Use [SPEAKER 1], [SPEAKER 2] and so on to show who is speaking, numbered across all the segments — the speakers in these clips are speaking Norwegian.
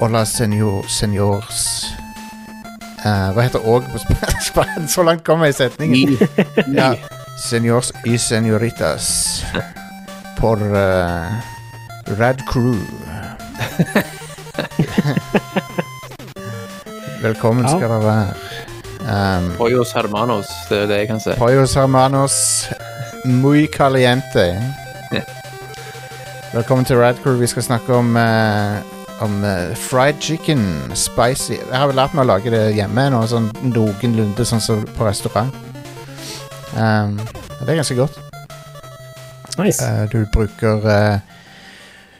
[SPEAKER 1] Hola senor, senors. Eh, hva heter òg på sp- spansk? Så langt kommer jeg i setningen. Ja. Senors y senoritas. Por eh, Rad Crew. Velkommen
[SPEAKER 2] Ja.
[SPEAKER 1] skal dere være. Um,
[SPEAKER 3] Hoyos Hermanos, det er det jeg kan si.
[SPEAKER 1] Pollos hermanos muy caliente. Velkommen til Rad Crew. Vi skal snakke om, eh, om eh, fried chicken spicy. Jeg har vel lært meg å lage det hjemme nå, sånn noenlunde sånn som på restaurant. Um, det er ganske godt.
[SPEAKER 2] Nice.
[SPEAKER 1] Eh, du bruker eh,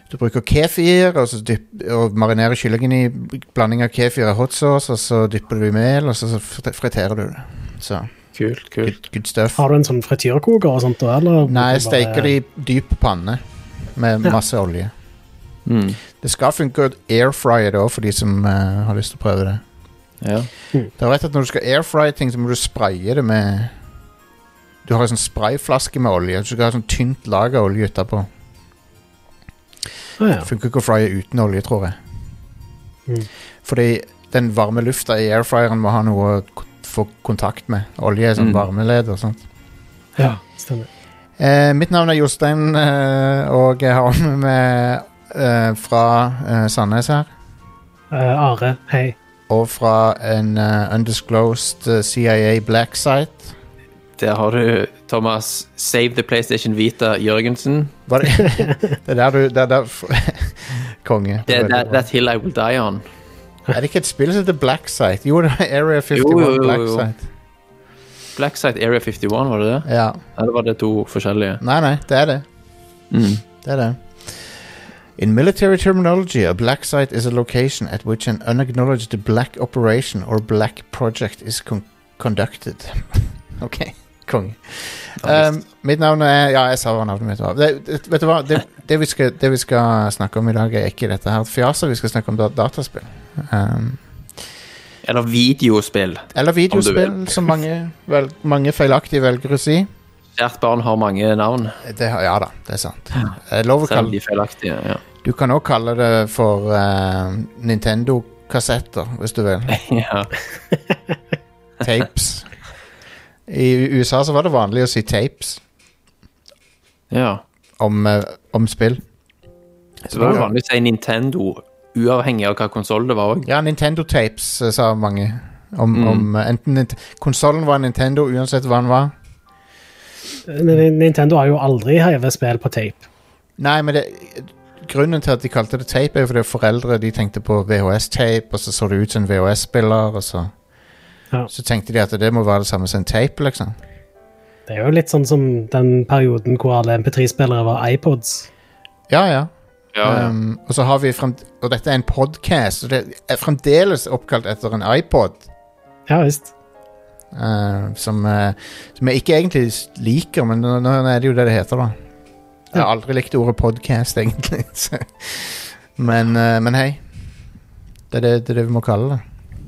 [SPEAKER 1] Du bruker kefir og, så dypp, og marinerer kyllingen i blanding av kefir og hot sauce, og så dypper du i mel, og så så frit- friterer du det. Så
[SPEAKER 3] Kult, kult.
[SPEAKER 1] good, good stuff.
[SPEAKER 2] Har du en sånn frityrkoker og sånt da, eller?
[SPEAKER 1] Nei, jeg
[SPEAKER 2] Bare-
[SPEAKER 1] steker det i dyp panne med
[SPEAKER 2] Ja.
[SPEAKER 1] masse olje.
[SPEAKER 3] Mm.
[SPEAKER 1] Det skal funke å airfrye det òg, for de som eh, har lyst til å prøve det.
[SPEAKER 3] Ja.
[SPEAKER 1] Det er rett at Når du skal airfrye ting, så må du spraye det med Du har en sånn sprayflaske med olje. Du skal ha sånn tynt lag av olje utapå.
[SPEAKER 2] Ah, ja.
[SPEAKER 1] Funker ikke å frye uten olje, tror jeg.
[SPEAKER 2] Mm.
[SPEAKER 1] Fordi den varme lufta i airfryeren må ha noe å k- få kontakt med. Olje er sånn
[SPEAKER 3] Mm.
[SPEAKER 1] varmeleder. Sant?
[SPEAKER 2] ja, stemmer.
[SPEAKER 1] Eh, mitt navn er Jostein, eh, og jeg har med meg eh, fra eh, Sandnes her.
[SPEAKER 2] Eh, Are, hei.
[SPEAKER 1] Og fra en eh, undisclosed eh, CIA black site.
[SPEAKER 3] Der har du Thomas Save the PlayStation Vita Jørgensen.
[SPEAKER 1] Var det, det er der du det er der, Konge.
[SPEAKER 3] Det,
[SPEAKER 1] er,
[SPEAKER 3] that, that hill I will die on.
[SPEAKER 1] er det ikke et spill som heter Black Site? Jo, det er Area 51
[SPEAKER 3] Jo, jo, jo,
[SPEAKER 1] Black
[SPEAKER 3] jo.
[SPEAKER 1] Site.
[SPEAKER 3] Blackside Area 51, var det det?
[SPEAKER 1] Ja.
[SPEAKER 3] Eller var det to forskjellige? Um,
[SPEAKER 1] Nei, nei, det er det.
[SPEAKER 3] Mm.
[SPEAKER 1] Det er det. In military terminology, a black site is a location at which an unacknowledged black operation or black project is con conducted. ok, konge.
[SPEAKER 3] Ja,
[SPEAKER 1] Um, mitt navn er Ja, jeg sa hva navnet mitt var. Det, det, vet du hva? Det, det, vi skal, det vi skal snakke om i dag, er ikke dette her fjaset. Vi skal snakke om da dataspill. Um,
[SPEAKER 3] Eller videospill.
[SPEAKER 1] eller videospill,
[SPEAKER 3] vil.
[SPEAKER 1] som mange, vel, mange feilaktig velger å si.
[SPEAKER 3] Hvert barn har mange navn,
[SPEAKER 1] Det, har- ja da, det er sant. Det er lov å
[SPEAKER 3] selv om
[SPEAKER 1] kalle
[SPEAKER 3] de er feilaktige. Ja.
[SPEAKER 1] Du kan òg kalle det for eh, Nintendo-kassetter, hvis du vil.
[SPEAKER 3] ja.
[SPEAKER 1] Tapes. I USA så var det vanlig å si tapes
[SPEAKER 3] ja.
[SPEAKER 1] om, eh, om spill.
[SPEAKER 3] Så var det vanlig å si Nintendo, uavhengig av hva konsoll det var òg.
[SPEAKER 1] Ja, Nintendo-tapes, eh, sa mange. Om,
[SPEAKER 3] Mm.
[SPEAKER 1] om eh, enten Nint konsollen var Nintendo, uansett hva den var.
[SPEAKER 2] N- Eh, Nintendo har jo aldri hevet spill på tape.
[SPEAKER 1] Nei, men det, grunnen til at de kalte det tape, er jo fordi foreldre de tenkte på VHS-tape, og så så det ut som en VHS-spiller, og så
[SPEAKER 2] Ja.
[SPEAKER 1] Så tenkte de at det må være det samme som en tape, liksom.
[SPEAKER 2] Det er jo litt sånn som den perioden hvor alle MP3-spillere var iPods.
[SPEAKER 1] Ja, ja.
[SPEAKER 3] Ja, ja.
[SPEAKER 1] Um, og så har vi fremt, Og dette er en podcast Og det er fremdeles oppkalt etter en iPod
[SPEAKER 2] Ja visst.
[SPEAKER 1] eh, som, eh, som jeg ikke egentlig s- liker Men nå, nå er det jo det det heter da Jeg har aldri likt ordet podcast egentlig så. men, eh, men hei det er det, det er det vi må kalle det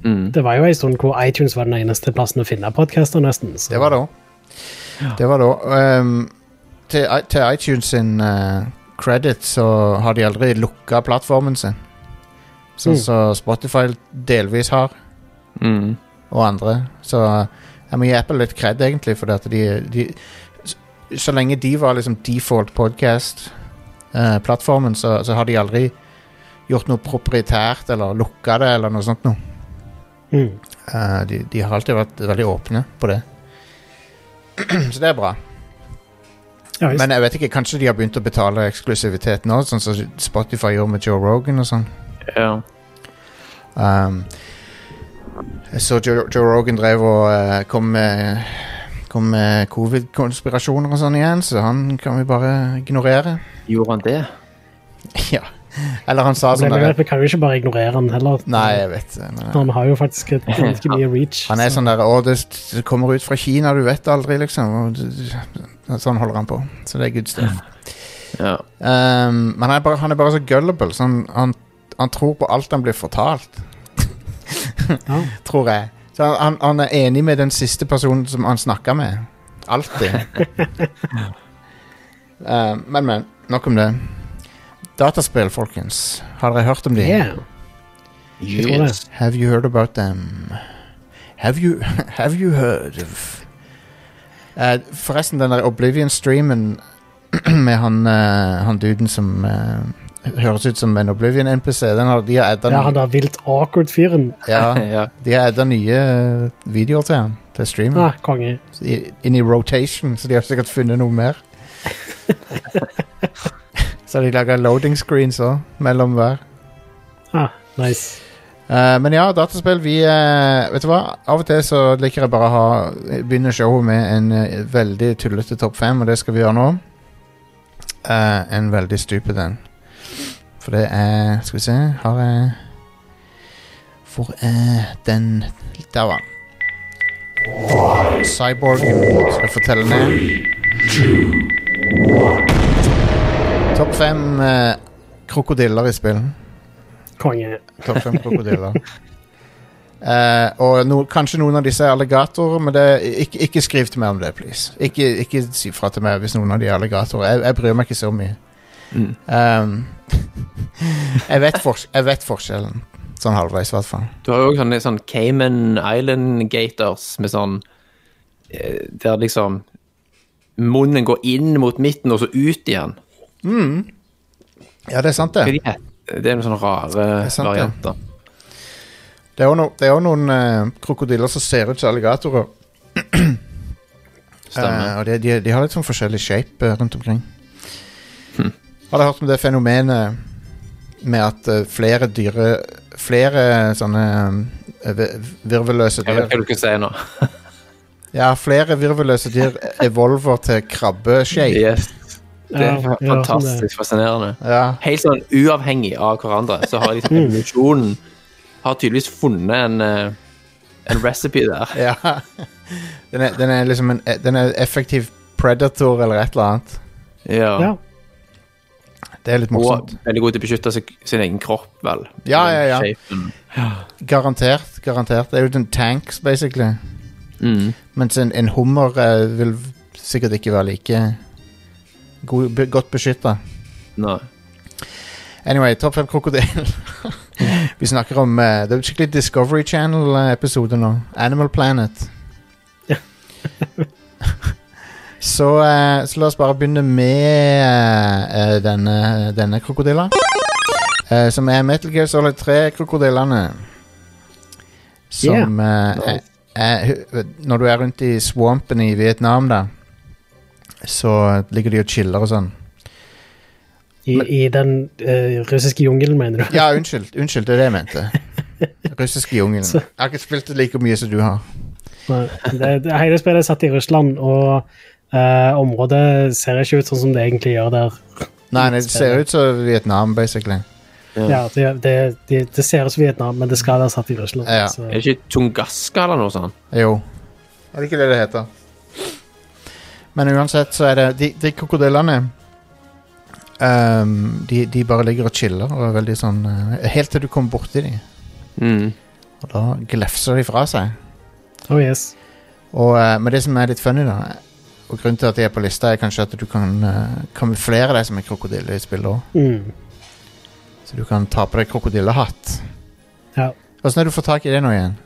[SPEAKER 3] Mm.
[SPEAKER 2] Det var jo en stund hvor iTunes var den eneste plassen å finne podcaster, nesten. Så.
[SPEAKER 1] Det var da Det var da um, til, i- til iTunes sin eh, credit Så har de aldri lukket plattformen sin Sånn
[SPEAKER 2] Mm.
[SPEAKER 1] som Spotify delvis har
[SPEAKER 3] Mm.
[SPEAKER 1] og andre. Så jeg må gi Apple litt kred, egentlig, for at de, de så, så lenge de var liksom default podcast-plattformen, så, så har de aldri gjort noe proprietært eller lukka det eller noe sånt noe.
[SPEAKER 2] Mm.
[SPEAKER 1] Eh, de, de har alltid vært veldig åpne på det. så det er bra.
[SPEAKER 2] Ja, visst.
[SPEAKER 1] Men jeg vet ikke, kanskje de har begynt å betale eksklusivitet nå, sånn som Spotify gjorde med Joe Rogan og sånn.
[SPEAKER 3] ja.
[SPEAKER 1] Um, jeg så Joe, Joe Rogan drev og eh, kom med, kom med covid-konspirasjoner og sånn igjen, så han kan vi bare ignorere.
[SPEAKER 3] Gjorde han det?
[SPEAKER 1] ja. Eller han sa sånn
[SPEAKER 2] Problemet er
[SPEAKER 1] der
[SPEAKER 2] at vi kan jo ikke bare ignorere han heller.
[SPEAKER 1] Nei, jeg vet det, men, eh,
[SPEAKER 2] Han har jo faktisk et ganske mye reach.
[SPEAKER 1] Han er
[SPEAKER 2] så-
[SPEAKER 1] sånn der Å, det s- det kommer ut fra Kina, du vet aldri, liksom. og d- d- Sånn holder han på. Så det er good stuff.
[SPEAKER 3] Ja.
[SPEAKER 1] Um, men han er, bare, han er bare så gullible, så han, han, han tror på alt han blir fortalt. sånn-
[SPEAKER 2] Ja.
[SPEAKER 1] Tror jeg. Så han, han, han er enig med den siste personen som han snakka med. Alltid. um, men, men. Nok om det. Dataspill, folkens. Har dere hørt om de?
[SPEAKER 2] Yeah. Jeg tror det.
[SPEAKER 1] Have you heard about them? Have you, have you heard of Eh, Forresten, den der Oblivion-streamen med han, eh, han duden som eh, høres ut som en Oblivion-NPC, den har, de har adda
[SPEAKER 2] Ja, han
[SPEAKER 1] nye,
[SPEAKER 2] der vilt awkward fyren.
[SPEAKER 1] ja,
[SPEAKER 3] ja.
[SPEAKER 1] de har adda nye eh, videoer til han, til streamen.
[SPEAKER 2] Ah, konge.
[SPEAKER 1] Så i- Inn i rotation, så de har sikkert funnet noe mer. så har de laga loading screens òg, mellom hver.
[SPEAKER 2] Ah, nice.
[SPEAKER 1] Eh, men ja, dataspill vi eh, Vet du hva? Av og til så liker jeg bare å ha begynne showet med en eh, veldig tullete topp fem, og det skal vi gjøre nå. Eh, en veldig stupid en. For det er Skal vi se Har jeg Hvor er den Der var den. Cyborgen. Skal jeg fortelle ned? Topp fem eh, krokodiller i spill.
[SPEAKER 2] Konge.
[SPEAKER 1] Topp fem krokodiller. Eh, og no, kanskje noen av disse er alligatorer, men det, ikke, ikke skriv til meg om det, please. Ikke, ikke si fra til meg hvis noen av de er alligatorer. Jeg, jeg bryr meg ikke så mye.
[SPEAKER 3] Mm.
[SPEAKER 1] Ehm, jeg, vet fors- jeg vet forskjellen, sånn halvveis i hvert fall.
[SPEAKER 3] Du har jo også sånne sånn Cayman Island Gators med sånn eh, Der liksom munnen går inn mot midten og så ut igjen.
[SPEAKER 1] Ja, det er sant,
[SPEAKER 3] Hva
[SPEAKER 1] det.
[SPEAKER 3] de heter? Det er noen sånne rare
[SPEAKER 1] er sant, det.
[SPEAKER 3] varianter.
[SPEAKER 1] Det er jo no, det er jo noen eh, krokodiller som ser ut som alligatorer.
[SPEAKER 3] Stemmer.
[SPEAKER 1] Eh, og de, de, de har litt sånn forskjellig shape eh, rundt omkring.
[SPEAKER 3] Hm.
[SPEAKER 1] Har du hørt om det fenomenet med at eh, flere dyre Flere sånne eh, vi- virvelløse
[SPEAKER 3] jeg vet
[SPEAKER 1] dyr
[SPEAKER 3] hva du skal si nå.
[SPEAKER 1] Ja, flere virvelløse dyr evolver til krabbeshape.
[SPEAKER 3] Yes. Det
[SPEAKER 2] Ja, sånn
[SPEAKER 3] er fa-
[SPEAKER 2] ja,
[SPEAKER 3] fantastisk fascinerende.
[SPEAKER 1] Ja,
[SPEAKER 3] Helt sånn uavhengig av hverandre, så har
[SPEAKER 2] Mm.
[SPEAKER 3] liksom evolusjonen har tydeligvis funnet en, eh, en recipe der.
[SPEAKER 1] ja. Den er, den er liksom en den er en effektiv predator eller et eller annet.
[SPEAKER 3] Ja.
[SPEAKER 2] Ja.
[SPEAKER 1] Det er litt
[SPEAKER 3] Og
[SPEAKER 1] morsomt.
[SPEAKER 3] veldig god til å beskytte seg, sin egen kropp, vel.
[SPEAKER 1] Ja, ja, ja.
[SPEAKER 3] Shapen.
[SPEAKER 1] Garantert. garantert Det er jo en tanks, basically.
[SPEAKER 3] Mm.
[SPEAKER 1] Mens en, en hummer eh, vil sikkert ikke være like god, be, godt beskytta.
[SPEAKER 3] Nei.
[SPEAKER 1] Anyway, topp fem krokodiller. Vi snakker om eh, Det er jo skikkelig Discovery Channel-episode nå. Animal Planet. så, eh, så la oss bare begynne med eh, denne, denne krokodilla. Eh, som er Metal Gear Solid 3-krokodillene. Som eh,
[SPEAKER 3] Nice.
[SPEAKER 1] er, er, Når du er rundt i swampen i Vietnam, da, så ligger de og chiller og sånn.
[SPEAKER 2] I, I den eh, russiske jungelen, mener du?
[SPEAKER 1] Ja, unnskyld. Unnskyld, det er det jeg mente. Russisk jungel.
[SPEAKER 2] Så-
[SPEAKER 1] Jeg har ikke spilt det like mye som du har.
[SPEAKER 2] Nei, det, det, hele spillet er satt i Russland, og eh, området ser ikke ut sånn som det egentlig gjør der.
[SPEAKER 1] Nei, nei, det ser ut som Vietnam, basically.
[SPEAKER 2] Ja, det, det, det, det ser ut som Vietnam, men det skal være satt i Russland.
[SPEAKER 1] Ja.
[SPEAKER 2] Så.
[SPEAKER 3] Er det ikke Tungaska eller noe sånt?
[SPEAKER 1] Jo. Er det ikke det det heter? Men uansett så er det De, de krokodillene ehm, de, de bare ligger og chiller og er veldig sånn eh, Helt til du kommer borti dem,
[SPEAKER 3] Mm.
[SPEAKER 1] og da glefser de fra seg.
[SPEAKER 2] Oh yes.
[SPEAKER 1] Og, eh, men det som er litt funny, da Og grunnen til at de er på lista, er kanskje at du kan eh, kamuflere deg som en krokodille i spillet òg.
[SPEAKER 2] Mm.
[SPEAKER 1] Så du kan ta på deg krokodillehatt.
[SPEAKER 2] Ja.
[SPEAKER 1] Åssen er det Altså, du får tak i det nå igjen?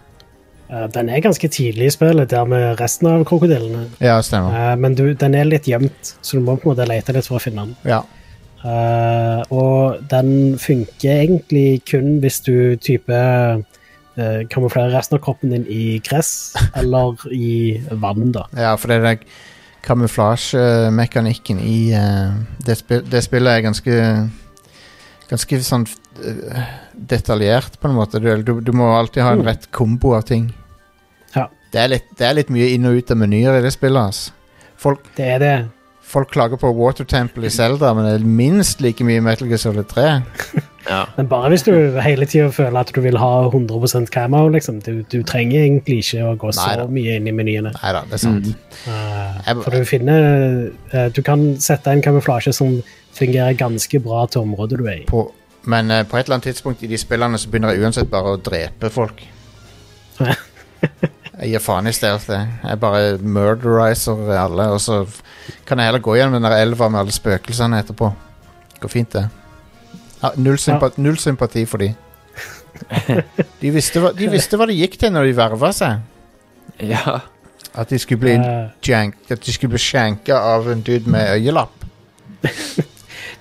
[SPEAKER 2] Eh, den er ganske tidlig i spillet, der med resten av krokodillene.
[SPEAKER 1] Ja, stemmer.
[SPEAKER 2] Eh, men du, den er litt gjemt, så du må på en måte lete litt for å finne den.
[SPEAKER 1] Ja.
[SPEAKER 2] Eh, og den funker egentlig kun hvis du type uh, kamuflerer resten av kroppen din i gress eller i vann, da.
[SPEAKER 1] ja, for det er den kamuflasjemekanikken i eh, det, spil det spillet er ganske Ganske sånn eh, detaljert, på en måte. Du, du, du må alltid ha en
[SPEAKER 2] Mm.
[SPEAKER 1] rett kombo av ting.
[SPEAKER 2] Ja.
[SPEAKER 1] Det er litt, det er litt mye inn og ut av menyer i det spillet. Altså. Folk,
[SPEAKER 2] Det er det.
[SPEAKER 1] folk klager på Water Temple i
[SPEAKER 2] Mm.
[SPEAKER 1] Zelda, men det er minst like mye Metal Gear Solid 3.
[SPEAKER 3] Ja.
[SPEAKER 2] Men bare hvis du hele tida føler at du vil ha 100 camo, liksom. Du, du trenger egentlig ikke å gå så
[SPEAKER 1] Neida.
[SPEAKER 2] mye inn i menyene.
[SPEAKER 1] Nei da, det er sant.
[SPEAKER 2] Eh,
[SPEAKER 1] Jeg-
[SPEAKER 2] for du finner eh, Du kan sette en kamuflasje som fungerer ganske bra til området du er i.
[SPEAKER 1] På, men eh, på et eller annet tidspunkt i de spillene så begynner jeg uansett bare å drepe folk. Jeg gir faen i stedet. Jeg bare murderizer alle, og så f- kan jeg heller gå gjennom den der elva med alle spøkelsene etterpå. Går fint, det. Ja, null, sympa null sympati for de. De visste, hva, de visste hva de gikk til når de verva seg.
[SPEAKER 3] Ja.
[SPEAKER 1] At de skulle bli,
[SPEAKER 2] Eh,
[SPEAKER 1] jank, at de skulle bli skjenka av en dude med øyelapp.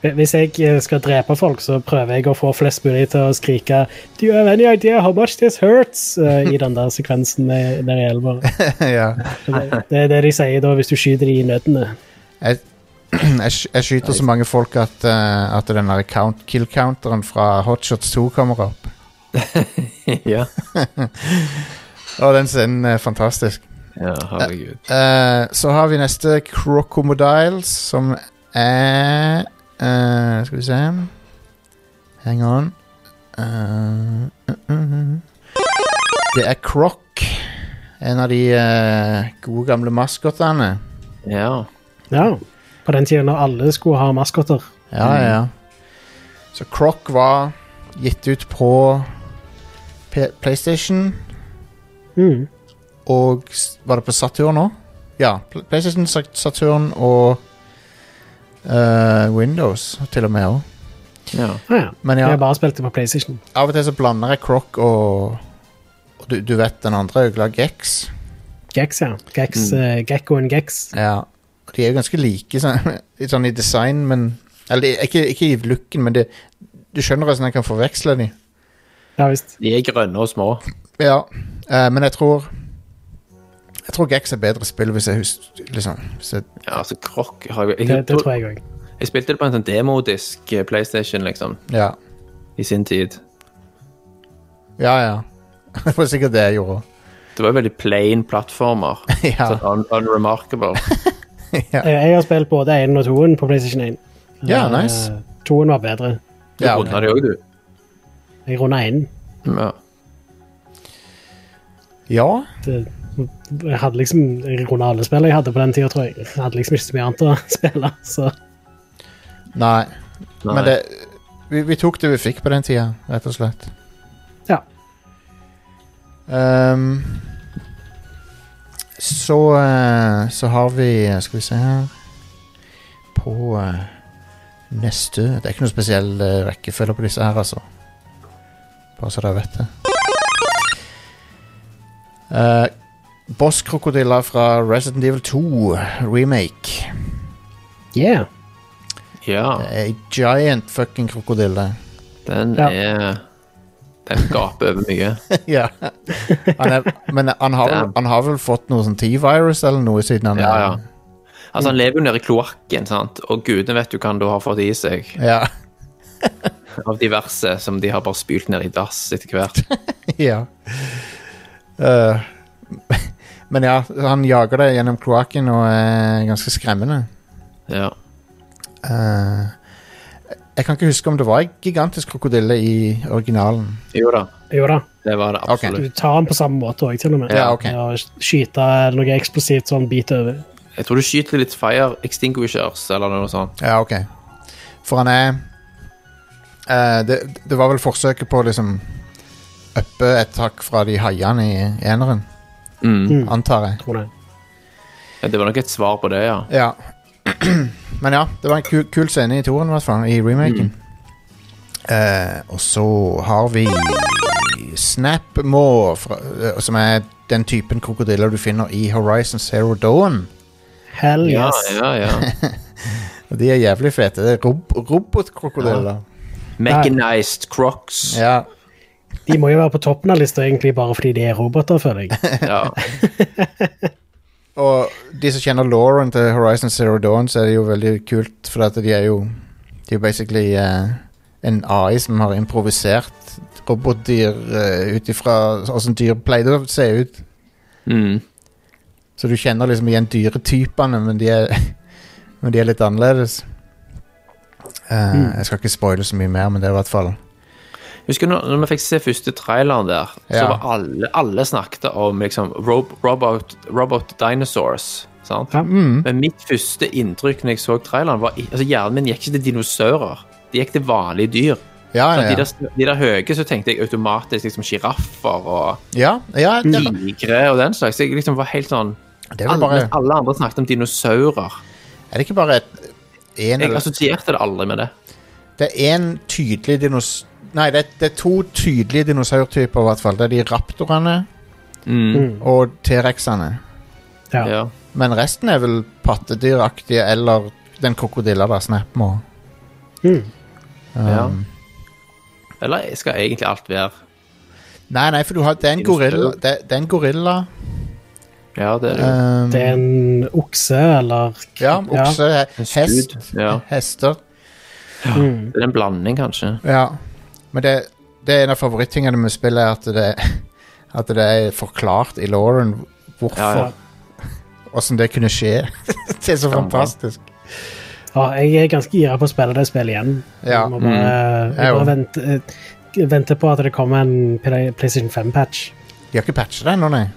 [SPEAKER 2] Hvis jeg eh, skal drepe folk, så prøver jeg å få flest mulig til å skrike Do you have any idea how much this hurts? eh, i den der sekvensen med- der i elva.
[SPEAKER 1] ja.
[SPEAKER 2] Det er det de sier da hvis du skyter de i nøttene.
[SPEAKER 1] jeg, Mm, jeg, sky- jeg skyter så mange folk at, eh, at den der count, kill-counteren fra Hotshots 2 kommer opp.
[SPEAKER 3] ja.
[SPEAKER 1] Og den scenen er fantastisk.
[SPEAKER 3] ja herregud.
[SPEAKER 1] Eh, så har vi neste Crocomodiles, som er eh, Skal vi se Hang on. Eh, uh, uh, uh. Det er Croc. En av de eh, gode, gamle maskottene.
[SPEAKER 3] Ja.
[SPEAKER 2] Ja. På den tiden når alle skulle ha maskotter.
[SPEAKER 1] Ja, ja, ja. Eh, Så Croc var gitt ut på P PlayStation,
[SPEAKER 2] Mm.
[SPEAKER 1] og s- var det på Saturn òg? Ja. Pl- PlayStation, Sat- Saturn og eh, Windows til og med òg.
[SPEAKER 3] ja.
[SPEAKER 2] Ah, ja.
[SPEAKER 1] Men ja,
[SPEAKER 2] Jeg bare spilte på PlayStation.
[SPEAKER 1] av og til så blander jeg Croc og, og du, du vet den andre øgla Gex.
[SPEAKER 2] Gex, ja. Gex,
[SPEAKER 1] Mm.
[SPEAKER 2] eh, Gekkoen Gex.
[SPEAKER 1] Ja. Og De er jo ganske like sånn, litt sånn i design, men Eller de- ikke, ikke i looken, men det, du skjønner hvordan jeg kan forveksle de.
[SPEAKER 2] Ja visst.
[SPEAKER 3] De er grønne og små.
[SPEAKER 1] Ja, eh, men jeg tror Jeg tror Gex er bedre spill hvis jeg husker liksom, hvis jeg,
[SPEAKER 3] Ja, altså, krokk har jeg,
[SPEAKER 2] Det, det tror jeg òg.
[SPEAKER 3] Jeg spilte det på en sånn demodisk eh, PlayStation, liksom,
[SPEAKER 1] Ja,
[SPEAKER 3] i sin tid.
[SPEAKER 1] ja. ja. Det var sikkert det jeg gjorde.
[SPEAKER 3] Det var jo veldig plain plattformer.
[SPEAKER 1] Ja,
[SPEAKER 3] Sånn un unremarkable.
[SPEAKER 1] ja.
[SPEAKER 2] Jeg jeg har spilt både 1 og 2 på PlayStation 1.
[SPEAKER 1] Ja,
[SPEAKER 2] Eh,
[SPEAKER 1] nice.
[SPEAKER 2] Toen var bedre.
[SPEAKER 3] Du
[SPEAKER 1] Ja,
[SPEAKER 3] ja,
[SPEAKER 1] ok.
[SPEAKER 3] runda det òg, du.
[SPEAKER 2] Jeg runda 1.
[SPEAKER 3] Ja.
[SPEAKER 1] ja.
[SPEAKER 2] det, eh, jeg hadde liksom Jeg runda alle spillene jeg hadde på den tida, tror jeg. Jeg hadde liksom ikke så mye annet å spille, så
[SPEAKER 1] Nei.
[SPEAKER 3] Nei.
[SPEAKER 1] Men det vi, vi tok det vi fikk på den tida, rett og slett.
[SPEAKER 2] ja.
[SPEAKER 1] Ehm, så eh, Så har vi Skal vi se her På eh, neste Det er ikke noe spesiell eh, rekkefølge på disse her, altså. Bare så dere vet det. Eh, Boss-krokodiller fra Resident Evil 2 remake.
[SPEAKER 2] Yeah.
[SPEAKER 1] Det
[SPEAKER 3] Ja,
[SPEAKER 1] er en giant fucking krokodille.
[SPEAKER 3] den
[SPEAKER 2] Ja.
[SPEAKER 3] er Den gaper over mye.
[SPEAKER 1] ja. Han er, men han har, vel-
[SPEAKER 3] Damn.
[SPEAKER 1] han har vel fått noe sånn T-virus eller noe siden han
[SPEAKER 3] Ja, ja. Altså, han lever jo nede i kloakken, sant, og gudene vet jo hva han da har fått i seg
[SPEAKER 1] Ja.
[SPEAKER 3] av diverse som de har bare spylt ned i dass etter hvert.
[SPEAKER 1] Ja. Eh, men ja, han jager deg gjennom kloakken og er ganske skremmende.
[SPEAKER 3] Ja.
[SPEAKER 1] Eh, jeg kan ikke huske om det var en gigantisk krokodille i originalen.
[SPEAKER 3] Jo da,
[SPEAKER 2] Jo da.
[SPEAKER 3] det var det
[SPEAKER 1] Ok.
[SPEAKER 2] Du
[SPEAKER 3] absolutt.
[SPEAKER 2] tar den på samme måte òg, til og med.
[SPEAKER 1] Ja, ok.
[SPEAKER 2] Med å skyte noe eksplosivt sånn bit over.
[SPEAKER 3] Jeg tror du skyter litt fire extinguishers eller noe sånt.
[SPEAKER 1] Ja, ok. For han er eh, det, det var vel forsøket på å liksom uppe et hakk fra de haiene i eneren,
[SPEAKER 3] Mm.
[SPEAKER 1] antar jeg.
[SPEAKER 2] Tror jeg.
[SPEAKER 3] Ja, det var nok et svar på det, ja.
[SPEAKER 1] Ja. Men ja, det var en kul, kul scene i toren, i hvert fall. I remaken. Eh, og så har vi Snapmaw, fra- eh, som er den typen krokodiller du finner i Horizon Zero Dawn.
[SPEAKER 2] Hell
[SPEAKER 3] Ja,
[SPEAKER 2] yes.
[SPEAKER 3] ja, ja.
[SPEAKER 1] Og de er jævlig fete. Det er rob robotkrokodiller.
[SPEAKER 3] Mechanized crocs.
[SPEAKER 1] Ja.
[SPEAKER 2] De må jo være på toppen av lista egentlig bare fordi de er roboter, føler jeg.
[SPEAKER 3] Ja.
[SPEAKER 1] Og de som kjenner Lauren til Horizon Zero Dawn, så er det jo veldig kult, for at de er jo De er basically eh, en AI som har improvisert robotdyr uh, ut ifra åssen dyr pleide å se ut.
[SPEAKER 3] Mm.
[SPEAKER 1] Så du kjenner liksom igjen dyretypene, men de er, men de er litt annerledes. Eh,
[SPEAKER 3] Mm.
[SPEAKER 1] Jeg skal ikke spoile så mye mer, men det er i hvert fall
[SPEAKER 3] Husker du når, når vi fikk se første traileren der, så
[SPEAKER 1] Ja.
[SPEAKER 3] var alle, alle snakket om liksom rob, robot, robot dinosaurs. Sant?
[SPEAKER 2] Ja.
[SPEAKER 3] Men mitt første inntrykk når jeg så traileren, var i- altså hjernen min gikk ikke til dinosaurer. De gikk til vanlige dyr.
[SPEAKER 1] Ja,
[SPEAKER 3] Så
[SPEAKER 1] Ah, ja.
[SPEAKER 3] De, der, de der høye, så tenkte jeg automatisk liksom sjiraffer og
[SPEAKER 1] Ja, ja det, er-
[SPEAKER 3] tigre og den slags. Jeg liksom var helt sånn
[SPEAKER 1] det er vel
[SPEAKER 3] alle,
[SPEAKER 1] bare
[SPEAKER 3] mens alle andre snakket om dinosaurer.
[SPEAKER 1] Er det ikke bare et en,
[SPEAKER 3] Jeg altså,
[SPEAKER 1] eller-
[SPEAKER 3] assosierte det aldri med det.
[SPEAKER 1] Det er én tydelig dinos, Nei, det, det er to tydelige dinosaurtyper, i hvert fall. Det er de raptorene
[SPEAKER 3] Mm.
[SPEAKER 2] Mm.
[SPEAKER 1] og T-rexene.
[SPEAKER 2] Ja.
[SPEAKER 3] Ja.
[SPEAKER 1] Men resten er vel pattedyraktige eller den krokodilla der, Snapmo.
[SPEAKER 2] Mm.
[SPEAKER 1] Um,
[SPEAKER 3] Ja. Eller skal egentlig alt være
[SPEAKER 1] Nei, nei, for du har, det er en gorilla. Det, det er en gorilla.
[SPEAKER 3] Ja, det er det.
[SPEAKER 1] Um,
[SPEAKER 2] Det er en okse, eller
[SPEAKER 1] ja, okse,
[SPEAKER 3] En
[SPEAKER 1] he- hest,
[SPEAKER 3] stud. Ja.
[SPEAKER 1] hester.
[SPEAKER 2] Mm.
[SPEAKER 3] Det er en blanding, kanskje.
[SPEAKER 1] Ja. Men det, det er en av favorittingene med spillet, er at det, at det er forklart i lauren hvorfor.
[SPEAKER 3] Ja, ja.
[SPEAKER 1] Åssen det kunne skje. det er så
[SPEAKER 3] Ja,
[SPEAKER 1] fantastisk.
[SPEAKER 2] Ja, jeg er ganske gira på å spille det spillet igjen.
[SPEAKER 1] Ja. mm.
[SPEAKER 2] Jeg må bare,
[SPEAKER 1] Jeg
[SPEAKER 2] jeg bare vente, eh, vente på at det kommer en Play- PlayStation 5-patch.
[SPEAKER 1] De har ikke patcha det ennå, nei.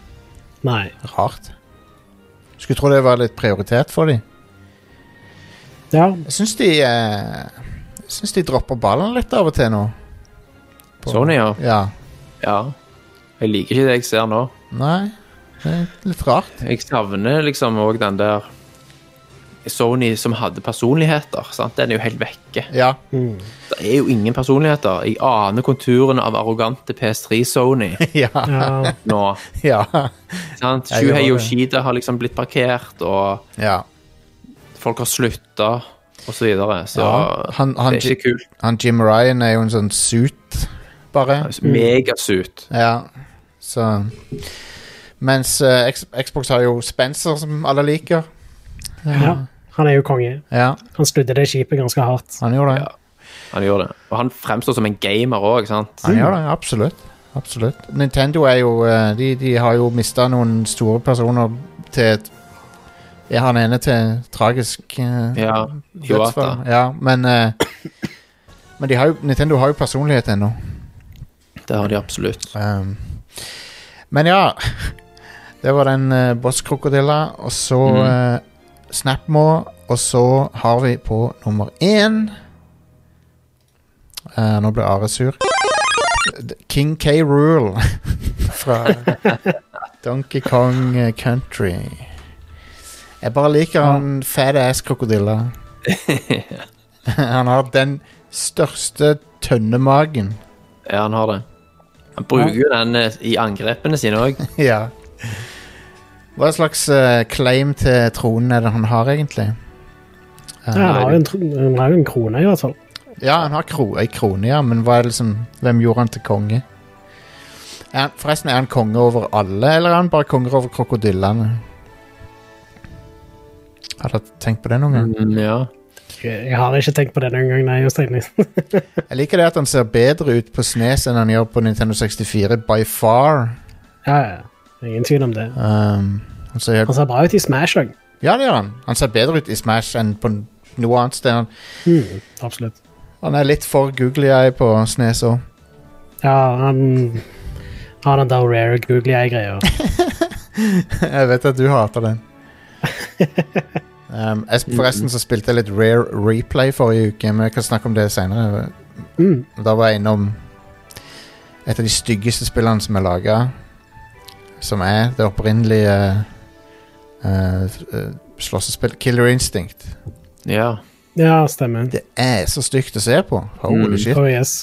[SPEAKER 2] Nei,
[SPEAKER 1] Rart. Skulle tro det var litt prioritert for dem.
[SPEAKER 2] ja,
[SPEAKER 1] Jeg syns de eh, Jeg syns de dropper ballen litt av og til nå. På-
[SPEAKER 3] Sony, Sånn, ja.
[SPEAKER 1] Ja.
[SPEAKER 3] ja. Jeg liker ikke det jeg ser nå.
[SPEAKER 1] Nei. Det er litt rart.
[SPEAKER 3] Jeg savner liksom òg den der Sony som hadde personligheter. sant? Den er jo helt vekke.
[SPEAKER 1] Ja.
[SPEAKER 3] Det er jo ingen personligheter. Jeg aner konturene av arrogante PS3-Sony
[SPEAKER 1] Ja.
[SPEAKER 2] ja,
[SPEAKER 3] nå.
[SPEAKER 1] Ja.
[SPEAKER 3] sant?
[SPEAKER 1] Jeg gjør
[SPEAKER 3] Shuhei
[SPEAKER 1] det.
[SPEAKER 3] Yoshida har liksom blitt parkert, og
[SPEAKER 1] ja.
[SPEAKER 3] folk har slutta, og så videre. Så
[SPEAKER 1] Ja, han- han-
[SPEAKER 3] det er ikke kult.
[SPEAKER 1] Han Jim Ryan er jo en sånn suit, bare.
[SPEAKER 3] Megasuit.
[SPEAKER 1] Ja. Så Mens eh, X- Xbox har jo Spencer, som alle liker.
[SPEAKER 2] ja. Han er jo konge.
[SPEAKER 1] Ja,
[SPEAKER 2] Han snudde det skipet ganske hardt.
[SPEAKER 1] han gjorde det.
[SPEAKER 3] Ja. Han gjør det. Og han fremstår som en gamer òg, sant?
[SPEAKER 1] Han gjør det, absolutt. Absolutt. Nintendo er jo eh, De, de har jo mista noen store personer til et Ja, han ene til tragisk eh,
[SPEAKER 3] Ja.
[SPEAKER 1] dødsfall.
[SPEAKER 3] Iwata.
[SPEAKER 1] Ja, men eh, Men de har jo, Nintendo har jo personlighet ennå.
[SPEAKER 3] Det har de absolutt.
[SPEAKER 1] Um, men ja Det var den uh, bosskrokodilla, og så
[SPEAKER 3] Mhm.
[SPEAKER 1] eh, Snapmo, og så har vi på nummer én Eh, Nå ble Are sur. D- King K. Rule fra Donkey Kong eh, Country. Jeg bare liker han fat ass krokodilla. han har den største tønnemagen.
[SPEAKER 3] Ja, han har det. Han bruker jo den eh, i angrepene sine òg.
[SPEAKER 1] Ja. Hva slags eh, claim til tronen er det han har, egentlig? Eh,
[SPEAKER 2] Ja, han har jo en, tr- han har jo en krone, i hvert fall.
[SPEAKER 1] ja, han har kro ei krone, ja, men hva er det liksom, hvem gjorde han til konge? Er han, forresten, er han konge over alle, eller er han bare konge over krokodillene? Har dere tenkt på det noen gang?
[SPEAKER 3] Mm, ja.
[SPEAKER 2] Jeg har ikke tenkt på det noen gang, nei, Jostein.
[SPEAKER 1] Jeg liker det at han ser bedre ut på Snes enn han gjør på Nintendo 64, by far.
[SPEAKER 2] Ja, ja. Ingen tvil om det.
[SPEAKER 1] Um, han ser helt
[SPEAKER 2] Han ser bra ut i Smash òg.
[SPEAKER 1] Ja, det gjør han. Han ser bedre ut i Smash enn på noe annet sted. Han,
[SPEAKER 2] Mm, absolutt.
[SPEAKER 1] han er litt for googly eye på Snes òg.
[SPEAKER 2] Ja, han har den der rare googly eye-greia.
[SPEAKER 1] Jeg vet at du hater den. Um, jeg, sp- forresten så spilte jeg litt Rare Replay forrige uke, men jeg kan snakke om det senere.
[SPEAKER 2] Mm.
[SPEAKER 1] Da var jeg innom et av de styggeste spillene som er laga, som er det opprinnelige eh, eh, slåssespillet Killer Instinct.
[SPEAKER 3] ja.
[SPEAKER 2] Ja, stemmer.
[SPEAKER 1] Det er så stygt å se på. Holy
[SPEAKER 3] Mm.
[SPEAKER 1] shit.
[SPEAKER 2] Oh yes.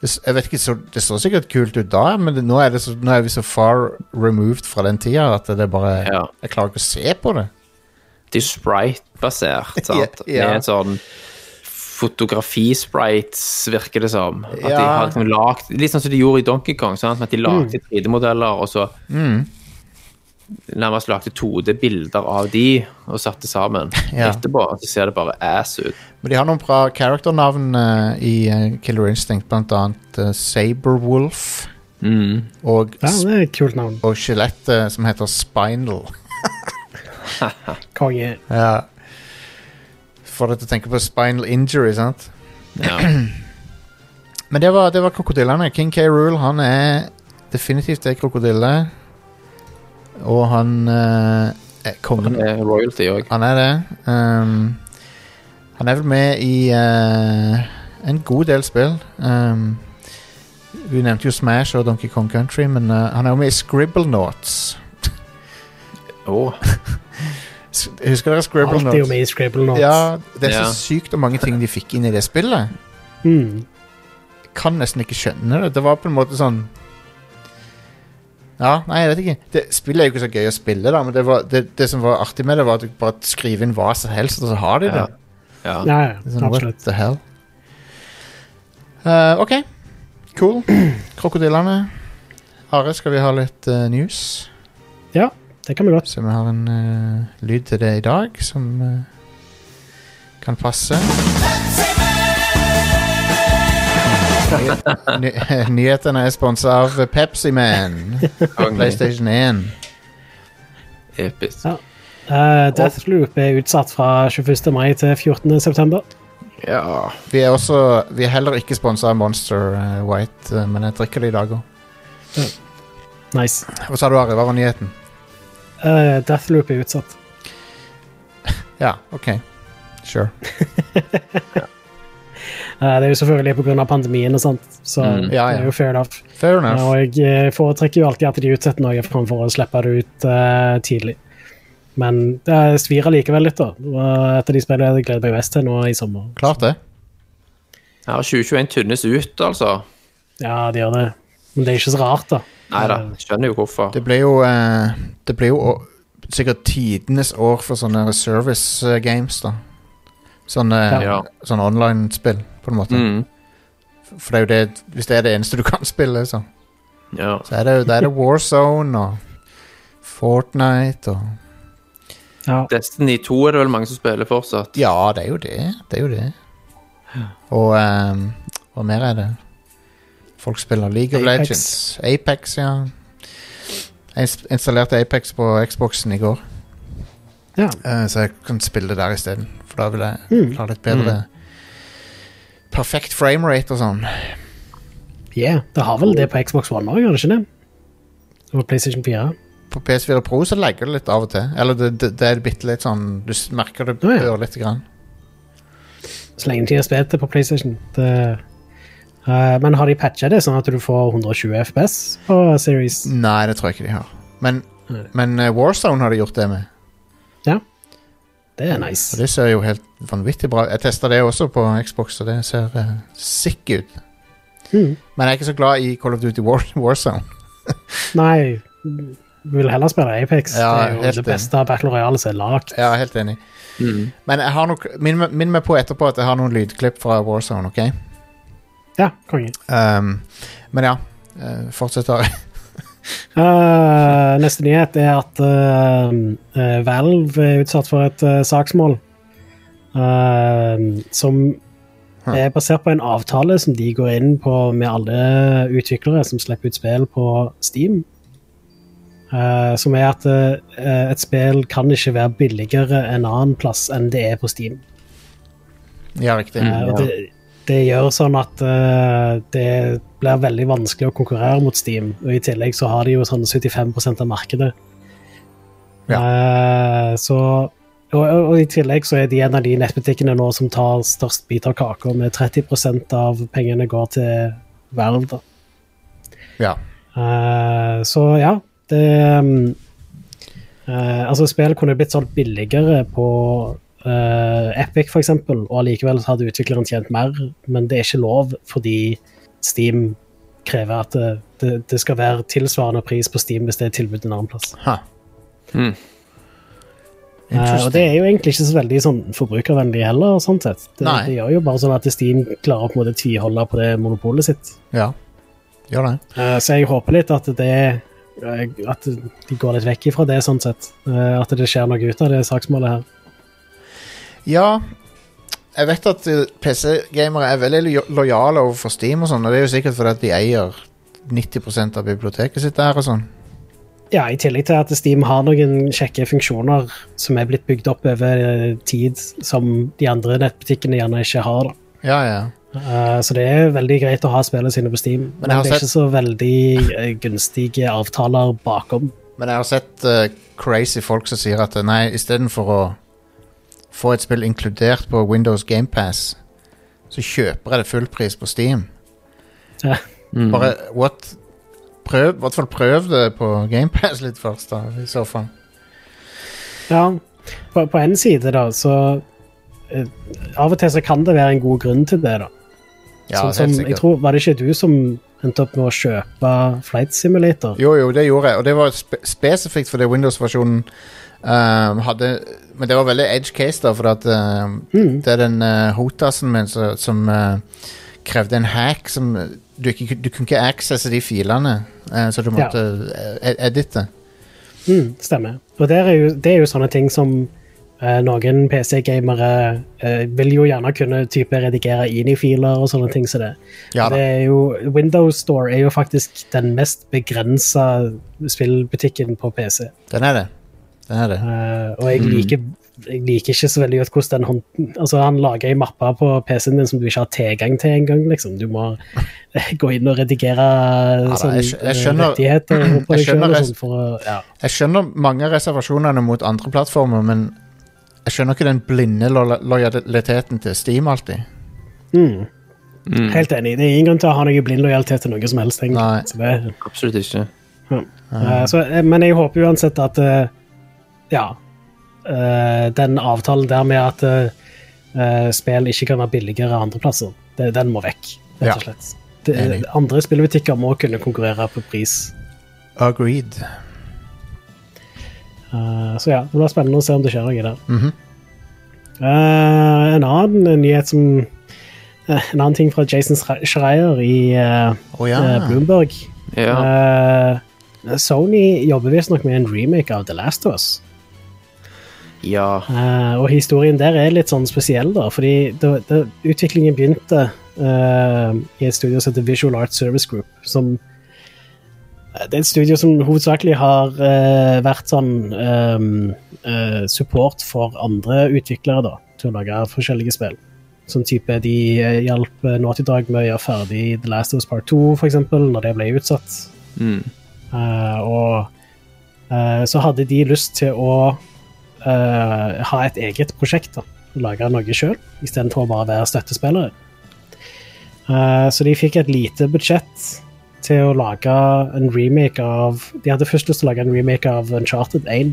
[SPEAKER 1] Det, s- jeg vet ikke, så, det så sikkert kult ut da, men det, nå, er det så, nå er vi så far removed fra den tida at det er bare
[SPEAKER 3] ja.
[SPEAKER 1] Jeg klarer ikke å se på det.
[SPEAKER 3] Det er sprite-basert, sant?
[SPEAKER 1] Ja, ja.
[SPEAKER 3] Med en sånn fotografi-sprites, virker det som. At de
[SPEAKER 1] Ja.
[SPEAKER 3] har liksom lagt, Litt sånn som de gjorde i Donkey Kong, sant? Med at de lagde 3D-modeller, og så
[SPEAKER 1] Mm.
[SPEAKER 3] nærmest lagde 2D-bilder av de, og satte sammen.
[SPEAKER 1] Ja.
[SPEAKER 3] Etterpå så ser det bare ass ut.
[SPEAKER 1] Men de har noen bra character-navn eh, i eh, Killer Instinct, blant annet eh, Saberwolf
[SPEAKER 3] Mm.
[SPEAKER 1] og,
[SPEAKER 2] Ja,
[SPEAKER 1] sp-
[SPEAKER 2] det er et kult navn.
[SPEAKER 1] og skjelettet som heter Spinal.
[SPEAKER 2] Konge.
[SPEAKER 1] Ja. Får deg til å tenke på spinal injury, sant?
[SPEAKER 3] Ja.
[SPEAKER 1] Men det var, det var krokodillene. King K. Rule, han er definitivt en krokodille. Og han eh, er kongen.
[SPEAKER 3] Det er royalty òg.
[SPEAKER 1] Han er det. Ehm, han er vel med i eh, en god del spill. Ehm, vi nevnte jo Smash og Donkey Kong Country, men eh, han er jo med i Scribblenauts.
[SPEAKER 3] Å,
[SPEAKER 1] S- Husker dere
[SPEAKER 2] Alt er jo
[SPEAKER 1] Scribblenauts?
[SPEAKER 2] med i Scribble Notes.
[SPEAKER 1] Ja, det er så
[SPEAKER 3] Ja.
[SPEAKER 1] sykt hvor mange ting de fikk inn i det spillet.
[SPEAKER 2] Mm.
[SPEAKER 1] kan nesten ikke skjønne det. Det var på en måte sånn Ja, nei, jeg vet ikke. Det Spillet er jo ikke så gøy å spille, da, men det, var, det, det som var artig med det, var at du bare skriver inn hva som helst, og så har de det.
[SPEAKER 3] Ja. Ja.
[SPEAKER 2] Ja,
[SPEAKER 1] Det er
[SPEAKER 2] ja,
[SPEAKER 1] Sånn, what
[SPEAKER 2] absolutt.
[SPEAKER 1] the hell? Eh, OK. Cool. Krokodillene. Are, skal vi ha litt eh, news?
[SPEAKER 2] Det kan vi godt.
[SPEAKER 1] Så vi har en eh, lyd til det i dag som eh, kan passe. Ny nyhetene er sponsa av Pepsi Man. PlayStation 1.
[SPEAKER 3] Episk.
[SPEAKER 2] Ja. Eh, Deathloop er utsatt fra 21. mai til 14. september.
[SPEAKER 3] Ja.
[SPEAKER 1] Vi er, også, vi er heller ikke sponsa av Monster eh, White, eh, men jeg drikker det i dag òg.
[SPEAKER 2] Nice.
[SPEAKER 1] Hva sa du, Are? Hva var nyheten?
[SPEAKER 2] Eh, Deathloop er utsatt.
[SPEAKER 1] Ja, OK. Sure.
[SPEAKER 2] Eh, det er jo selvfølgelig pga. pandemien og sånt, så
[SPEAKER 3] Mm.
[SPEAKER 1] Ja, ja.
[SPEAKER 2] det er jo fair enough.
[SPEAKER 1] Fair
[SPEAKER 2] Ja,
[SPEAKER 1] enough.
[SPEAKER 2] og jeg eh, foretrekker jo alltid at de utsetter noe framfor å slippe det ut eh, tidlig. Men det svir allikevel litt, da. Det var et av de spillene jeg gleder meg mest til nå i sommer.
[SPEAKER 1] Klart det.
[SPEAKER 3] Her har 2021 tynnes ut, altså.
[SPEAKER 2] Ja, det gjør det. Men det er ikke så rart, da.
[SPEAKER 3] Nei da, skjønner jo hvorfor.
[SPEAKER 1] Det ble jo, eh, det ble jo å- sikkert tidenes år for sånne service eh, games, da. Sånne,
[SPEAKER 3] Ja.
[SPEAKER 1] sånne online-spill, på en måte.
[SPEAKER 3] Mm.
[SPEAKER 1] For det er jo det, hvis det er det eneste du kan spille, så,
[SPEAKER 3] Ja.
[SPEAKER 1] så er det jo da er det War Zone og Fortnite og
[SPEAKER 2] Ja.
[SPEAKER 3] Destiny 2 er det vel mange som spiller fortsatt.
[SPEAKER 1] Ja, det er jo det. Det er jo det. Og ehm, hva mer er det? Folk spiller League of
[SPEAKER 2] Apex.
[SPEAKER 1] Legends. Apex, ja. Jeg ins- installerte Apex på Xboxen i går.
[SPEAKER 2] Ja.
[SPEAKER 1] Eh, så jeg kan spille det der isteden. For da vil jeg
[SPEAKER 2] Mm.
[SPEAKER 1] ha litt bedre Perfekt framerate og sånn.
[SPEAKER 2] Yeah. Det har vel det på Xbox One òg, gjør det ikke det? Og PlayStation 4.
[SPEAKER 1] På PS4 Pro så legger det litt av og til. Eller det, det, det er bitte litt sånn Du s- merker det
[SPEAKER 2] Å, ja.
[SPEAKER 1] bør lite grann.
[SPEAKER 2] Så lenge de har spilt det på PlayStation. Det, Eh, men har de patcha det, sånn at du får 120 FPS på Series?
[SPEAKER 1] Nei, det tror jeg ikke de har. Men,
[SPEAKER 2] Nei.
[SPEAKER 1] men eh, Warzone har de gjort det med.
[SPEAKER 2] Det er
[SPEAKER 1] Og
[SPEAKER 2] nice.
[SPEAKER 1] det ser jo helt vanvittig bra Jeg testa det også på Xbox, og det ser uh, sick ut.
[SPEAKER 2] Mm.
[SPEAKER 1] Men jeg er ikke så glad i Call of Duty War, Warzone.
[SPEAKER 2] Nei, du vil heller spille Apex.
[SPEAKER 1] Ja,
[SPEAKER 2] det er jo
[SPEAKER 1] helt
[SPEAKER 2] det beste Battle Royale som er lagd.
[SPEAKER 1] Jeg er helt enig.
[SPEAKER 3] Mm.
[SPEAKER 1] Men jeg har nok, minn, meg- minn meg på etterpå at jeg har noen lydklipp fra Warzone, OK?
[SPEAKER 2] Ja, konge.
[SPEAKER 1] Um, men ja. eh, fortsett, Ari.
[SPEAKER 2] Eh, neste nyhet er at eh, eh, Valve er utsatt for et eh, saksmål eh, som
[SPEAKER 1] Hm.
[SPEAKER 2] er basert på en avtale som de går inn på med alle utviklere som slipper ut spill på Steam. Eh, som er at eh, et spill kan ikke være billigere en annen plass enn det er på Steam.
[SPEAKER 1] Mm, Ja, riktig.
[SPEAKER 2] Eh, og det, det gjør sånn at eh, det blir veldig vanskelig å konkurrere mot Steam. Og i tillegg så har de jo sånn 75 av markedet. Eh, så og, og, og i tillegg så er de en av de nettbutikkene nå som tar størst bit av kaka, med 30 av pengene går til Valve, da.
[SPEAKER 1] Ja.
[SPEAKER 2] Eh, så ja, det mm, eh, Altså, spill kunne blitt solgt billigere på eh, Epic, for eksempel, og allikevel så hadde utvikleren tjent mer, men det er ikke lov fordi Steam krever at det, det, det skal være tilsvarende pris på Steam hvis det er tilbud en annen plass.
[SPEAKER 1] Ha.
[SPEAKER 3] Mm.
[SPEAKER 2] Eh, og det er jo egentlig ikke så veldig sånn forbrukervennlig heller, sånn sett. Det,
[SPEAKER 1] Nei.
[SPEAKER 2] det gjør jo bare sånn at Steam klarer å på en måte tviholde på det monopolet sitt.
[SPEAKER 1] Ja. Gjør det.
[SPEAKER 2] Eh, Så jeg håper litt at det eh, At de går litt vekk ifra det, sånn sett. Eh, At det skjer noe ut av det saksmålet her.
[SPEAKER 1] Ja. Jeg vet at eh, PC-gamere er veldig lo- lojale overfor Steam og sånn, og det er jo sikkert fordi at de eier 90 av biblioteket sitt der og sånn.
[SPEAKER 2] Ja, I tillegg til at Steam har noen kjekke funksjoner som er blitt bygd opp over eh, tid, som de andre nettbutikkene gjerne ikke har. da.
[SPEAKER 1] Ja, ja.
[SPEAKER 2] Eh, Så det er veldig greit å ha spillene sine på Steam,
[SPEAKER 1] Men jeg
[SPEAKER 2] men,
[SPEAKER 1] har
[SPEAKER 2] det er ikke så veldig eh, gunstige avtaler bakom.
[SPEAKER 1] Men jeg har sett eh, crazy folk som sier at eh, nei, istedenfor å få et spill inkludert på Windows GamePass, så kjøper jeg det fullpris på Steam.
[SPEAKER 2] Ja.
[SPEAKER 3] Mm.
[SPEAKER 1] Bare what? Prøv, I hvert fall prøv det på GamePass litt først, da, i så fall.
[SPEAKER 2] Ja, på, på en side da, så eh, Av og til så kan det være en god grunn til det, da.
[SPEAKER 1] Ja,
[SPEAKER 2] sånn
[SPEAKER 1] helt
[SPEAKER 2] som,
[SPEAKER 1] sikkert.
[SPEAKER 2] jeg tror, Var det ikke du som endte opp med å kjøpe Flight Simulator?
[SPEAKER 1] Jo, jo, det gjorde jeg, og det var spe spesifikt fordi Windows-versjonen ehm, hadde Men det var veldig edge case, da, for at ehm,
[SPEAKER 2] Mm.
[SPEAKER 1] det er den eh, Hotasen min som, som eh, krevde en hack som eh, Du, ikke, du kunne ikke accesse de filene, eh, så du
[SPEAKER 2] Ja.
[SPEAKER 1] måtte eh, ed- edite.
[SPEAKER 2] Mm, stemmer. Og der er jo, det er jo sånne ting som eh, noen PC-gamere eh, vil jo gjerne kunne type redigere inn i filer og sånne ting som det.
[SPEAKER 1] Ja da.
[SPEAKER 2] det er jo, Windows Store er jo faktisk den mest begrensa spillbutikken på PC.
[SPEAKER 1] Den er det. Den er det.
[SPEAKER 2] Eh, og
[SPEAKER 1] Mm.
[SPEAKER 2] jeg liker, jeg liker ikke så veldig godt hvordan den hånd... Altså, han lager ei mappe på PC-en din som du ikke har tilgang til engang, liksom. Du må gå inn og redigere
[SPEAKER 1] da,
[SPEAKER 2] sånn,
[SPEAKER 1] jeg skj- jeg
[SPEAKER 2] eh,
[SPEAKER 1] skjønner-
[SPEAKER 2] rettigheter på
[SPEAKER 1] jeg
[SPEAKER 2] deg sjøl
[SPEAKER 1] skjønner
[SPEAKER 2] og
[SPEAKER 1] res-
[SPEAKER 2] sånn for å ja.
[SPEAKER 1] Jeg skjønner mange av reservasjonene mot andre plattformer, men jeg skjønner ikke den blinde lo- lojaliteten til Steam alltid.
[SPEAKER 2] Helt enig. Det er ingen grunn til å ha noe blind lojalitet til noe som helst. egentlig.
[SPEAKER 1] Mm. Nei.
[SPEAKER 2] Så det,
[SPEAKER 3] Absolutt ikke.
[SPEAKER 2] ja. Eh, så, eh, men jeg håper uansett at eh, Ja. eh, den avtalen der med at eh, eh, spill ikke kan være billigere andre plasser, det, den må vekk, rett og
[SPEAKER 1] Ja.
[SPEAKER 2] slett. Det,
[SPEAKER 1] Enig.
[SPEAKER 2] andre spillbutikker må kunne konkurrere på pris.
[SPEAKER 1] Agreed.
[SPEAKER 2] Eh, så ja, det blir spennende å se om det skjer noe der.
[SPEAKER 1] Mhm.
[SPEAKER 2] Eh, en annen nyhet som eh, En annen ting fra Jason Schre- Schreier i eh,
[SPEAKER 1] Å ja.
[SPEAKER 2] eh, Bloomberg.
[SPEAKER 3] Ja.
[SPEAKER 2] Eh, Sony jobber visstnok med en remake av The Last of Us.
[SPEAKER 3] ja.
[SPEAKER 2] Eh, og historien der er litt sånn spesiell, da, fordi det, det, utviklingen begynte eh, i et studio som heter Visual Art Service Group, som eh, det er et studio som hovedsakelig har eh, vært sånn ehm, eh, support for andre utviklere da, til å lage forskjellige spill. Sånn type de eh, hjalp eh, Naughty Dog med å gjøre ferdig The Last of Us Part 2, for eksempel, når det ble utsatt.
[SPEAKER 3] Mm.
[SPEAKER 2] Eh, og eh, så hadde de lyst til å eh, ha et eget prosjekt. da, Lage noe sjøl, istedenfor å bare være støttespillere. Eh, så de fikk et lite budsjett til å lage en remake av De hadde først lyst til å lage en remake av Uncharted 1,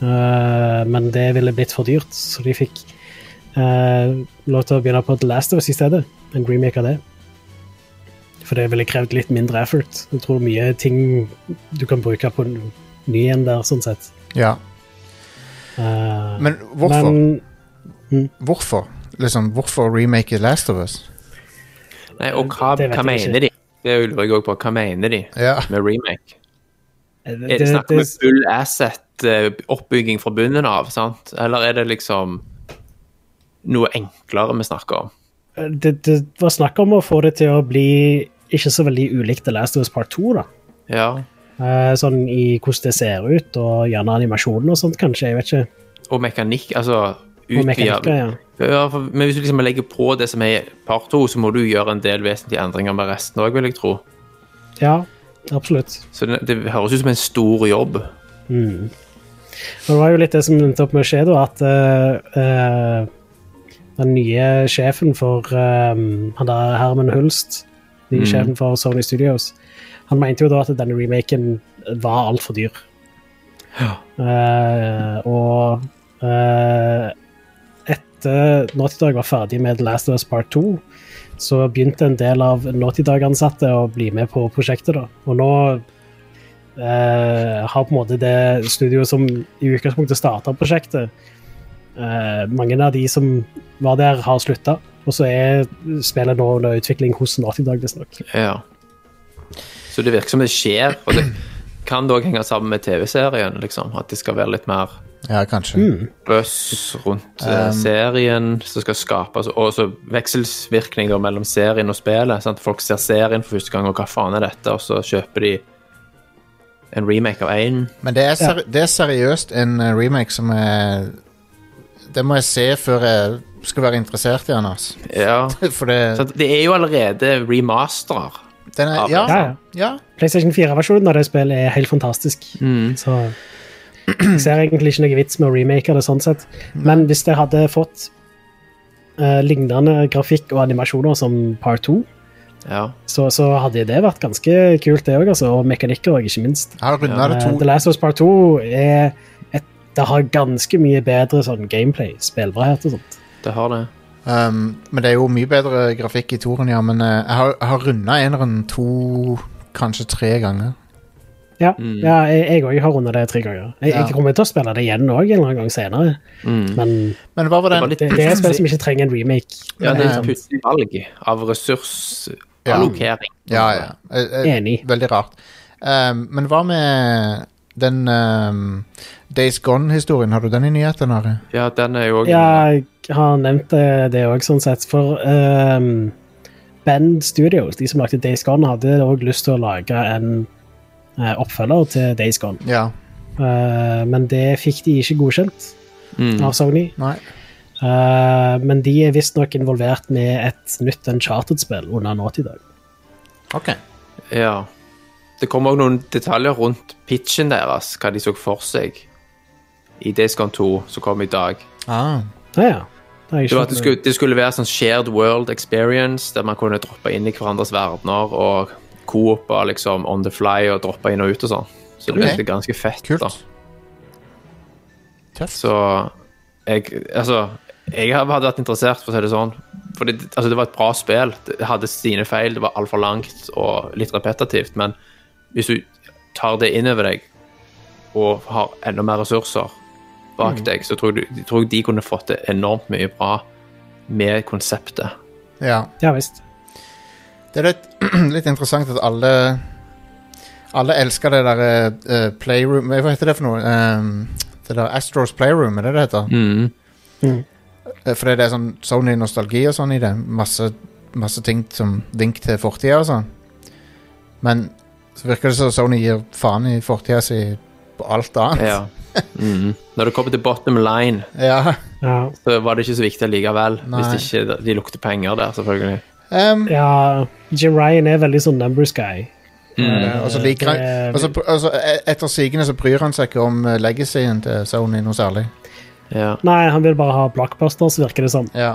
[SPEAKER 2] eh, men det ville blitt for dyrt, så de fikk eh, lov til å begynne på The Last of Us i stedet. En remake av det. For det ville krevd litt mindre effort. Jeg tror mye ting du kan bruke på n- ny en der, sånn sett.
[SPEAKER 1] ja.
[SPEAKER 2] Eh,
[SPEAKER 1] Men hvorfor?
[SPEAKER 2] men-
[SPEAKER 1] Hvorfor? Liksom, hvorfor remake The Last of Us?
[SPEAKER 3] Nei, og hva,
[SPEAKER 2] Det vet
[SPEAKER 3] hva
[SPEAKER 2] jeg ikke.
[SPEAKER 3] mener de? Det lurer jeg òg på. Hva mener de
[SPEAKER 1] Ja.
[SPEAKER 3] med remake?
[SPEAKER 2] eh,
[SPEAKER 3] Er
[SPEAKER 2] det,
[SPEAKER 3] det
[SPEAKER 2] det,
[SPEAKER 3] snakk om en full asset-oppbygging fra bunnen av, sant? Eller er det liksom noe enklere vi snakker om?
[SPEAKER 2] det, det var snakk om å få det til å bli ikke så veldig ulikt The Last of Us Part 2, da.
[SPEAKER 3] Ja.
[SPEAKER 2] Eh, sånn i hvordan det ser ut, og gjerne animasjonen og sånt, kanskje. Jeg vet ikke.
[SPEAKER 3] Og mekanikk, altså
[SPEAKER 2] Og
[SPEAKER 3] utvide
[SPEAKER 2] mekanikker, ja.
[SPEAKER 3] Ja, for, men hvis du liksom legger på det som er part to, så må du gjøre en del vesentlige endringer med resten òg, vil jeg tro.
[SPEAKER 2] Ja, absolutt.
[SPEAKER 3] Så det, det høres ut som en stor jobb.
[SPEAKER 2] Og det var jo litt det som endte opp med å skje, da, at eh, eh, den nye sjefen for eh, han der Herman Hulst, nye sjefen for Sony Studios, han mente jo da at denne remaken var altfor dyr. Eh, og eh, etter Naughty Dog var ferdig med The Last of Us Part 2, så begynte en del av Naughty Dog-ansatte å bli med på prosjektet, da. Og nå eh, har på en måte det studioet som i utgangspunktet starta prosjektet eh, Mange av de som var der, har slutta, og så er spillet nå under utvikling hos Naughty Dog, visstnok.
[SPEAKER 3] Ja. Så det virker som det skjer, og det kan det òg henge sammen med TV-serien, liksom. At det skal være litt mer
[SPEAKER 1] Ja, kanskje.
[SPEAKER 3] buzz rundt eh, serien som skal skapes, og så vekselsvirkninger mellom serien og spillet. Sant? Folk ser serien for første gang, og hva faen er dette? Og så kjøper de en remake av én.
[SPEAKER 1] Men det er, seri det er seriøst en eh, remake som er Det må jeg se før jeg skal være interessert i den, altså.
[SPEAKER 3] Ja.
[SPEAKER 1] For det
[SPEAKER 3] Sant? Det er jo allerede remasterer.
[SPEAKER 1] den er,
[SPEAKER 2] Ja,
[SPEAKER 1] ja,
[SPEAKER 2] ja.
[SPEAKER 1] ja.
[SPEAKER 2] PlayStation 4-versjonen av det spillet er helt fantastisk. Så jeg ser egentlig ikke noe vits med å remake det sånn sett. Men hvis det hadde fått eh, lignende grafikk og animasjoner som Part 2,
[SPEAKER 3] Ja.
[SPEAKER 2] så, så hadde det vært ganske kult, det òg, altså. Og mekanikker òg, ikke minst.
[SPEAKER 1] Jeg har runda det
[SPEAKER 2] Eh, The
[SPEAKER 1] to
[SPEAKER 2] Last of Us Part 2 er et, det har ganske mye bedre sånn gameplay, spillbarhet og sånt.
[SPEAKER 3] Det har det.
[SPEAKER 1] Um, men det er jo mye bedre grafikk i toren, ja. Men eh, jeg har, jeg har runda eneren to, kanskje tre ganger.
[SPEAKER 2] Ja,
[SPEAKER 3] Mm.
[SPEAKER 2] ja jeg òg har runda det tre ganger. Jeg,
[SPEAKER 1] Ja.
[SPEAKER 2] jeg kommer til å spille det igjen òg en eller annen gang senere.
[SPEAKER 3] Mm.
[SPEAKER 2] Men
[SPEAKER 1] Men hva var
[SPEAKER 3] Det var
[SPEAKER 1] den?
[SPEAKER 3] litt
[SPEAKER 2] det, det er et spill som
[SPEAKER 3] pussig
[SPEAKER 2] ikke trenger en remake.
[SPEAKER 1] Ja,
[SPEAKER 3] ja, det er et
[SPEAKER 1] eh,
[SPEAKER 3] pussig valg av ressursallokering.
[SPEAKER 1] Ja, ja. Jeg- jeg-
[SPEAKER 2] Enig.
[SPEAKER 1] Veldig rart. Um, men hva med den um, Days Gone-historien? Har du den i nyhetene, Are?
[SPEAKER 3] Ja, den er jo òg
[SPEAKER 2] Ja, jeg har nevnt det, det òg, sånn sett. For ehm, Band Studios, de som lagde Days Gone, hadde òg lyst til å lage en eh, oppfølger til Days Gone.
[SPEAKER 1] Ja.
[SPEAKER 2] Eh, men det fikk de ikke godkjent
[SPEAKER 3] mm.
[SPEAKER 2] av Sony.
[SPEAKER 1] Nei.
[SPEAKER 2] Eh, men de er visstnok involvert med et nytt Uncharted-spill under Naughty Dog.
[SPEAKER 1] Ok.
[SPEAKER 3] Ja. Det kom òg noen detaljer rundt pitchen deres, hva de så for seg i Days Gone 2 som kom i dag.
[SPEAKER 1] Ah.
[SPEAKER 2] Ja, ja. Det har jeg
[SPEAKER 3] Det
[SPEAKER 2] ikke
[SPEAKER 3] var at det
[SPEAKER 2] fått med.
[SPEAKER 3] skulle, det skulle være sånn shared world experience, der man kunne droppe inn i hverandres verdener og coope liksom on the fly og droppe inn og ut og sånn. Så det
[SPEAKER 1] Ok.
[SPEAKER 3] virket ganske fett.
[SPEAKER 1] Kult.
[SPEAKER 3] da.
[SPEAKER 1] Tøft.
[SPEAKER 3] Så jeg Altså, jeg hadde vært interessert, for å si det sånn. For det, altså, det var et bra spill. Det hadde sine feil, det var altfor langt og litt repetitivt. Men hvis du tar det inn over deg og har enda mer ressurser bak deg, så tror jeg, du- tror jeg de kunne fått til enormt mye bra med konseptet.
[SPEAKER 1] Ja.
[SPEAKER 2] Ja visst.
[SPEAKER 1] Det er litt, litt interessant at alle Alle elsker det der eh, playroom Hva heter det for noe? Ehm, det der Astros Playroom, er det det heter?
[SPEAKER 3] Mm.
[SPEAKER 1] Eh, Fordi det er sånn Sony-nostalgi og sånn i det. Masse, masse ting som link til fortida og sånn. Men så virker det som Sony gir faen i fortida si på alt annet.
[SPEAKER 3] Ja. Mm. Når det kommer til bottom line,
[SPEAKER 1] Ja.
[SPEAKER 2] Ja.
[SPEAKER 3] så var det ikke så viktig likevel.
[SPEAKER 1] Nei.
[SPEAKER 3] Hvis ikke de lukter penger der, selvfølgelig.
[SPEAKER 1] Ehm,
[SPEAKER 2] ja. Jim Ryan er veldig sånn numbers guy.
[SPEAKER 1] eh, og så liker han
[SPEAKER 2] Eh,
[SPEAKER 1] og så pr- og så e- Etter sigende så bryr han seg ikke om eh, legacyen til Sony noe særlig.
[SPEAKER 3] Ja.
[SPEAKER 2] Nei, han vil bare ha blockbusters, virker det som.
[SPEAKER 1] Ja.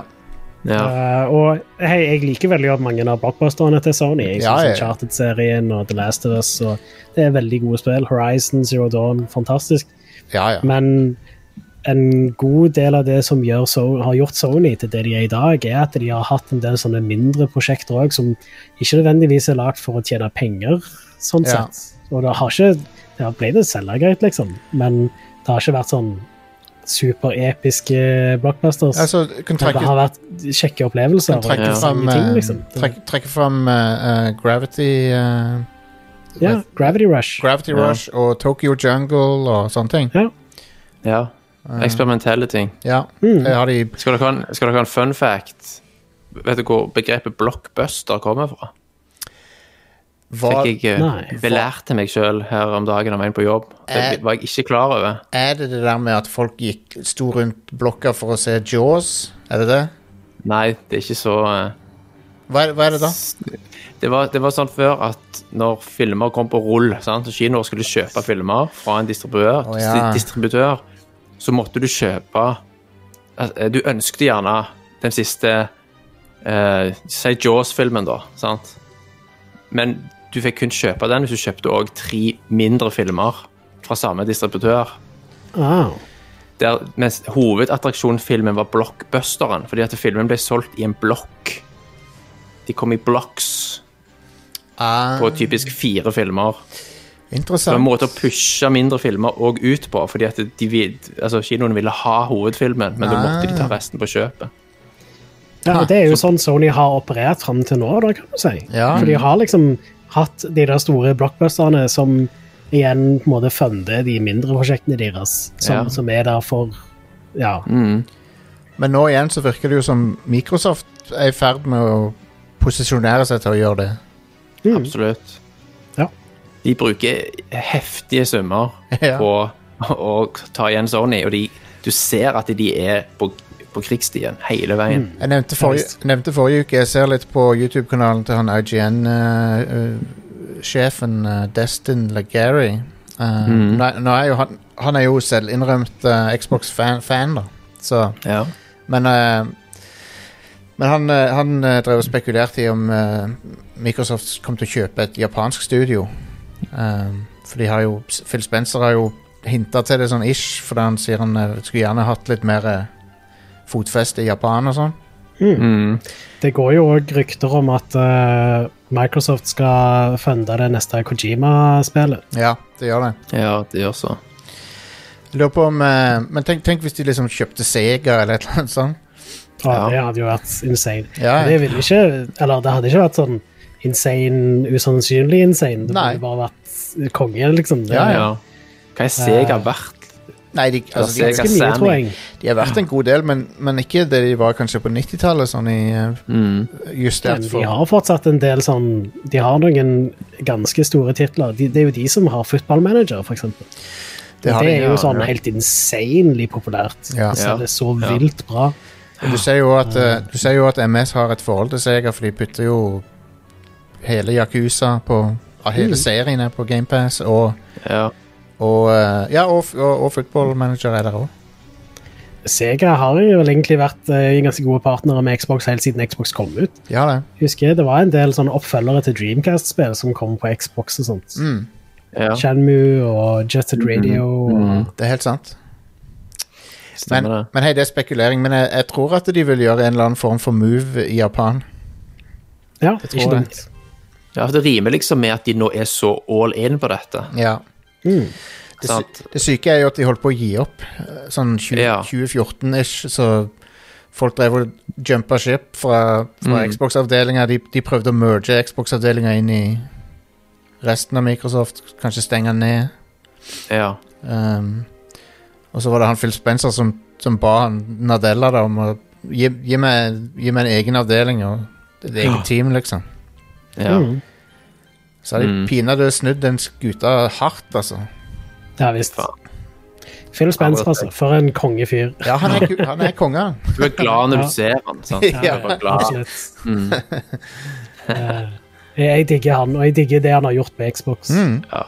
[SPEAKER 3] ja.
[SPEAKER 2] Eh, og hei, jeg liker veldig godt mange av blockbusterne til Sony. Jeg
[SPEAKER 1] Ja,
[SPEAKER 2] synes
[SPEAKER 1] ja, ja.
[SPEAKER 2] Uncharted-serien og The Last of Us og Det er veldig gode spill. Horizon, Zero Dawn, fantastisk.
[SPEAKER 1] Ja, ja.
[SPEAKER 2] Men en god del av det som gjør so har gjort Sony til det de er i dag, er at de har hatt en del sånne mindre prosjekter òg, som ikke nødvendigvis er lagd for å tjene penger, sånn
[SPEAKER 1] Ja.
[SPEAKER 2] sett. Og det har ikke Det har blitt selge greit, liksom, men det har ikke vært sånn superepiske blockbusters.
[SPEAKER 1] Altså, kan
[SPEAKER 2] Men
[SPEAKER 1] trekke
[SPEAKER 2] det har vært kjekke opplevelser.
[SPEAKER 1] Kan trekke
[SPEAKER 3] Ja.
[SPEAKER 1] fram,
[SPEAKER 2] interessante ting,
[SPEAKER 1] eh,
[SPEAKER 2] liksom.
[SPEAKER 1] trekke, trekke fram eh, eh, Gravity eh,
[SPEAKER 2] ja, Gravity Rush.
[SPEAKER 1] Gravity
[SPEAKER 3] Ja.
[SPEAKER 1] Rush og Tokyo Jungle og sånne ting.
[SPEAKER 3] ja.
[SPEAKER 1] Eh.
[SPEAKER 3] Eksperimentelle ting.
[SPEAKER 1] Ja,
[SPEAKER 2] Mm.
[SPEAKER 1] jeg har de
[SPEAKER 3] Skal dere, ha en, skal dere ha en fun fact? Vet du hvor begrepet blockbuster kommer fra?
[SPEAKER 1] Hva
[SPEAKER 3] Fikk jeg
[SPEAKER 2] Nei.
[SPEAKER 3] eh, belærte meg sjøl her om dagen av en på jobb.
[SPEAKER 1] Eh.
[SPEAKER 3] Det var jeg ikke klar over.
[SPEAKER 1] er det det der med at folk gikk sto rundt blokka for å se Jaws? Er det det?
[SPEAKER 3] Nei, det er ikke så eh,
[SPEAKER 1] Hva er, hva er det da?
[SPEAKER 3] det var, det var sånn før at når filmer kom på rull, sant? så kinoer skulle kjøpe filmer fra en distributør,
[SPEAKER 1] Å, ja.
[SPEAKER 3] distributør så måtte du kjøpe altså, Du ønskte gjerne den siste eh, Si Jaws-filmen, da. Sant? Men du fikk kun kjøpe den hvis du kjøpte òg tre mindre filmer fra samme distributør.
[SPEAKER 2] Ah,
[SPEAKER 3] Der, mens hovedattraksjonsfilmen var blockbusteren, fordi at filmen ble solgt i en blokk. De kom i blocks
[SPEAKER 1] Ah,
[SPEAKER 3] på typisk fire filmer. Det var en
[SPEAKER 1] interessant.
[SPEAKER 3] måte å pushe mindre filmer og ut på, fordi at de vil, altså kinoen ville ha hovedfilmen, men da måtte de ta resten på kjøpet.
[SPEAKER 2] ja,
[SPEAKER 1] Ah,
[SPEAKER 2] det er jo sånn Sony har operert fram til nå, da, kan du si.
[SPEAKER 1] Ja.
[SPEAKER 2] For de har liksom hatt de der store blockbusterne som igjen på en måte funder de mindre prosjektene deres, som,
[SPEAKER 3] Ja.
[SPEAKER 2] som er der for Ja.
[SPEAKER 1] Mm. Men nå igjen så virker det jo som Microsoft er i ferd med å posisjonere seg til å gjøre det.
[SPEAKER 2] Mm.
[SPEAKER 3] Absolutt.
[SPEAKER 2] Ja.
[SPEAKER 3] De bruker heftige summer
[SPEAKER 1] Ja.
[SPEAKER 3] på å ta igjen Sony, og de, du ser at de er på, på krigsstien hele veien.
[SPEAKER 1] Jeg nevnte forrige,
[SPEAKER 2] Nice.
[SPEAKER 1] nevnte forrige uke, jeg ser litt på YouTube-kanalen til han eh, IGN-sjefen eh, Destin Legary. Eh,
[SPEAKER 3] Mhm.
[SPEAKER 1] nå, nå er jo han, han er jo selv innrømt eh, Xbox-fan, fan, da. Så,
[SPEAKER 3] Ja.
[SPEAKER 1] men eh, men han, eh, han eh, drev og spekulerte i om eh, Microsoft kom til å kjøpe et japansk studio. Eh, for de har jo, Phil Spencer har jo hinta til det sånn ish, fordi han sier han eh, skulle gjerne hatt litt mer eh, fotfeste i Japan og sånn.
[SPEAKER 3] Mm.
[SPEAKER 2] Det går jo òg rykter om at eh, Microsoft skal funde det neste Kojima-spillet.
[SPEAKER 1] Ja, det gjør det.
[SPEAKER 3] Ja, det gjør så.
[SPEAKER 1] Jeg Lurer på om eh, Men tenk, tenk hvis de liksom kjøpte Sega eller et eller annet sånn. sånt.
[SPEAKER 2] Og
[SPEAKER 3] Ja.
[SPEAKER 2] Det hadde jo vært insane.
[SPEAKER 1] Ja,
[SPEAKER 2] Men Det ville ikke Eller det hadde ikke vært sånn insane, usannsynlig insane. Det
[SPEAKER 1] Nei.
[SPEAKER 2] burde bare vært konge, liksom. Det
[SPEAKER 1] Ah, Ja,
[SPEAKER 3] Ja,
[SPEAKER 2] er
[SPEAKER 1] ja.
[SPEAKER 3] Hva er Sega verdt?
[SPEAKER 1] Nei, de, altså, de,
[SPEAKER 2] ganske mye,
[SPEAKER 3] Sega
[SPEAKER 2] tror jeg.
[SPEAKER 1] de har vært en god del, men, men ikke det de var kanskje på 90-tallet, sånn i eh,
[SPEAKER 3] Mm.
[SPEAKER 1] justert
[SPEAKER 2] Men de
[SPEAKER 1] for
[SPEAKER 2] har fortsatt en del sånn De har noen ganske store titler. De, det er jo de som har Football Manager, for eksempel.
[SPEAKER 1] Det
[SPEAKER 2] Det,
[SPEAKER 1] har de,
[SPEAKER 2] er jo
[SPEAKER 3] ja,
[SPEAKER 2] sånn
[SPEAKER 3] ja.
[SPEAKER 2] helt insanely populært.
[SPEAKER 1] Ja.
[SPEAKER 2] Altså,
[SPEAKER 3] Ja.
[SPEAKER 2] Det er så
[SPEAKER 3] Ja.
[SPEAKER 2] vilt bra.
[SPEAKER 1] Men Du ser jo at, eh, du ser jo at MS har et forhold til Sega, for de putter jo hele Yakuza på ja, Hele serien er på GamePass, og,
[SPEAKER 3] Ja.
[SPEAKER 1] og eh, Ja, og, og, og Football Manager er der òg.
[SPEAKER 2] Sega har jo vel egentlig vært eh, ganske gode partnere med Xbox helt siden Xbox kom ut.
[SPEAKER 1] Ja, det.
[SPEAKER 2] Husker jeg, Det var en del sånne oppfølgere til Dreamcast-spill som kom på Xbox og sånt.
[SPEAKER 1] Mm,
[SPEAKER 3] ja.
[SPEAKER 2] Shenmue og Jetted
[SPEAKER 1] Mm-hmm.
[SPEAKER 2] Radio og
[SPEAKER 1] det er helt sant. Men,
[SPEAKER 3] Stemmer det.
[SPEAKER 1] men hei, det er spekulering, men jeg, jeg tror at de vil gjøre en eller annen form for move i Japan.
[SPEAKER 2] Ja,
[SPEAKER 1] tror
[SPEAKER 2] ikke
[SPEAKER 1] det.
[SPEAKER 2] dumt.
[SPEAKER 3] Ja, for Det rimer liksom med at de nå er så all in på dette.
[SPEAKER 1] Ja.
[SPEAKER 2] Mm.
[SPEAKER 1] Det, sy-
[SPEAKER 3] sant?
[SPEAKER 1] det syke er jo at de holdt på å gi opp eh, sånn 20
[SPEAKER 3] Ja.
[SPEAKER 1] 2014-ish, så folk drev og jumpa ship fra, fra
[SPEAKER 3] Mm.
[SPEAKER 1] Xbox-avdelinga. De, de prøvde å merge Xbox-avdelinga inn i resten av Microsoft, kanskje stenge den ned.
[SPEAKER 3] Ja.
[SPEAKER 1] Ehm, og så var det han Phil Spencer som, som ba han Nadella da, om å gi, gi, meg, gi meg en egen avdeling og et eget
[SPEAKER 3] Ja.
[SPEAKER 1] team, liksom.
[SPEAKER 3] ja.
[SPEAKER 2] Mm.
[SPEAKER 1] Så har de
[SPEAKER 3] Mm.
[SPEAKER 1] pinadø snudd den skuta hardt, altså.
[SPEAKER 2] Ja visst.
[SPEAKER 3] Faen.
[SPEAKER 2] Phil Spencer, altså. For en kongefyr.
[SPEAKER 1] Ja, han er, ku- han er konge, han.
[SPEAKER 3] Du er glad når
[SPEAKER 2] Ja.
[SPEAKER 3] du ser han, sant?
[SPEAKER 1] Ja,
[SPEAKER 3] Du er bare glad.
[SPEAKER 2] Absolutt.
[SPEAKER 3] Mm.
[SPEAKER 2] Eh, jeg digger han, og jeg digger det han har gjort med Xbox.
[SPEAKER 1] Mm.
[SPEAKER 3] Ja.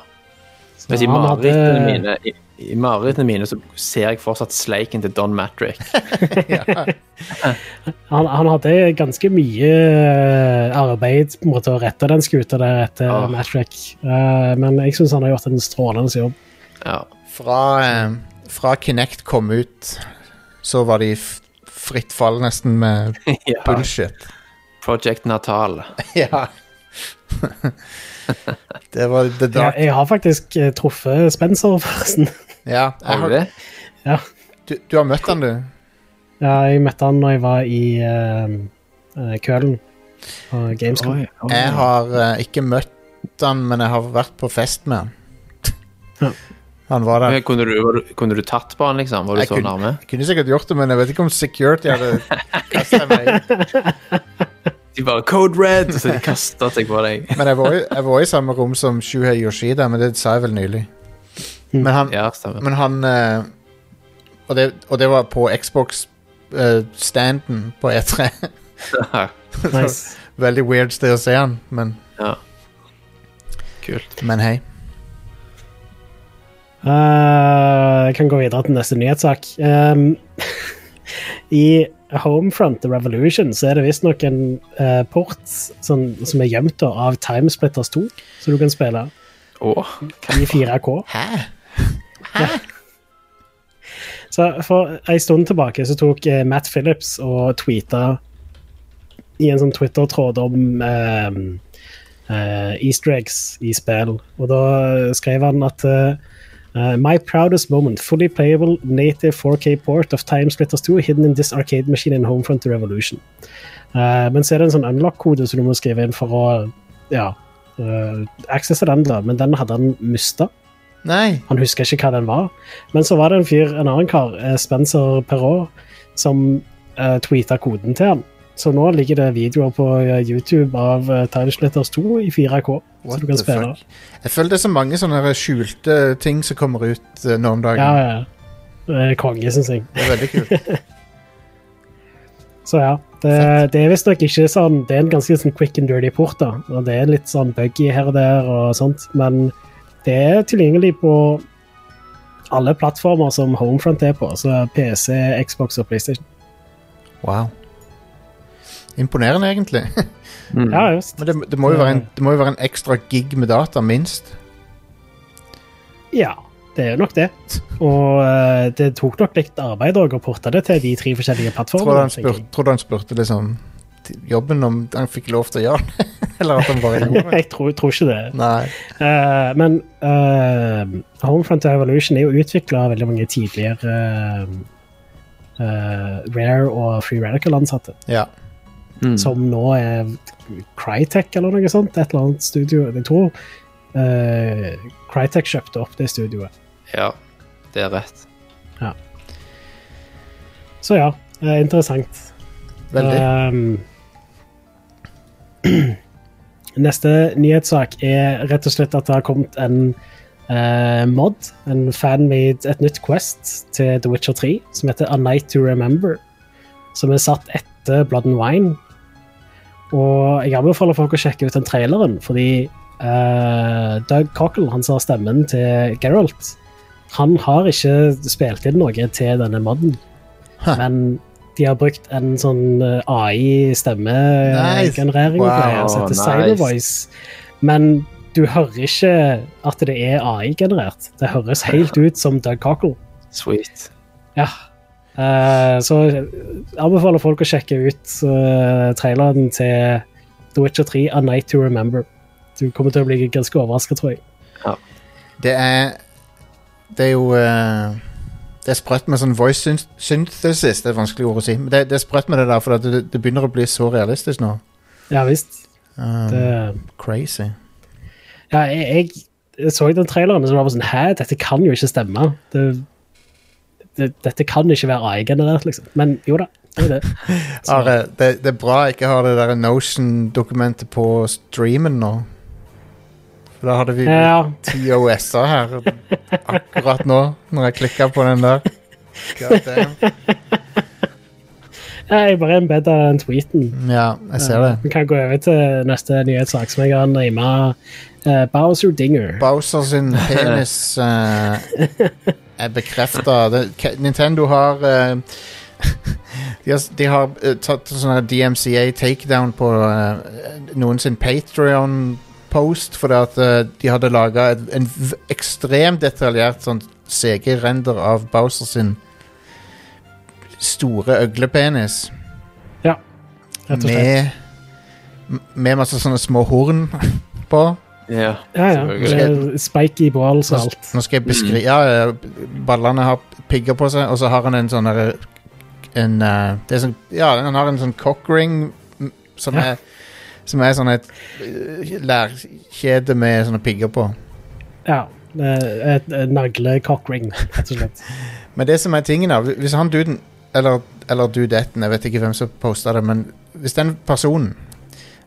[SPEAKER 2] Så
[SPEAKER 3] Mens i
[SPEAKER 2] han hadde-
[SPEAKER 3] marerittene mine, i, i marerittene mine så ser jeg fortsatt sleiken til Don Matrick.
[SPEAKER 2] Han, han hadde ganske mye eh, arbeid på en måte, å rette den skuta der etter
[SPEAKER 1] Ah.
[SPEAKER 3] Ja.
[SPEAKER 2] Matrick, Eh, men jeg syns han har gjort en strålende jobb.
[SPEAKER 3] Ja.
[SPEAKER 1] Fra, eh, fra Kinect kom ut, så var de f fritt fall nesten med
[SPEAKER 3] ja.
[SPEAKER 1] bullshit.
[SPEAKER 3] Project Natal.
[SPEAKER 1] ja. det var the
[SPEAKER 2] Jeg,
[SPEAKER 1] dark
[SPEAKER 2] jeg har faktisk eh, truffet Spencer, forresten.
[SPEAKER 1] Ja, jeg
[SPEAKER 3] Har du
[SPEAKER 1] har,
[SPEAKER 3] det?
[SPEAKER 2] ja.
[SPEAKER 1] du, du har møtt han, du.
[SPEAKER 2] ja, jeg møtte han når jeg var i eh, eh, Kølen på Gamescom.
[SPEAKER 1] Jeg har eh, ikke møtt han, men jeg har vært på fest med
[SPEAKER 2] Ja.
[SPEAKER 1] han. Han var der.
[SPEAKER 3] Men Kunne, du, var du, kunne du tatt på han, liksom? Var du
[SPEAKER 1] Jeg
[SPEAKER 3] så
[SPEAKER 1] kunne-
[SPEAKER 3] nærme?
[SPEAKER 1] Jeg kunne sikkert gjort det, men jeg vet ikke om security hadde kastet meg.
[SPEAKER 3] De bare 'Code Red!' Så de kasta seg på deg.
[SPEAKER 1] Men jeg var, i- jeg var i samme rom som Shuhei Yoshida, men det sa jeg vel nylig.
[SPEAKER 3] Mm.
[SPEAKER 1] Men han,
[SPEAKER 3] Ja, stemmer.
[SPEAKER 1] Men han eh, og, det, og det var på Xbox-standen på E3.
[SPEAKER 2] Nice.
[SPEAKER 1] Veldig weird sted å se han, men,
[SPEAKER 3] Ja. Kult.
[SPEAKER 1] men hei.
[SPEAKER 2] Eh, jeg kan gå videre til neste nyhetssak. Ehm, I Homefront The Revolution så er det visstnok en eh, port som, som er gjemt da, av Timesplitters 2, så du kan spille
[SPEAKER 3] Åh.
[SPEAKER 2] i 4K.
[SPEAKER 1] Hæ?
[SPEAKER 2] Så For en stund tilbake så tok eh, Matt Phillips og tweeta i en sånn Twitter-tråd om ehm, eh, easter eggs i spill. Og da skrev han at eh, eh, My proudest moment, fully playable native 4K port of Time Splitters 2 hidden in this arcade machine in Homefront The Revolution. Eh, men så er det en sånn unlock-kode som du må skrive inn for å ja, eh, accesse den, da, men den hadde han mista.
[SPEAKER 1] Nei.
[SPEAKER 2] Han husker ikke hva den var. Men så var det en fyr, en annen kar, eh, Spencer Perrault, som uh, tweeta koden til han. Så nå ligger det videoer på eh, YouTube av uh, Timesplitters 2 i 4K.
[SPEAKER 1] What
[SPEAKER 2] så du kan
[SPEAKER 1] the
[SPEAKER 2] spille.
[SPEAKER 1] fuck? Jeg føler det er så mange sånne her skjulte ting som kommer ut eh, nå om dagen.
[SPEAKER 2] Ja, ja, ja. Det er Konge, syns jeg.
[SPEAKER 1] Det er veldig kult.
[SPEAKER 2] Så ja. Det, det er visstnok ikke sånn Det er en ganske sånn quick and dirty port, da. Og det er litt sånn buggy her og der og sånt, men det er tilgjengelig på alle plattformer som Homefront er på, altså PC, Xbox og PlayStation.
[SPEAKER 1] Wow. Imponerende, egentlig. Mm.
[SPEAKER 2] Ja, just.
[SPEAKER 1] Men det, det, må jo være en, det må jo være en ekstra gig med data, minst.
[SPEAKER 2] Ja. Det er jo nok det. Og eh, det tok nok litt arbeid også å porte det til de tre
[SPEAKER 1] Tror
[SPEAKER 2] forskjellige
[SPEAKER 1] du
[SPEAKER 2] plattformene.
[SPEAKER 1] han spurte, tror du han spurte liksom til jobben om han fikk lov til å gjøre det? Eller at han bare gjorde
[SPEAKER 2] tenker jeg.
[SPEAKER 1] det?
[SPEAKER 2] jeg tror, tror ikke det.
[SPEAKER 1] Nei.
[SPEAKER 2] Eh, men eh, Homefront og Evolution er jo utvikla av veldig mange tidligere eh, eh, Rare og Free Radical-ansatte,
[SPEAKER 1] Ja.
[SPEAKER 3] Mm.
[SPEAKER 2] som nå er Crytek eller noe sånt. Et eller annet studio. Jeg tror eh, Crytek kjøpte opp det studioet.
[SPEAKER 3] Ja, det er rett.
[SPEAKER 2] Så ja, eh, interessant.
[SPEAKER 1] Veldig.
[SPEAKER 2] Ehm, neste nyhetssak er rett og slett at det har kommet en eh, mod, en fan-made, et nytt quest til The Witcher 3, som heter A Night to Remember, som er satt etter Blood and Wine. Og jeg anbefaler folk å sjekke ut den traileren, fordi eh, Doug Cockle, han som har stemmen til Geralt, han har ikke spilt inn noe til denne moden.
[SPEAKER 1] Hæ.
[SPEAKER 2] Men de har brukt en sånn
[SPEAKER 1] Nice.
[SPEAKER 2] AI-stemmegenerering
[SPEAKER 1] Wow,
[SPEAKER 2] som heter
[SPEAKER 3] nice.
[SPEAKER 2] Cybervoice. Men du hører ikke at det er AI-generert. Det høres helt ut som Doug Cockle.
[SPEAKER 3] Sweet.
[SPEAKER 2] Ja. Eh, så jeg anbefaler folk å sjekke ut eh, traileren til The Witcher 3 A Night to Remember. Du kommer til å bli ganske overraska, tror jeg.
[SPEAKER 1] Det er Det er jo eh, Det er sprøtt med sånn voice syn- synthesis. Det er vanskelig ord å si. Men det, det er sprøtt med det der, for at det, det begynner å bli så realistisk nå.
[SPEAKER 2] Ja visst.
[SPEAKER 1] Um,
[SPEAKER 2] Det,
[SPEAKER 1] Crazy.
[SPEAKER 2] ja, jeg, jeg så den traileren og så var jeg sånn Hæ, dette kan jo ikke stemme. Det, det, dette kan ikke være AI-generert, liksom. Men jo da, det er det. Så-
[SPEAKER 1] Are, det, det er bra jeg ikke har det der Notion-dokumentet på streamen nå. For da hadde vi
[SPEAKER 2] ja,
[SPEAKER 1] ti OS-er her akkurat nå, når jeg klikka på den der. God damn.
[SPEAKER 2] jeg bare embedda den tweeten.
[SPEAKER 1] Ja, jeg ser det.
[SPEAKER 2] Vi kan gå over til neste nyhetssak, som jeg har nima uh, Bowser Dinger.
[SPEAKER 1] Bowser sin penis eh, er bekrefta. Nintendo har eh, De har, de har eh, tatt sånne DMCA takedown på eh, noen sin Patrion-post fordi at eh, de hadde laga en v ekstremt detaljert sånn CG-render av Bowser sin store øglepenis.
[SPEAKER 2] Rett og slett.
[SPEAKER 1] Med, med masse sånne små horn på.
[SPEAKER 3] Ja,
[SPEAKER 2] Ja, ja.
[SPEAKER 3] selvfølgelig.
[SPEAKER 2] Med Spiky balls og alt.
[SPEAKER 1] Nå skal jeg beskrive Ja, ja, ballene har pigger på seg, og så har han en sånn derre en, eh, det er sånn, Ja, han har en sånn cockring mm, som
[SPEAKER 2] Ja.
[SPEAKER 1] er Som er sånn et eh, lærkjede med sånne pigger på.
[SPEAKER 2] Ja. eh, Et, et nagle-cockring, rett og slett.
[SPEAKER 1] Men det som er tingen, da Hvis han duden Eller, eller dudetten, jeg vet ikke hvem som posta det, men hvis den personen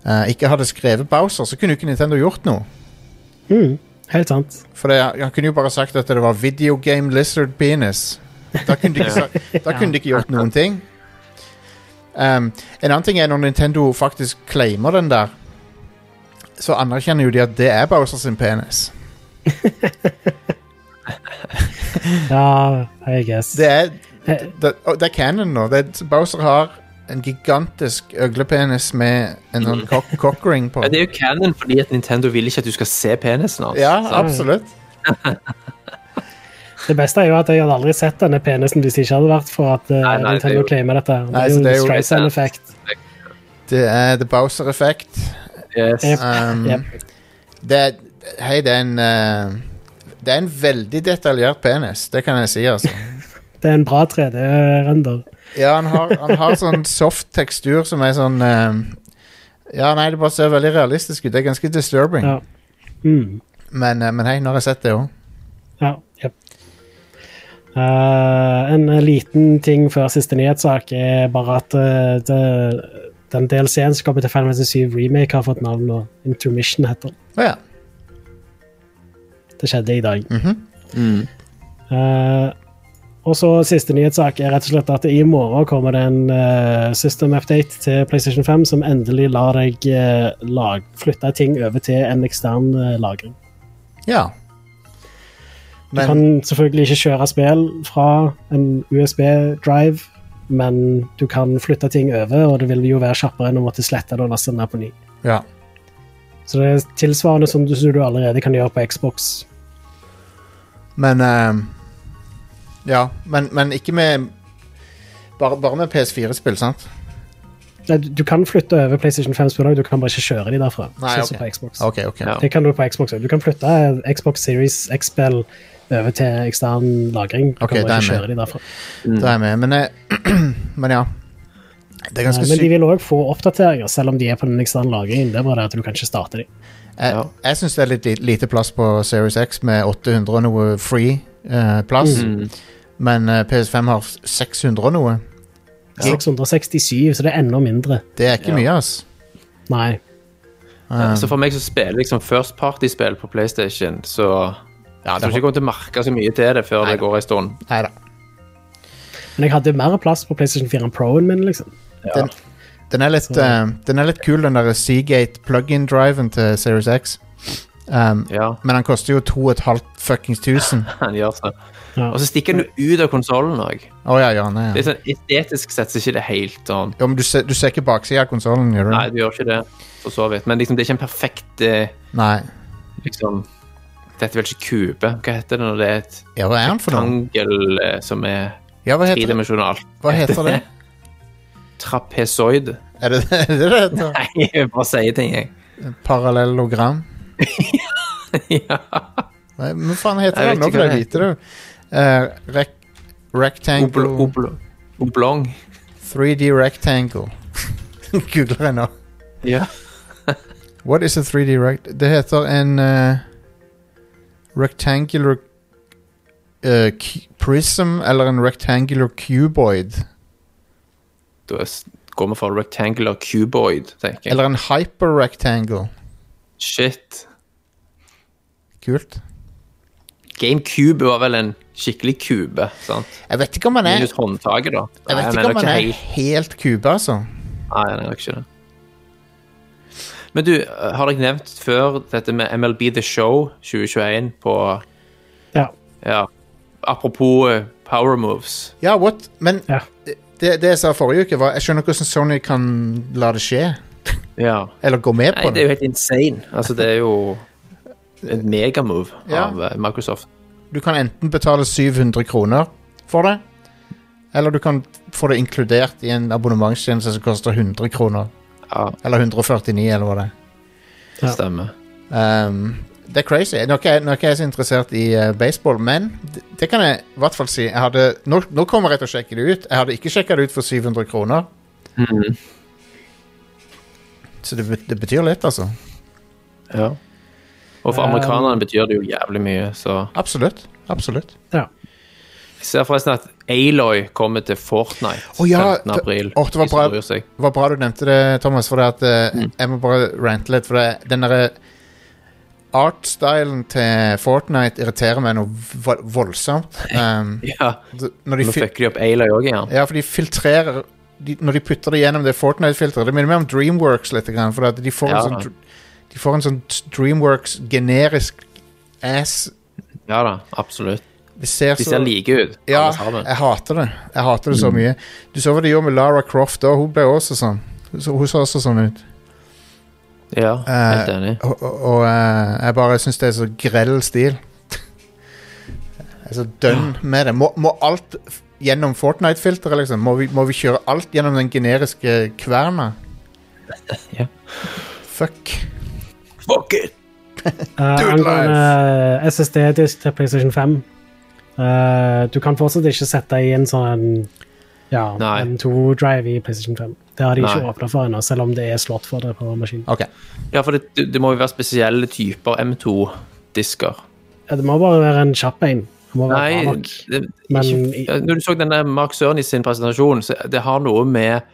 [SPEAKER 1] eh, ikke hadde skrevet Bowser, så kunne jo ikke Nintendo gjort noe.
[SPEAKER 2] Mm, helt sant.
[SPEAKER 1] For det, han kunne jo bare sagt at det var Video Game Lizard Penis. Da kunne de ikke, sa- da kunne de ikke gjort noen ting. Um, en annen ting er når Nintendo faktisk claimer den der, så anerkjenner jo de at det er Bowser sin penis.
[SPEAKER 2] Ja, I guess.
[SPEAKER 1] Det er,
[SPEAKER 2] Eh,
[SPEAKER 1] det, og det er canon nå. Det er, Bowser har en gigantisk øglepenis med en sånn cock- cockring på.
[SPEAKER 3] Mm. Ja, det er jo canon fordi at Nintendo vil ikke at du skal se penisen hans.
[SPEAKER 1] Ja,
[SPEAKER 3] sant?
[SPEAKER 1] absolutt.
[SPEAKER 2] Det beste er jo at jeg hadde aldri sett denne penisen hvis det ikke hadde vært for at eh,
[SPEAKER 3] Nei, nei, det er
[SPEAKER 2] Nintendo
[SPEAKER 3] jo-
[SPEAKER 2] claimer dette. Det
[SPEAKER 1] Nei,
[SPEAKER 2] er
[SPEAKER 1] så
[SPEAKER 2] jo
[SPEAKER 1] det er
[SPEAKER 2] en
[SPEAKER 1] jo-
[SPEAKER 2] Streisand-effekt.
[SPEAKER 1] Det er The Bowser Effect.
[SPEAKER 3] Yes.
[SPEAKER 2] Yep.
[SPEAKER 1] Um,
[SPEAKER 2] Yep.
[SPEAKER 1] Det er, hei, det er en eh, Det er en veldig detaljert penis, det kan jeg si, altså.
[SPEAKER 2] Det er en bra 3D-render.
[SPEAKER 1] Ja, han har, han har sånn soft tekstur som er sånn eh, Ja, nei, det bare ser veldig realistisk ut. Det er ganske disturbing.
[SPEAKER 2] Ja. Mm.
[SPEAKER 1] Men, eh, men hei, nå har jeg sett det òg.
[SPEAKER 2] Ja, jep. Eh, en liten ting før siste nyhetssak er bare at eh, det, den DLC-en som kommer til Final Fantasy 7 Remake, har fått navn nå. Intermission heter den.
[SPEAKER 1] Å ja.
[SPEAKER 2] Det skjedde i dag.
[SPEAKER 1] mhm.
[SPEAKER 3] Mm.
[SPEAKER 2] Eh, og så siste nyhetssak er rett og slett at i morgen kommer det en eh, system update til PlayStation 5 som endelig lar deg eh, lag, flytte ting over til en ekstern eh, lagring.
[SPEAKER 1] ja.
[SPEAKER 2] Du
[SPEAKER 1] Men
[SPEAKER 2] kan selvfølgelig ikke kjøre spill fra en USB-drive, men du kan flytte ting over, og det vil jo være kjappere enn å måtte slette det og laste den ned på ny.
[SPEAKER 1] ja.
[SPEAKER 2] Så det er tilsvarende som du, som du allerede kan gjøre på Xbox.
[SPEAKER 1] Men ehm, Ja, men, men ikke med Bare, bare med PS4-spill, sant?
[SPEAKER 2] Nei, du- Du kan flytte over PlayStation 5-spill òg, du kan bare ikke kjøre de derfra.
[SPEAKER 1] Nei,
[SPEAKER 2] sånn som
[SPEAKER 1] ok.
[SPEAKER 2] på Xbox.
[SPEAKER 1] OK, ok.
[SPEAKER 3] Ja.
[SPEAKER 2] Det kan du på Xbox òg. Du kan flytte eh, Xbox Series X-spill over til ekstern lagring. Du
[SPEAKER 1] Ok,
[SPEAKER 2] kan
[SPEAKER 1] den
[SPEAKER 2] bare
[SPEAKER 1] er
[SPEAKER 2] ikke
[SPEAKER 1] med.
[SPEAKER 2] kjøre de derfra.
[SPEAKER 1] Mm. Da er jeg med. Men, eh, men ja. Det er
[SPEAKER 2] Eh,
[SPEAKER 1] ganske
[SPEAKER 2] Men de
[SPEAKER 1] sykt.
[SPEAKER 2] vil òg få oppdateringer, selv om de er på den eksterne lagringen. Det er bare det at du kan ikke starte de.
[SPEAKER 1] Jeg,
[SPEAKER 3] Ja.
[SPEAKER 1] jeg syns det er litt li- lite plass på Series X med 800 og noe free eh, plass.
[SPEAKER 3] Mm.
[SPEAKER 1] Men eh, PS5 har 600 og noe. Ja.
[SPEAKER 2] 667, så det er enda mindre.
[SPEAKER 1] Det er ikke
[SPEAKER 3] Ja.
[SPEAKER 1] mye, ass.
[SPEAKER 2] Nei.
[SPEAKER 1] Um,
[SPEAKER 3] Så for meg som spiller liksom first party-spill på PlayStation, så
[SPEAKER 1] ja,
[SPEAKER 3] jeg tror ikke jeg kommer til å merke så mye til det før det går en stund.
[SPEAKER 1] Nei da.
[SPEAKER 2] Men jeg hadde mer plass på PlayStation 4 enn Pro-en min, liksom.
[SPEAKER 1] Den, den, er litt, eh, den er litt kul, den der Seagate plug-in-driven til Series X. Um,
[SPEAKER 3] Ja,
[SPEAKER 1] men den koster jo 2500 fuckings tusen.
[SPEAKER 3] han gjør så.
[SPEAKER 2] Ja.
[SPEAKER 3] Og så stikker han jo ut av konsollen òg.
[SPEAKER 1] Å ja, ja, nei, ja.
[SPEAKER 3] Sånn, estetisk sett så er ikke det helt sånn
[SPEAKER 1] ja men du, ser, du ser ikke baksida av konsollen, gjør du?
[SPEAKER 3] Nei, du gjør ikke det, for så vidt. Men liksom, det er ikke en perfekt eh,
[SPEAKER 1] Nei.
[SPEAKER 3] liksom Dette er vel ikke kube? Hva heter det når det er et
[SPEAKER 1] Ja, hva er den for noe?
[SPEAKER 3] tangel eh, som er
[SPEAKER 1] Ja, hva heter, det?
[SPEAKER 3] tredimensjonalt?
[SPEAKER 1] Hva heter det?
[SPEAKER 3] Trapezoid?
[SPEAKER 1] Er det er det det heter?
[SPEAKER 3] Nei, jeg bare sier ting, jeg.
[SPEAKER 1] Parallellogram?
[SPEAKER 3] ja.
[SPEAKER 1] Nei, men faen heter
[SPEAKER 3] Jeg
[SPEAKER 1] det?
[SPEAKER 3] vet
[SPEAKER 1] Nå
[SPEAKER 3] ikke
[SPEAKER 1] får jeg
[SPEAKER 3] hva
[SPEAKER 1] vite det. Uh, rec rectangle
[SPEAKER 3] Obl obl oblong.
[SPEAKER 1] 3D rectangle. Googler jeg nå.
[SPEAKER 3] Ja.
[SPEAKER 1] What is a 3D rect... Det heter en eh, rectangular eh, cu- prism eller en rectangular cuboid.
[SPEAKER 3] Da s- går vi for rectangular cuboid, tenker jeg.
[SPEAKER 1] Eller en hyperrectangle.
[SPEAKER 3] Shit.
[SPEAKER 1] Kult.
[SPEAKER 3] GameCube var vel en skikkelig kube, sant?
[SPEAKER 1] Jeg vet ikke om han er
[SPEAKER 3] Minus håndtaket, da.
[SPEAKER 1] Jeg
[SPEAKER 3] Nei,
[SPEAKER 1] vet
[SPEAKER 3] men
[SPEAKER 1] ikke om
[SPEAKER 3] nok
[SPEAKER 1] han er
[SPEAKER 3] helt-
[SPEAKER 1] helt kube, altså.
[SPEAKER 3] Nei, han er nok ikke det. Men du, eh, har dere nevnt før dette med MLB The Show 2021 på
[SPEAKER 2] Ja.
[SPEAKER 3] Ja. Apropos eh, power moves.
[SPEAKER 1] Ja, what? Men
[SPEAKER 2] Ja.
[SPEAKER 1] det, det jeg sa forrige uke, var Jeg skjønner ikke hvordan Sony kan la det skje.
[SPEAKER 3] Ja.
[SPEAKER 1] Eller gå med
[SPEAKER 3] Nei,
[SPEAKER 1] på
[SPEAKER 3] det er
[SPEAKER 1] det.
[SPEAKER 3] jo helt insane. Altså, det er jo et megamove
[SPEAKER 1] Ja.
[SPEAKER 3] av eh, Microsoft.
[SPEAKER 1] Du kan enten betale 700 kroner for det, eller du kan få det inkludert i en abonnementstjeneste som koster 100 kroner.
[SPEAKER 3] Ja,
[SPEAKER 1] Eller 149, eller hva det er.
[SPEAKER 2] Ja.
[SPEAKER 3] stemmer.
[SPEAKER 1] Um, det er crazy. Nå er ikke jeg, nå er ikke jeg så interessert i eh, baseball, men det, det kan jeg i hvert fall si. Jeg hadde, nå, nå kommer jeg til å sjekke det ut. Jeg hadde ikke sjekka det ut for 700 kroner.
[SPEAKER 3] Mm.
[SPEAKER 1] Så det, bet- det betyr litt, altså.
[SPEAKER 3] Ja. Og for
[SPEAKER 2] Um,
[SPEAKER 3] amerikanerne betyr det jo jævlig mye, så
[SPEAKER 1] Absolutt. Absolutt.
[SPEAKER 2] ja.
[SPEAKER 3] Jeg ser forresten at Aloy kommer til Fortnite
[SPEAKER 1] Å ja,
[SPEAKER 3] 15. april.
[SPEAKER 1] det- å, det var
[SPEAKER 3] hvis du
[SPEAKER 1] bra.
[SPEAKER 3] bryr seg.
[SPEAKER 1] Det var bra du nevnte det, Thomas, for det at, eh,
[SPEAKER 3] Mm.
[SPEAKER 1] jeg må bare rante litt. For det, den derre art-stylen til Fortnite irriterer meg noe vo- voldsomt. Um,
[SPEAKER 3] Ja,
[SPEAKER 1] d- når de
[SPEAKER 3] nå
[SPEAKER 1] fil-
[SPEAKER 3] fucker de opp Aloy òg igjen.
[SPEAKER 1] Ja, for de filtrerer de, Når de putter det gjennom det Fortnite-filteret Det minner meg om Dreamworks litt grann, For at de får
[SPEAKER 3] Ja.
[SPEAKER 1] en sånn dr- De får en sånn t- Dreamworks generisk ass
[SPEAKER 3] Ja da, absolutt.
[SPEAKER 1] Det ser
[SPEAKER 3] De
[SPEAKER 1] så
[SPEAKER 3] ser like ut,
[SPEAKER 1] Altså, Ja,
[SPEAKER 3] alle sammen.
[SPEAKER 1] jeg hater det Jeg hater det så mye Du så hva de gjorde med Lara Croft da Hun ble også sånn så, Hun så også sånn ut
[SPEAKER 3] Ja, helt
[SPEAKER 1] Eh,
[SPEAKER 3] enig.
[SPEAKER 1] Og, og, og eh, jeg bare synes det er så grell stil Jeg er så dønn med det Må, må alt f- gjennom Fortnite-filteret liksom må vi, må vi kjøre alt gjennom den generiske kverna
[SPEAKER 3] Ja.
[SPEAKER 1] Fuck
[SPEAKER 3] Fuck it!
[SPEAKER 2] Eh,
[SPEAKER 1] Dude
[SPEAKER 2] Angående eh, SSD-disk til PlayStation 5 eh, Du kan fortsatt ikke sette i en sånn ja,
[SPEAKER 3] Nei.
[SPEAKER 2] M2-drive i PlayStation 5. Det har de ikke
[SPEAKER 3] Nei.
[SPEAKER 2] åpna for ennå, selv om det er slått for det på maskinen.
[SPEAKER 1] Ok,
[SPEAKER 3] Ja, for det, det må jo være spesielle typer M2-disker.
[SPEAKER 2] Ja, det må bare være en kjapp en. Det må være
[SPEAKER 3] Nei,
[SPEAKER 2] bra nok.
[SPEAKER 3] det,
[SPEAKER 2] Men
[SPEAKER 3] ikke,
[SPEAKER 2] i-
[SPEAKER 3] ja, Når du så den der Mark Cerny sin presentasjon, så det har noe med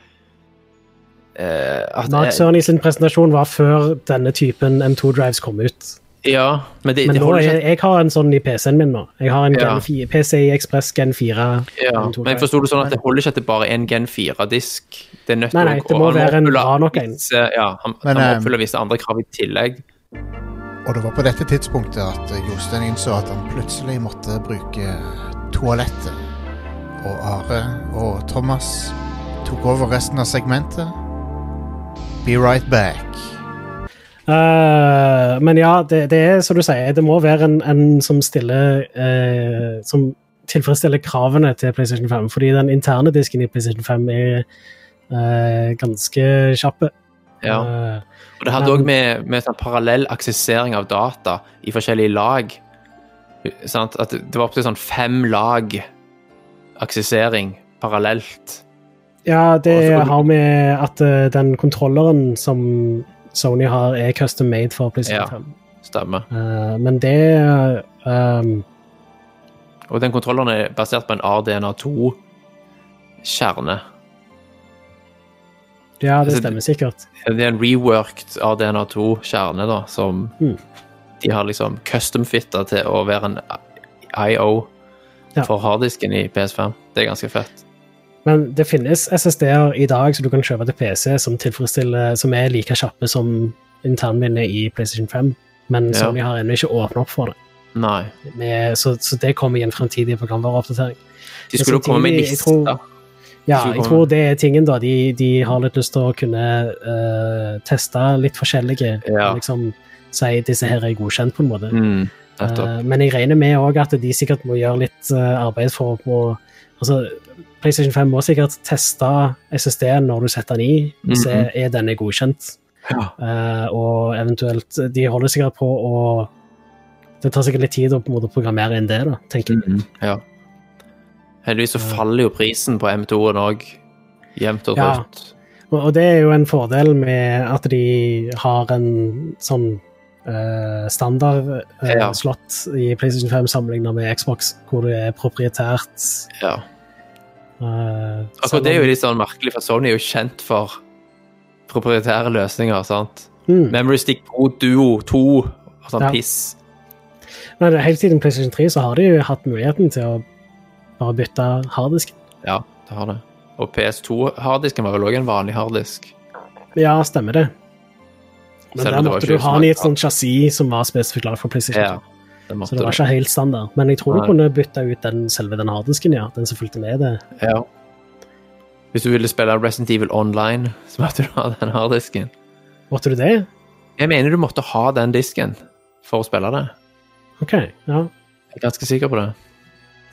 [SPEAKER 3] eh, at
[SPEAKER 2] Mark Cerny sin presentasjon var før denne typen M2-drives kom ut.
[SPEAKER 3] Ja, men det,
[SPEAKER 2] Men
[SPEAKER 3] det
[SPEAKER 2] nå,
[SPEAKER 3] holder ikke
[SPEAKER 2] jeg, jeg har en sånn i PC-en min nå. Jeg har en
[SPEAKER 3] Ja.
[SPEAKER 2] Gen 4, PCI Express Gen 4.
[SPEAKER 3] Ja,
[SPEAKER 2] M2
[SPEAKER 3] men jeg
[SPEAKER 2] drive.
[SPEAKER 3] forsto det sånn at det holder ikke at det bare er en Gen 4-disk. Det er nødt
[SPEAKER 2] Nei,
[SPEAKER 3] til
[SPEAKER 2] nei,
[SPEAKER 3] å-
[SPEAKER 2] det må
[SPEAKER 3] og han
[SPEAKER 2] være en
[SPEAKER 3] oppfyller
[SPEAKER 2] bra nok en.
[SPEAKER 3] visse- Ja, han,
[SPEAKER 1] Men,
[SPEAKER 3] han
[SPEAKER 1] eh,
[SPEAKER 3] oppfyller visse andre krav i tillegg.
[SPEAKER 1] og det var på dette tidspunktet at Jostein innså at han plutselig måtte bruke toalettet. Og Are og Thomas tok over resten av segmentet. Be right back.
[SPEAKER 2] Eh, men ja, det, det er som du sier, det må være en, en som stiller eh, Som tilfredsstiller kravene til PlayStation 5, fordi den interne disken i PlayStation 5 er eh, ganske kjapp.
[SPEAKER 3] Ja.
[SPEAKER 2] Eh,
[SPEAKER 3] Og det hadde
[SPEAKER 2] Men-
[SPEAKER 3] òg med, med sånn parallell aksessering av data i forskjellige lag sant? At det var opptil sånn fem lag aksessering parallelt.
[SPEAKER 2] Ja, det
[SPEAKER 3] Og så-
[SPEAKER 2] har med at eh, den kontrolleren som Sony har, er custom made for
[SPEAKER 3] Ja.
[SPEAKER 2] PlayStation 5.
[SPEAKER 3] Stemmer.
[SPEAKER 2] Eh, men det ehm,
[SPEAKER 3] Og den kontrolleren er basert på en RDNA2-kjerne.
[SPEAKER 2] Ja, det
[SPEAKER 3] Altså,
[SPEAKER 2] stemmer sikkert.
[SPEAKER 3] Det er en reworked RDNA2-kjerne da, som
[SPEAKER 2] Mm.
[SPEAKER 3] de har liksom custom-fitta til å være en IO
[SPEAKER 2] Ja.
[SPEAKER 3] for harddisken i PS5. Det er ganske fett.
[SPEAKER 2] Men det finnes SSD-er i dag som du kan kjøpe til PC som tilfredsstiller, som er like kjappe som internminnet i PlayStation 5. Men
[SPEAKER 3] Ja.
[SPEAKER 2] Sony har ennå ikke åpna opp for det.
[SPEAKER 3] Nei.
[SPEAKER 2] Med, så, så det kommer i en fremtidig programvareoppdatering.
[SPEAKER 3] De skulle jo komme med
[SPEAKER 2] samtidig, jeg tror-
[SPEAKER 3] lister.
[SPEAKER 2] Ja,
[SPEAKER 3] Så
[SPEAKER 2] jeg
[SPEAKER 3] kommer-
[SPEAKER 2] tror det er tingen, da. De, de har litt lyst til å kunne eh, teste litt forskjellige.
[SPEAKER 3] Ja.
[SPEAKER 2] og Liksom si disse her er godkjent, på en måte.
[SPEAKER 3] Mm, nettopp.
[SPEAKER 2] Eh, men jeg regner med òg at de sikkert må gjøre litt eh, arbeid for å Altså, PlayStation 5 må sikkert teste SSD-en når du setter den i. Se,
[SPEAKER 3] Mhm.
[SPEAKER 2] er denne godkjent?
[SPEAKER 3] Ja.
[SPEAKER 2] Eh, og eventuelt eh, De holder sikkert på å Det tar sikkert litt tid å på en måte programmere inn det, da, tenker
[SPEAKER 3] Mhm.
[SPEAKER 2] jeg.
[SPEAKER 3] Hmm, Ja. Heldigvis så faller jo prisen på M2-en òg, jevnt og
[SPEAKER 2] Eh. Ja.
[SPEAKER 3] trutt.
[SPEAKER 2] Og, og det er jo en fordel med at de har en sånn eh, standard eh,
[SPEAKER 3] Ja.
[SPEAKER 2] slott i PlayStation 5 sammenligna med Xbox, hvor det er proprietært.
[SPEAKER 3] Ja.
[SPEAKER 2] eh, selv
[SPEAKER 3] Akkurat det er
[SPEAKER 2] om-
[SPEAKER 3] jo litt sånn merkelig, for Sony er jo kjent for proprietære løsninger, sant?
[SPEAKER 2] Mm.
[SPEAKER 3] Memory Stick Pro Duo 2 og sånn
[SPEAKER 2] Ja.
[SPEAKER 3] piss.
[SPEAKER 2] Men helt siden PlayStation 3 så har de jo hatt muligheten til å bare bytte harddisk.
[SPEAKER 3] Ja, det har det. Og PS2-harddisken var vel òg en vanlig harddisk.
[SPEAKER 2] Ja, stemmer det. Men
[SPEAKER 3] Selv om det
[SPEAKER 2] der
[SPEAKER 3] var
[SPEAKER 2] måtte
[SPEAKER 3] ikke
[SPEAKER 2] du ha den i et
[SPEAKER 3] sånn-
[SPEAKER 2] sånt chassis som var spesifikt laget for
[SPEAKER 3] Ja,
[SPEAKER 2] PlayStation 2.
[SPEAKER 3] det
[SPEAKER 2] Så
[SPEAKER 3] måtte
[SPEAKER 2] det var
[SPEAKER 3] det.
[SPEAKER 2] ikke helt standard. Men jeg tror
[SPEAKER 3] Nei.
[SPEAKER 2] du kunne bytte ut den selve den harddisken, ja. Den som fulgte med det.
[SPEAKER 3] Ja. Hvis du ville spille Resident Evil Online, så måtte du ha den harddisken.
[SPEAKER 2] Måtte du det?
[SPEAKER 3] Jeg mener du måtte ha den disken for å spille det.
[SPEAKER 2] OK, ja.
[SPEAKER 3] Jeg er ganske sikker på det.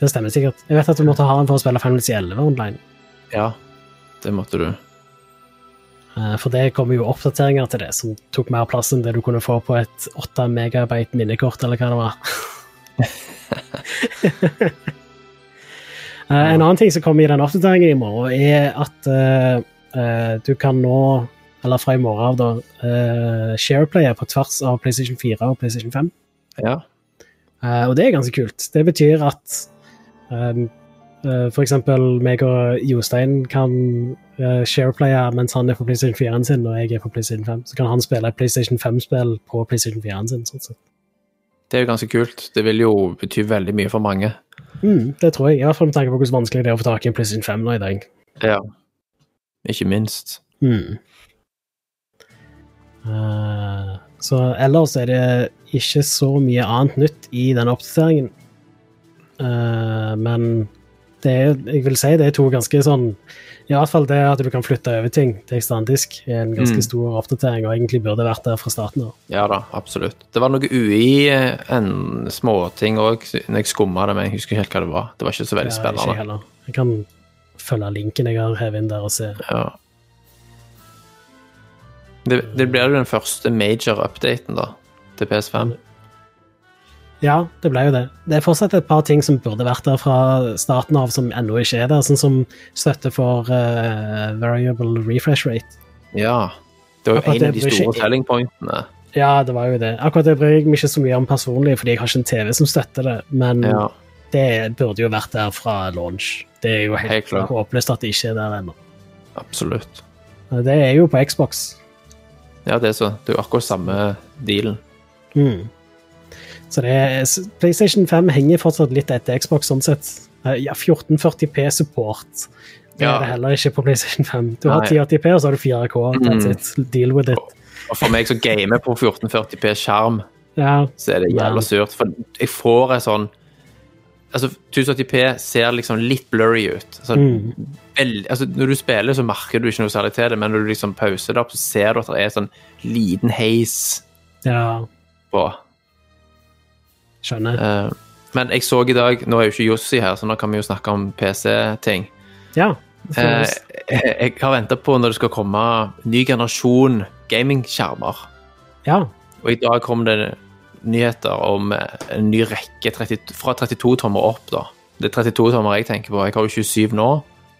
[SPEAKER 2] Det stemmer sikkert. Jeg vet at du måtte ha den for å spille Final 11 online.
[SPEAKER 3] Ja, det måtte du.
[SPEAKER 2] Eh, For det kommer jo oppdateringer til det, som tok mer plass enn det du kunne få på et 8 megabyte minnekort, eller hva det var. Eh, en annen ting som kommer i den oppdateringen i morgen, er at eh, eh, du kan nå, eller fra i morgen av, da, eh, shareplaye på tvers av PlayStation 4 og PlayStation 5.
[SPEAKER 3] Ja.
[SPEAKER 2] Eh, og det er ganske kult. Det betyr at um, eh, for eksempel meg og Jostein kan eh, shareplaye mens han er på PlayStation 4-en sin og jeg er på PlayStation 5. Så kan han spille et PlayStation 5-spill på PlayStation 4-en sin. Sånn sett.
[SPEAKER 3] Det er jo ganske kult. Det vil jo bety veldig mye for mange.
[SPEAKER 2] Mm, det tror jeg. I hvert fall med tanke på hvordan vanskelig det er å få tak i en PlayStation 5 nå i dag.
[SPEAKER 3] Ja. Ikke minst.
[SPEAKER 2] Mm. Eh, så ellers er det ikke så mye annet nytt i den oppdateringen. Eh, men det er, jeg vil si det er to ganske sånn I hvert fall det at du kan flytte over ting til ekstern disk, er en ganske
[SPEAKER 3] Mm.
[SPEAKER 2] stor oppdatering, og egentlig burde det vært der fra starten av.
[SPEAKER 3] Ja da, absolutt. Det var noe UI, eh, en småting òg, når jeg skumma det, men jeg husker ikke helt hva det var. Det var ikke så veldig
[SPEAKER 2] Ja, ikke jeg
[SPEAKER 3] spennende.
[SPEAKER 2] heller. Jeg kan følge linken jeg har hevet inn der, og se.
[SPEAKER 3] Ja. Det, det blir jo den første major updaten, da, til PS5.
[SPEAKER 2] Ja, det ble jo det. Det er fortsatt et par ting som burde vært der fra starten av, som ennå ikke er der. Sånn som støtte for eh, variable refresh rate.
[SPEAKER 3] Ja. Det var jo
[SPEAKER 2] Akkurat
[SPEAKER 3] en av
[SPEAKER 2] det
[SPEAKER 3] de
[SPEAKER 2] blir ikke-
[SPEAKER 3] store selling pointene.
[SPEAKER 2] Ja, det var jo det. Akkurat det bryr jeg meg ikke så mye om personlig, fordi jeg har ikke en TV som støtter det, men
[SPEAKER 3] Ja.
[SPEAKER 2] det burde jo vært der fra launch. Det er jo
[SPEAKER 3] Helt
[SPEAKER 2] helt,
[SPEAKER 3] klart.
[SPEAKER 2] håpløst at det ikke er der ennå.
[SPEAKER 3] Absolutt.
[SPEAKER 2] Det er jo på Xbox.
[SPEAKER 3] Ja, det er så. Det er jo akkurat samme dealen.
[SPEAKER 2] Mm. Så det er, s- PlayStation 5 henger fortsatt litt etter Xbox sånn sett. Eh, Ja, 1440P-support. Det
[SPEAKER 3] Ja.
[SPEAKER 2] er det heller ikke på PlayStation 5. Du har
[SPEAKER 3] Nei. Mm.
[SPEAKER 2] 1080P, og så har du 4K. That's it. Deal with it.
[SPEAKER 3] Og for meg som gamer på 1440p skjerm,
[SPEAKER 2] Ja,
[SPEAKER 3] så er det
[SPEAKER 2] Ja.
[SPEAKER 3] jævla surt. For jeg får en sånn altså, 1080P ser liksom litt blurry ut. Altså,
[SPEAKER 2] Mm.
[SPEAKER 3] veld- altså, når du spiller, så merker du ikke noe særlig til det, men når du liksom pauser det opp, så ser du at det er sånn liten heis
[SPEAKER 2] Ja,
[SPEAKER 3] på.
[SPEAKER 2] skjønner.
[SPEAKER 3] Eh, men jeg så i dag Nå er jo ikke Jossi her, så nå kan vi jo snakke om PC-ting.
[SPEAKER 2] Ja.
[SPEAKER 3] Eh, jeg jeg har venta på når det skal komme ny generasjon gamingskjermer.
[SPEAKER 2] ja.
[SPEAKER 3] Og i dag kom det nyheter om eh, en ny rekke 30, fra 32 tommer opp, da. Det er 32 tommer jeg tenker på. Jeg har jo 27 nå.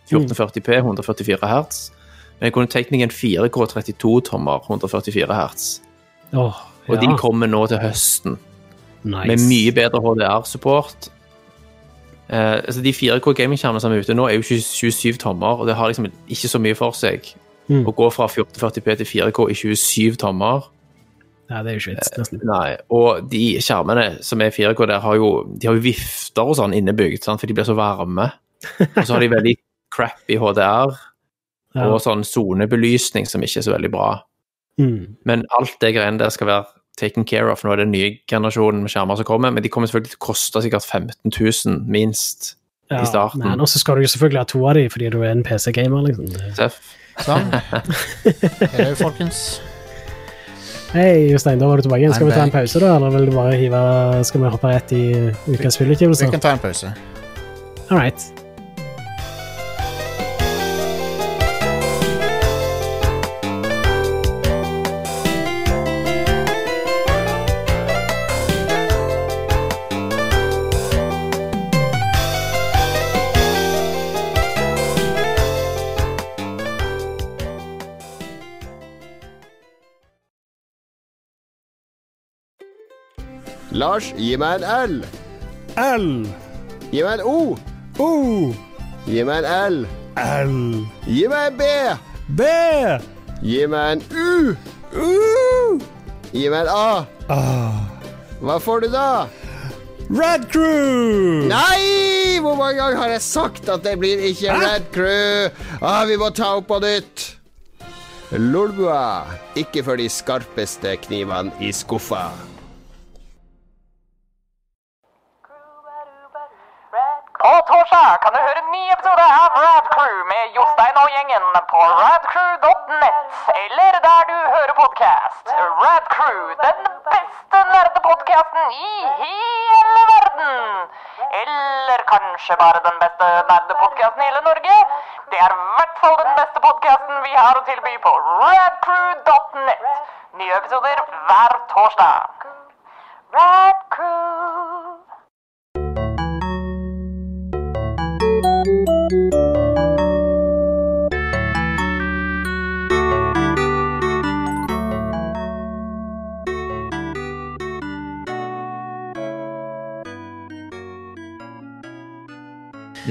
[SPEAKER 3] 1440P, 144 hertz. Men jeg kunne tenkt meg en 4K 32 tommer, 144 hertz.
[SPEAKER 2] Åh,
[SPEAKER 3] Og
[SPEAKER 2] ja.
[SPEAKER 3] de kommer nå til høsten,
[SPEAKER 2] nice.
[SPEAKER 3] med mye bedre HDR-support. Eh, altså De 4K gamingskjermene som er ute nå, er jo 27 27 tommer, og det har liksom ikke så mye for seg.
[SPEAKER 2] Mm.
[SPEAKER 3] Å gå fra 1440P til 4K i 27 tommer
[SPEAKER 2] Ja, det er jo ikke
[SPEAKER 3] Eh,
[SPEAKER 2] vits, nesten.
[SPEAKER 3] Nei, og de skjermene som er 4K der, har jo, de har jo vifter og sånn innebygd, sant? for de blir så varme. Og så har de veldig crappy HDR,
[SPEAKER 2] Ja.
[SPEAKER 3] og sånn sonebelysning som ikke er så veldig bra.
[SPEAKER 2] Mm.
[SPEAKER 3] Men alt det greiene der skal være taken care of. Nå er det den nye generasjonen med skjermer som kommer, men de kommer selvfølgelig til å koste sikkert 15 000, minst.
[SPEAKER 2] Ja,
[SPEAKER 3] i starten.
[SPEAKER 2] Men også skal du jo selvfølgelig ha to av de fordi du er en PC-gamer, liksom. Det-
[SPEAKER 3] Seff.
[SPEAKER 1] Sånn. Hello, folkens.
[SPEAKER 2] Hei, Jostein, da var du tilbake igjen. Skal
[SPEAKER 1] I'm
[SPEAKER 2] vi ta en
[SPEAKER 1] back.
[SPEAKER 2] pause, da? Eller vil du bare hive Skal vi hoppe rett i ukas
[SPEAKER 1] Vi
[SPEAKER 2] spillutgivelser?
[SPEAKER 1] kan ta en pause.
[SPEAKER 2] All right.
[SPEAKER 4] Lars, gi meg en L.
[SPEAKER 5] L.
[SPEAKER 4] Gi meg en O.
[SPEAKER 5] O.
[SPEAKER 4] Gi meg en L.
[SPEAKER 5] L.
[SPEAKER 4] Gi meg en B.
[SPEAKER 5] B.
[SPEAKER 4] Gi meg en U.
[SPEAKER 5] U.
[SPEAKER 4] Gi meg en A. Hva får du da?
[SPEAKER 5] Red Crew.
[SPEAKER 4] Nei! Hvor mange ganger har jeg sagt at det blir ikke
[SPEAKER 5] Hæ?
[SPEAKER 4] Red Crew? Ah, vi må ta opp på nytt. Lolbua. Ikke for de skarpeste knivene i skuffa.
[SPEAKER 6] På torsdag kan du høre en ny episode av Rad Crew med Jostein og gjengen på radcrew.net, eller der du hører podkast. Rad Crew, den beste nerdepodkasten i hele verden. Eller kanskje bare den beste nerdepodkasten i hele Norge. Det er i hvert fall den beste podkasten vi har å tilby på radcrew.net. Nye episoder hver torsdag. Rad Crew.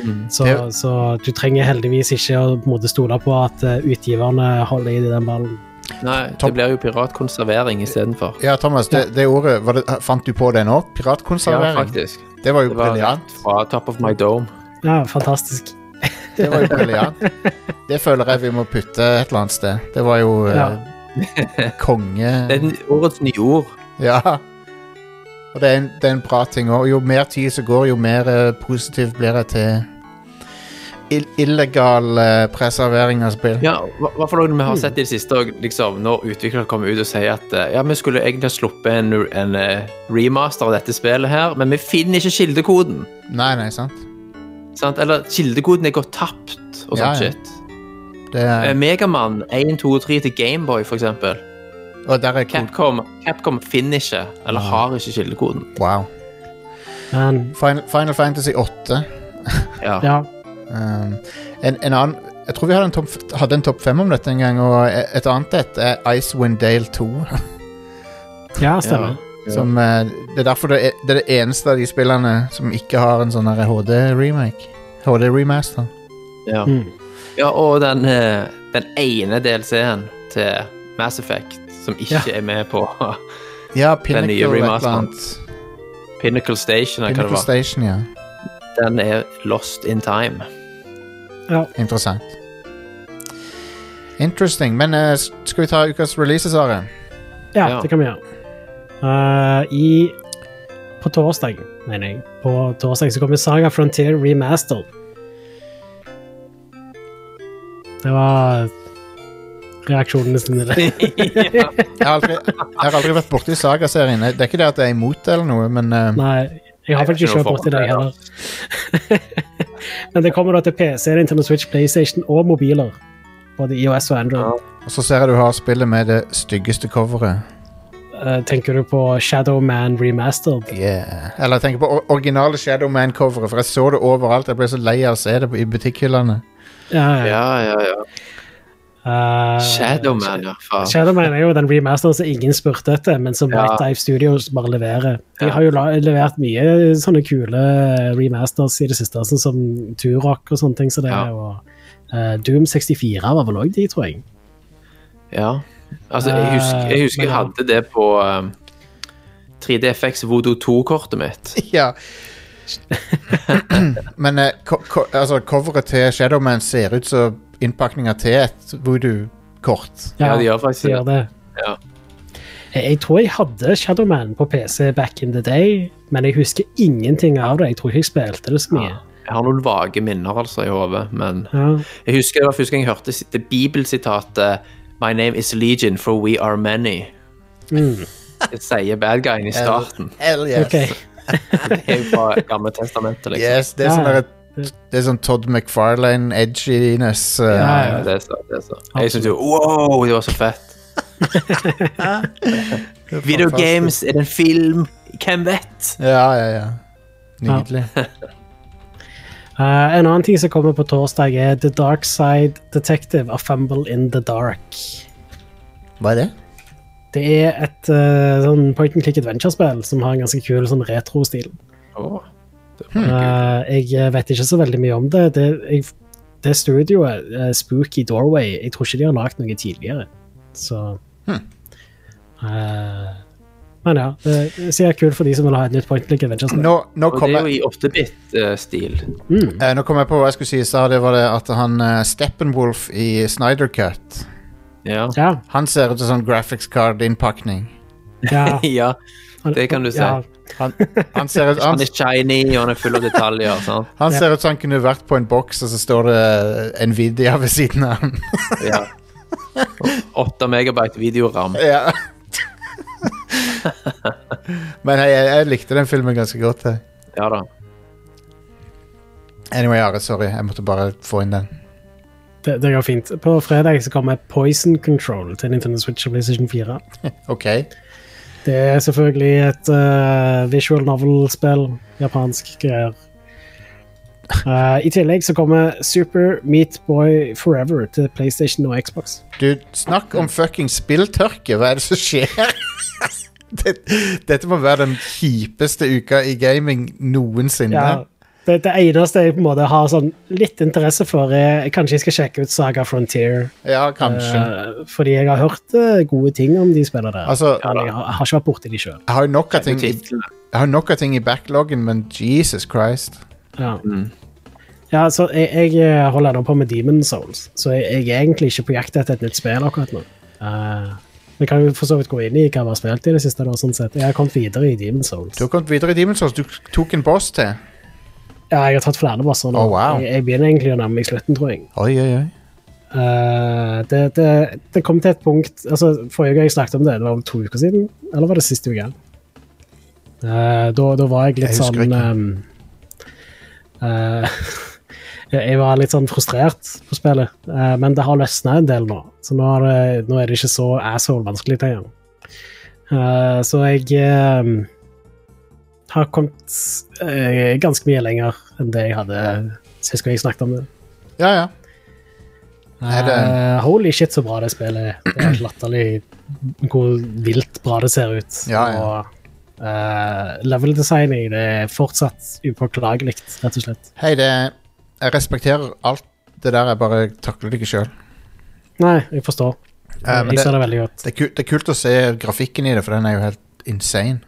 [SPEAKER 1] Mm.
[SPEAKER 2] Så, så du trenger heldigvis ikke å på en måte stole på at eh, utgiverne holder i den ballen.
[SPEAKER 3] Nei, det blir jo piratkonservering istedenfor.
[SPEAKER 1] Ja, Thomas, det, det ordet var det, Fant du på det nå?
[SPEAKER 3] Ja,
[SPEAKER 1] Piratkonservering?
[SPEAKER 3] faktisk.
[SPEAKER 1] det var jo
[SPEAKER 3] Det var
[SPEAKER 1] briljant.
[SPEAKER 3] fra top of my dome.
[SPEAKER 2] Ja, fantastisk.
[SPEAKER 1] Det var jo briljant. Det føler jeg vi må putte et eller annet sted. Det var jo eh, konge
[SPEAKER 3] Det er den- årets nye ord.
[SPEAKER 1] Ja. Og det er en, det er en bra ting òg. Jo mer tid som går, jo mer eh, positiv blir jeg til ill illegal eh, preservering av spill.
[SPEAKER 3] Ja, hva, hva for noe vi har sett i det siste, og liksom, når utviklere kommer ut og sier at eh, ja, vi skulle egentlig ha sluppet en, en eh, remaster av dette spillet her, men vi finner ikke kildekoden.
[SPEAKER 1] Nei, nei, sant.
[SPEAKER 3] Sant? Eller kildekoden er gått tapt, og
[SPEAKER 1] Ja, ja.
[SPEAKER 3] sånt shit.
[SPEAKER 1] Det
[SPEAKER 3] Eh,
[SPEAKER 1] er,
[SPEAKER 3] Megaman 1, 2 og 3 til Gameboy, for eksempel.
[SPEAKER 1] og der er kod.
[SPEAKER 3] Capcom, Capcom finner ikke, eller har ikke kildekoden.
[SPEAKER 1] Wow.
[SPEAKER 2] Men
[SPEAKER 1] Final, Final Fantasy 8.
[SPEAKER 3] Ja.
[SPEAKER 2] ja,
[SPEAKER 1] Um, en, en annen Jeg tror vi hadde en topp, hadde en topp fem om dette en gang, og e, et annet et er Icewind Dale 2.
[SPEAKER 2] ja stemmer.
[SPEAKER 1] Som, eh, det er derfor det er, det er det eneste av de spillene som ikke har en sånn her HD-remake. HD-remaster.
[SPEAKER 3] Ja.
[SPEAKER 2] Mm.
[SPEAKER 3] ja, og den, eh, den ene DLC-en til Mass Effect, som ikke er med på
[SPEAKER 1] Ja, Pinnacle
[SPEAKER 3] nye
[SPEAKER 1] og et eller
[SPEAKER 3] remasteren.
[SPEAKER 1] annet.
[SPEAKER 3] Pinnacle Station, eller hva det
[SPEAKER 1] Pinnacle
[SPEAKER 3] var.
[SPEAKER 1] Station, ja.
[SPEAKER 3] Den er lost in time.
[SPEAKER 1] Interessant. Interesting. Men eh, s- skal vi ta ukas releases, Are?
[SPEAKER 2] Ja,
[SPEAKER 3] Ja.
[SPEAKER 2] det kan vi gjøre. Eh, I på torsdag, mener jeg. På torsdag så kommer Saga Frontier Remastered. Det var reaksjonene sine. der.
[SPEAKER 1] Jeg har aldri, jeg har aldri vært borti Saga-serien. Det er ikke det at jeg er imot det eller noe, men eh,
[SPEAKER 2] Nei, jeg har
[SPEAKER 3] Nei, det er
[SPEAKER 2] vel ikke
[SPEAKER 3] ikke
[SPEAKER 2] kjørt
[SPEAKER 3] noe
[SPEAKER 2] borti
[SPEAKER 3] forhold
[SPEAKER 2] deg heller. Men det kommer da til PC, Nintendo Switch, PlayStation og mobiler. Både IOS og Android.
[SPEAKER 1] og så ser jeg du har spillet med det styggeste coveret.
[SPEAKER 2] Eh, Tenker du på Shadow Man Remastered?
[SPEAKER 1] Yeah. Eller jeg tenker på or- originale Shadow Man-coveret, for jeg så det overalt. Jeg ble så lei av å se det på- i butikkhyllene.
[SPEAKER 2] Ja, ja.
[SPEAKER 3] Ja, ja, ja.
[SPEAKER 2] Eh,
[SPEAKER 3] Shadowman, ja. Faen.
[SPEAKER 2] Shadowman er jo den remasteren som ingen spurte etter, men som
[SPEAKER 3] Ja.
[SPEAKER 2] White Dive Studios bare leverer. De
[SPEAKER 3] Ja.
[SPEAKER 2] har jo la levert mye sånne kule remasters i det siste, sånn som Turok og sånne ting. Så det,
[SPEAKER 3] Ja.
[SPEAKER 2] og, eh, Doom 64 var vel òg de, tror jeg.
[SPEAKER 3] Ja. Altså, jeg husker, jeg, husker jeg hadde det på um, 3DFX Vodo 2-kortet mitt.
[SPEAKER 1] Ja. Men eh, ko- ko- altså, coveret til Shadow Man ser ut som innpakninga til et voodoo-kort.
[SPEAKER 3] Ja, de gjør faktisk
[SPEAKER 2] de gjør det.
[SPEAKER 3] Ja.
[SPEAKER 2] Jeg jeg tror jeg hadde Shadowman på PC back in the day, men jeg husker ingenting av det. Jeg tror ikke jeg spilte det så mye.
[SPEAKER 3] Jeg har noen vage minner altså i hodet, men
[SPEAKER 2] Ja.
[SPEAKER 3] jeg husker det var første gang jeg hørte sit- det bibelsitatet My name is Legion, for we are many.
[SPEAKER 2] Mm.
[SPEAKER 3] Det sier bad guyen i starten.
[SPEAKER 1] Hell yes.
[SPEAKER 2] ok.
[SPEAKER 3] Det er jo fra Gamle testamentet, liksom.
[SPEAKER 1] yes det, er
[SPEAKER 2] Ja,
[SPEAKER 1] sånn
[SPEAKER 2] ja.
[SPEAKER 1] der, det er sånn Todd McFarlane, edginess eh,
[SPEAKER 2] Ja, ja.
[SPEAKER 3] Ja, det er så, det er så. Jeg syns jo Wow, det var så fett. Video games, er det en film? Hvem vet?
[SPEAKER 1] Ja, ja, ja. Nydelig.
[SPEAKER 2] Eh, en annen ting som kommer på torsdag, er The Dark Side Detective of Fumble in the Dark.
[SPEAKER 1] Hva er det?
[SPEAKER 2] Det er et eh, sånn point and click adventure-spill som har en ganske kul sånn retro-stil.
[SPEAKER 3] Åh, det var Hmm, kult.
[SPEAKER 2] Eh, jeg vet ikke så veldig mye om det. Det, jeg, det studioet, eh, Spooky Doorway, jeg tror ikke de har lagd noe tidligere. Så
[SPEAKER 3] Hmm.
[SPEAKER 2] Eh, Men ja, det ser kult for de som vil ha et nytt point and click adventure-spill.
[SPEAKER 1] Nå, nå
[SPEAKER 3] Og det
[SPEAKER 1] kommer
[SPEAKER 3] er jo i 8-bit-stil.
[SPEAKER 1] Eh, nå kom jeg på hva jeg skulle si. Jeg sa det var det at han eh, Steppenwolf i Snyder Cut
[SPEAKER 3] Ja.
[SPEAKER 2] Ja,
[SPEAKER 1] Han ser ut som sånn graphics card-innpakning.
[SPEAKER 2] ja.
[SPEAKER 3] ja. Det kan du si.
[SPEAKER 2] Ja,
[SPEAKER 1] Han, han ser ut
[SPEAKER 3] Han
[SPEAKER 1] han,
[SPEAKER 3] er shiny, og han er full av detaljer. sant?
[SPEAKER 1] han ser ut som han kunne vært på en boks, og så står det eh, Nvidia ved siden av han.
[SPEAKER 3] Ja. 8 megabyte videoram.
[SPEAKER 1] ja. Men jeg, jeg, jeg likte den filmen ganske godt. jeg.
[SPEAKER 3] Ja da.
[SPEAKER 1] Anyway, Are, sorry. Jeg måtte bare få inn den.
[SPEAKER 2] det, det går fint. På fredag så kommer Poison Control til Nintendo Switch og PlayStation 4.
[SPEAKER 1] OK.
[SPEAKER 2] Det er selvfølgelig et eh, visual novel-spill. Japansk greier. Eh, I tillegg så kommer Super Meat Boy Forever til PlayStation og Xbox.
[SPEAKER 1] Du, snakk om fucking spilltørke. Hva er det som skjer? Dette, dette må være den kjipeste uka i gaming noensinne.
[SPEAKER 2] Ja, det, det eneste jeg på en måte har sånn litt interesse for, er kanskje jeg skal sjekke ut Saga Frontier.
[SPEAKER 1] Ja, kanskje.
[SPEAKER 2] eh, fordi jeg har hørt eh, gode ting om de spillene der.
[SPEAKER 1] altså,
[SPEAKER 2] Men jeg har, jeg har ikke vært borti de sjøl.
[SPEAKER 1] jeg har jo nok av ting i,
[SPEAKER 3] Titlene.
[SPEAKER 1] Jeg har nok av ting i backloggen, men Jesus Christ.
[SPEAKER 2] Ja.
[SPEAKER 1] Mm.
[SPEAKER 2] Ja, så jeg, jeg holder ennå på med Demon Souls, så jeg, jeg er egentlig ikke på jakt etter et nytt spill akkurat nå. Eh, Vi kan jo for så vidt gå inn i hva vi har spilt i det siste. Da, sånn sett. Jeg har kommet videre i Demon Souls.
[SPEAKER 1] Du har kommet videre i Demon's Souls. Du tok en boss til.
[SPEAKER 2] Ja, jeg har tatt flere bosser nå.
[SPEAKER 1] Oh, wow.
[SPEAKER 2] jeg, jeg begynner egentlig å nærme meg slutten, tror jeg.
[SPEAKER 1] Oi, oi, oi.
[SPEAKER 2] Eh, det, det, det kom til et punkt altså Forrige gang jeg snakket om det, det var om to uker siden. Eller var det siste uke? Eh, da, da var jeg litt
[SPEAKER 1] Jeg husker
[SPEAKER 2] sånn
[SPEAKER 1] ikke.
[SPEAKER 2] ehm, eh, jeg- Jeg var litt sånn frustrert på spillet, eh, men det har løsna en del nå. Så nå er det, nå er det ikke så asshole vanskelig lenger. Eh, så jeg ehm, har kommet eh, ganske mye lenger enn det jeg hadde sist gang jeg snakket om det.
[SPEAKER 1] Ja, ja. Nei, det,
[SPEAKER 2] Eh, holy shit, så bra det spillet er. Det er helt latterlig hvor vilt bra det ser ut.
[SPEAKER 1] Ja, ja.
[SPEAKER 2] Og eh, level-designing det er fortsatt upåklagelig, rett og slett.
[SPEAKER 1] hei, det Jeg respekterer alt det der. Jeg bare takler det ikke sjøl.
[SPEAKER 2] Nei, jeg forstår.
[SPEAKER 1] Ja, men
[SPEAKER 2] jeg
[SPEAKER 1] det-
[SPEAKER 2] ser det veldig godt.
[SPEAKER 1] Det, er ku- det er kult å se grafikken i det, for den er jo helt insane.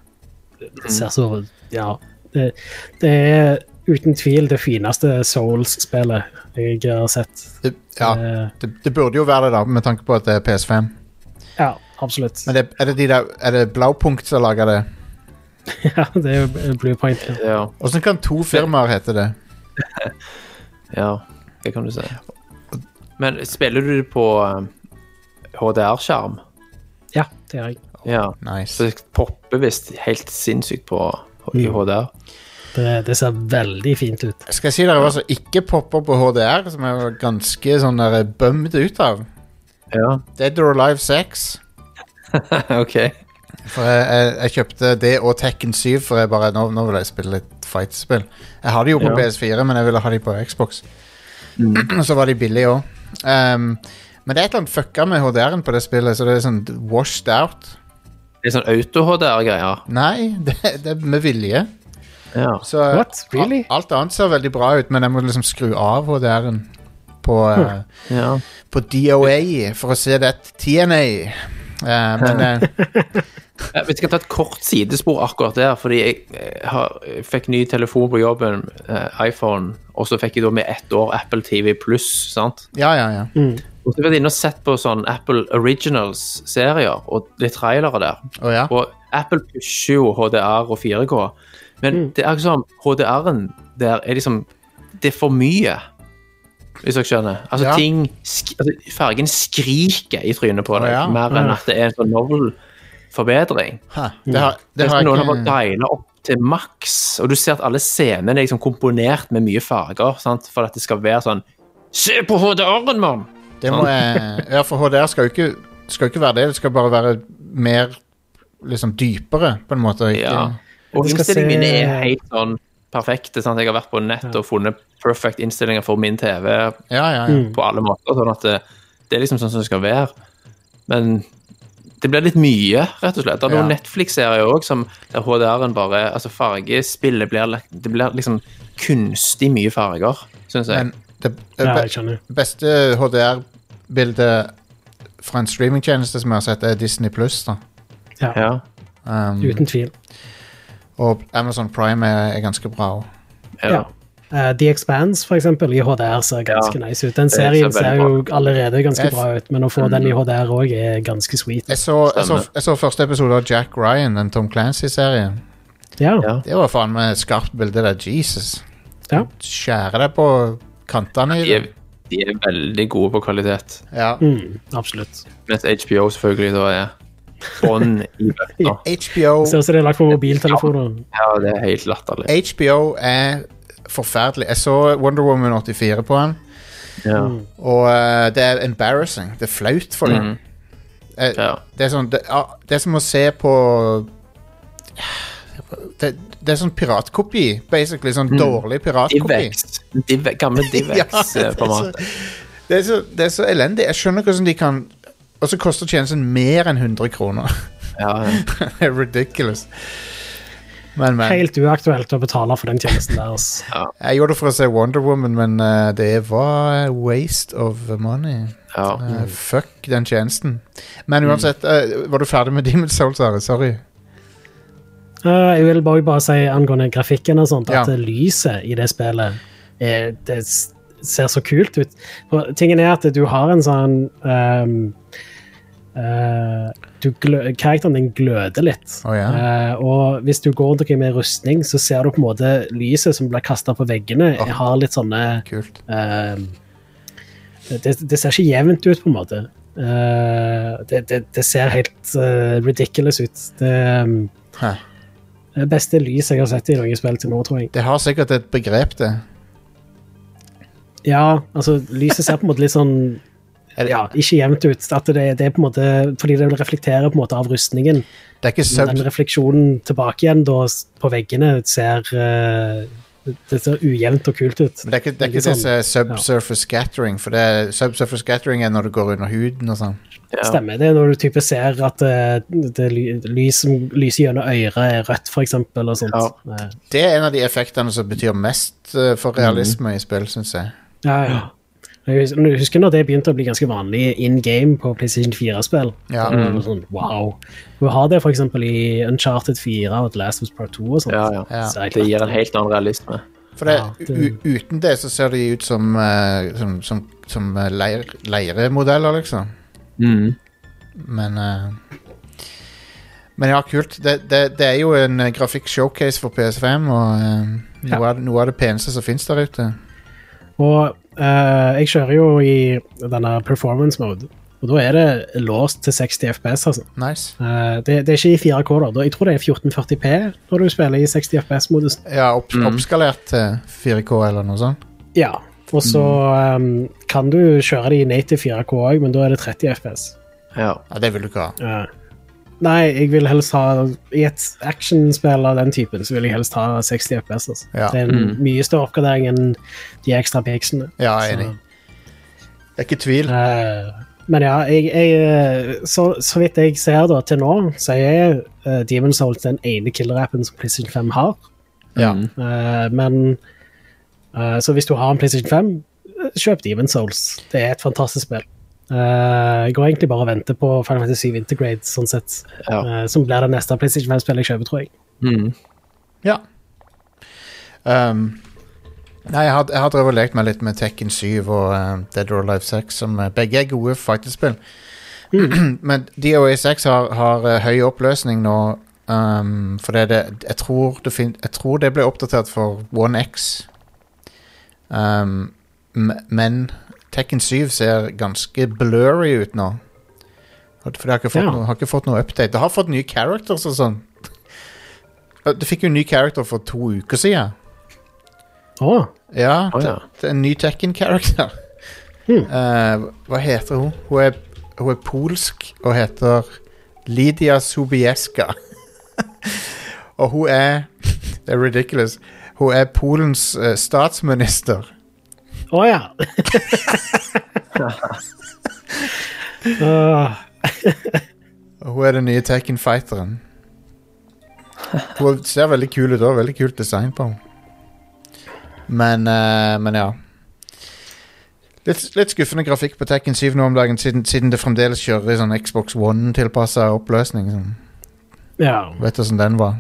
[SPEAKER 2] Det ser så Ja. Det, det er uten tvil det fineste Souls-spillet jeg har sett.
[SPEAKER 1] Det, ja,
[SPEAKER 2] Eh,
[SPEAKER 1] det, det burde jo være det, da, med tanke på at det er PS5.
[SPEAKER 2] ja absolutt.
[SPEAKER 1] Men det, er det de der Er det Blaupunkt som lager det?
[SPEAKER 2] ja, det er jo bluepoint. Ja.
[SPEAKER 3] Ja,
[SPEAKER 1] Åssen kan to firmaer hete det?
[SPEAKER 3] ja, det kan du si. Men spiller du det på eh, HDR-skjerm?
[SPEAKER 2] ja, det er jeg.
[SPEAKER 3] Ja. Så
[SPEAKER 1] Nice.
[SPEAKER 3] det popper visst helt sinnssykt på i
[SPEAKER 2] Mm.
[SPEAKER 3] HDR.
[SPEAKER 2] Det, det ser veldig fint ut.
[SPEAKER 1] Skal jeg si dere hva som ikke popper på HDR, som jeg var ganske sånn der bømd ut av?
[SPEAKER 3] Ja,
[SPEAKER 1] Dead or Alive 6.
[SPEAKER 3] OK.
[SPEAKER 1] For jeg, jeg, jeg kjøpte det og Tekken 7, for jeg bare, nå, nå vil jeg spille litt fightspill. Jeg har de jo på
[SPEAKER 3] Ja.
[SPEAKER 1] PS4, men jeg ville ha de på Xbox. Og så var de billige òg. men det er et eller annet fucka med HDR-en på det spillet, så det er sånn washed out.
[SPEAKER 3] Det er sånn auto-HDR-greier.
[SPEAKER 1] Nei, det, det er med vilje.
[SPEAKER 3] Ja.
[SPEAKER 1] Så
[SPEAKER 2] What? Really?
[SPEAKER 1] al- alt annet ser veldig bra ut, men jeg må liksom skru av HDR-en på, eh,
[SPEAKER 3] ja.
[SPEAKER 1] på DOA for å se det TNA. Eh, men eh,
[SPEAKER 3] Jeg vet ikke, jeg har tatt kort sidespor akkurat der, fordi jeg, eh, har, jeg fikk ny telefon på jobben, eh, iPhone, og så fikk jeg da med ett år Apple TV Pluss, sant?
[SPEAKER 1] ja, ja, ja.
[SPEAKER 3] Og så har jeg vært inne og sett på sånn Apple Originals-serier og litt trailere der.
[SPEAKER 1] Å ja.
[SPEAKER 3] Og Apple pusher jo HDR og 4K, men
[SPEAKER 1] Mm.
[SPEAKER 3] det er akkurat som HDR-en der er liksom Det er for mye, hvis dere skjønner. Altså,
[SPEAKER 1] Ja.
[SPEAKER 3] ting sk altså, Fargen skriker i trynet på deg,
[SPEAKER 1] Å ja. Mm.
[SPEAKER 3] mer enn at det er en sånn novel-forbedring.
[SPEAKER 1] Ha, det har, det
[SPEAKER 3] Det
[SPEAKER 1] har
[SPEAKER 3] er noen
[SPEAKER 1] jeg
[SPEAKER 3] har bare
[SPEAKER 1] ikke
[SPEAKER 3] diala opp til maks, og du ser at alle scenene er liksom komponert med mye farger, sant? for at det skal være sånn Se på HDR-en, mann!
[SPEAKER 1] Det må jeg Ja, for HDR skal jo ikke, skal jo ikke være det. Det skal bare være mer liksom dypere, på en måte. og Ikke,
[SPEAKER 3] Ja. Og
[SPEAKER 2] Vi skal
[SPEAKER 3] innstillingene
[SPEAKER 2] se-
[SPEAKER 3] mine er helt sånn perfekte. Sant? Jeg har vært på nett og funnet perfect innstillinger for min TV
[SPEAKER 1] ja, ja. ja.
[SPEAKER 2] Mm.
[SPEAKER 3] på alle måter, sånn at det, det er liksom sånn som det skal være. Men det blir litt mye, rett og slett. Det er
[SPEAKER 1] Ja.
[SPEAKER 3] noen Netflix-serier òg som der HDR-en bare Altså, fargespillet blir lagt- Det blir liksom kunstig mye farger, syns jeg.
[SPEAKER 1] Men det
[SPEAKER 2] Ja,
[SPEAKER 1] be,
[SPEAKER 2] jeg skjønner.
[SPEAKER 1] beste HDR-bildet fra en streamingtjeneste som jeg har sett, er Disney Pluss.
[SPEAKER 2] Ja,
[SPEAKER 3] ja.
[SPEAKER 1] Um,
[SPEAKER 2] uten tvil.
[SPEAKER 1] og Amazon Prime er, er ganske bra òg.
[SPEAKER 3] Ja.
[SPEAKER 2] Ja. Eh, The Expanse, for eksempel, i HDR ser ganske
[SPEAKER 3] Ja.
[SPEAKER 2] nice ut. Den
[SPEAKER 3] ser
[SPEAKER 2] serien
[SPEAKER 3] veldig
[SPEAKER 2] ser
[SPEAKER 3] bra
[SPEAKER 2] jo allerede ganske
[SPEAKER 1] Jeg f- Mm.
[SPEAKER 2] bra ut, men å få den i HDR òg er ganske sweet.
[SPEAKER 1] Jeg, så- jeg, så-
[SPEAKER 3] Stemmer.
[SPEAKER 1] jeg så første episode av Jack Ryan, den Tom Clancy-serien.
[SPEAKER 2] Ja,
[SPEAKER 3] Ja.
[SPEAKER 1] Det var faen meg et skarpt bilde der. Jesus.
[SPEAKER 2] Ja.
[SPEAKER 1] Skjærer deg på kantene i
[SPEAKER 3] De,
[SPEAKER 1] det.
[SPEAKER 3] er, de er veldig gode på kvalitet.
[SPEAKER 1] Ja.
[SPEAKER 2] Mm, absolutt.
[SPEAKER 3] Mens HBO selvfølgelig da er bånn i bøtta.
[SPEAKER 1] HBO
[SPEAKER 2] Ser ut som det er lagt på mobiltelefoner.
[SPEAKER 3] Ja, det er helt latterlig.
[SPEAKER 1] HBO er forferdelig. Jeg så Wonder Woman 84 på den,
[SPEAKER 3] Ja.
[SPEAKER 2] Mm.
[SPEAKER 1] og eh, det er embarrassing. Det er flaut for dem. Eh,
[SPEAKER 3] Ja.
[SPEAKER 1] det, er sånn, det, ja, det er som å se på Det, det er sånn piratkopi, basically. Sånn dårlig piratkopi.
[SPEAKER 3] Divex. Dive, eh, gamle
[SPEAKER 1] Ja, altså. det er så-
[SPEAKER 3] Divex-format.
[SPEAKER 1] Det er, så, det er så elendig. Jeg skjønner ikke hvordan de kan Og så koster tjenesten mer enn 100 kroner.
[SPEAKER 3] Ja, ja.
[SPEAKER 1] det er ridiculous. Men, men.
[SPEAKER 2] Helt uaktuelt å betale for den tjenesten der. ass.
[SPEAKER 1] Jeg gjorde det for å se Wonder Woman, men eh, det var waste of money.
[SPEAKER 3] ja.
[SPEAKER 1] Eh, fuck den tjenesten. Men uansett, eh, var du ferdig med Demon's Souls, Are? Sorry.
[SPEAKER 2] Eh, jeg vil bare, bare si angående grafikken og sånt, at
[SPEAKER 1] Ja.
[SPEAKER 2] eh, lyset i det spillet er, det s- ser så kult ut. For tingen er at du har en sånn ehm, eh, du glø Karakteren din gløder litt.
[SPEAKER 1] Å, ja.
[SPEAKER 2] Eh, og hvis du går og driver med rustning, så ser du på en måte lyset som blir kasta på veggene,
[SPEAKER 1] Åh.
[SPEAKER 2] har litt sånne
[SPEAKER 1] Kult.
[SPEAKER 2] Ehm, det, det ser ikke jevnt ut, på en måte. Eh, det, det, det ser helt eh, ridiculous ut. Det ehm,
[SPEAKER 1] Hæ.
[SPEAKER 2] det beste lys jeg har sett i noe spill til nå, tror jeg.
[SPEAKER 1] Det har sikkert et begrep, det.
[SPEAKER 2] Ja, altså, lyset ser på en måte litt sånn
[SPEAKER 1] Er det-
[SPEAKER 2] ja, ikke jevnt ut. At det, det er på en måte, fordi det reflekterer på en måte av rustningen.
[SPEAKER 1] Det er ikke
[SPEAKER 2] Men
[SPEAKER 1] sub...
[SPEAKER 2] den refleksjonen tilbake igjen da, s- på veggene ser eh, Det ser ujevnt og kult ut.
[SPEAKER 1] Men det er ikke det, er ikke
[SPEAKER 2] Veldig
[SPEAKER 1] det
[SPEAKER 2] sånn-
[SPEAKER 1] som er subsurface scattering, for det er, subsurface scattering er når du går under huden og sånn.
[SPEAKER 3] ja.
[SPEAKER 2] Stemmer. Det er når du type ser at eh, det ly- lys som lyser gjennom øret er rødt, for eksempel, og sånt. Eh,
[SPEAKER 1] Det er en av de effektene som betyr mest eh, for realisme i spill, syns jeg.
[SPEAKER 2] Ja, ja. Jeg hus- jeg husker når det begynte å bli ganske vanlig in game på PlayStation 4-spill.
[SPEAKER 1] Ja.
[SPEAKER 2] Sånn, wow. Du har det f.eks. i Uncharted 4 og The Last of Us Part 2 og sånt.
[SPEAKER 3] Ja, ja.
[SPEAKER 1] Ja.
[SPEAKER 2] Så jeg
[SPEAKER 3] Det
[SPEAKER 2] klart-
[SPEAKER 3] gir en helt annen realisme.
[SPEAKER 1] For det,
[SPEAKER 2] Ja, det-
[SPEAKER 1] u- uten det så ser de ut som, eh, som, som, som eh, leir, leiremodeller, liksom. Men eh, Men ja, kult. Det, det, det er jo en eh, grafikk-showcase for PS5, og eh, noe,
[SPEAKER 2] Ja.
[SPEAKER 1] av, noe av det peneste som fins der ute.
[SPEAKER 2] Og eh, jeg kjører jo i denne performance mode, og da er det låst til 60 FPS, altså.
[SPEAKER 1] Nice.
[SPEAKER 2] Eh, det, det er ikke i 4K, da. da. Jeg tror det er 1440P når du spiller i 60 FPS-modus.
[SPEAKER 1] Ja, opp, oppskalert til 4K eller noe sånt.
[SPEAKER 2] Ja, og så
[SPEAKER 3] Mm.
[SPEAKER 2] eh, kan du kjøre det i native 4K òg, men da er det 30 FPS.
[SPEAKER 3] Ja.
[SPEAKER 1] Ja, Det vil du ikke ha.
[SPEAKER 2] Eh, nei, jeg vil helst ha I et actionspill av den typen så vil jeg helst ha 60 FPS. Altså.
[SPEAKER 1] Ja.
[SPEAKER 2] Det er en mye større oppgradering enn de ekstra pixene.
[SPEAKER 1] Ja, jeg er enig. Det er ikke tvil.
[SPEAKER 2] Eh, men ja, jeg, jeg, eh, så, så vidt jeg ser da, til nå, så er uh, Demon's Souls den ene killer-appen som PlayStation 5 har.
[SPEAKER 1] Ja.
[SPEAKER 2] Eh, men eh, Så hvis du har en PlayStation 5, eh, kjøp Demon's Souls. Det er et fantastisk spill. Eh, jeg går egentlig bare og venter på Final Fantasy 7 Intergrade, sånn sett.
[SPEAKER 3] Ja.
[SPEAKER 2] Eh, som blir det neste PlayStation 5-spillet jeg kjøper, tror jeg.
[SPEAKER 3] Mm.
[SPEAKER 1] ja. Um, nei, jeg har, jeg har drevet og lekt meg litt med Tekken 7 og eh, Dead or Alive 6, som eh, begge er gode fighterspill. Men DOA 6 har, har eh, høy oppløsning nå, um, for det, er det, jeg, tror det fin, jeg tror det ble oppdatert for One X. Um, m- men Tekken 7 ser ganske blurry ut nå. Og- For det har ikke fått,
[SPEAKER 2] Ja.
[SPEAKER 1] noe, har ikke fått noe update. Det har fått nye characters og sånn. Eh, Du fikk jo en ny character for to uker siden.
[SPEAKER 2] Å,
[SPEAKER 1] Ja,
[SPEAKER 3] Å,
[SPEAKER 1] det,
[SPEAKER 3] ja. Hm.
[SPEAKER 1] det er en ny Tekken-karakter.
[SPEAKER 2] Hmm.
[SPEAKER 1] Eh, hva heter hun? Hun er, hun er polsk og heter Lidia Sobieska. og hun er Det er ridiculous. Hun er Polens eh, statsminister.
[SPEAKER 2] Å, ja! Åh,
[SPEAKER 1] Og hun er den nye Tekken-fighteren. Hun ser veldig kul ut òg. Veldig kult design på henne. Men, eh, men ja. Litt, litt skuffende grafikk på Tekken 7 nå om dagen, siden, siden det fremdeles kjører i sånn Xbox One-tilpassa oppløsning. Sånn.
[SPEAKER 2] ja.
[SPEAKER 1] Vet du hvordan den var?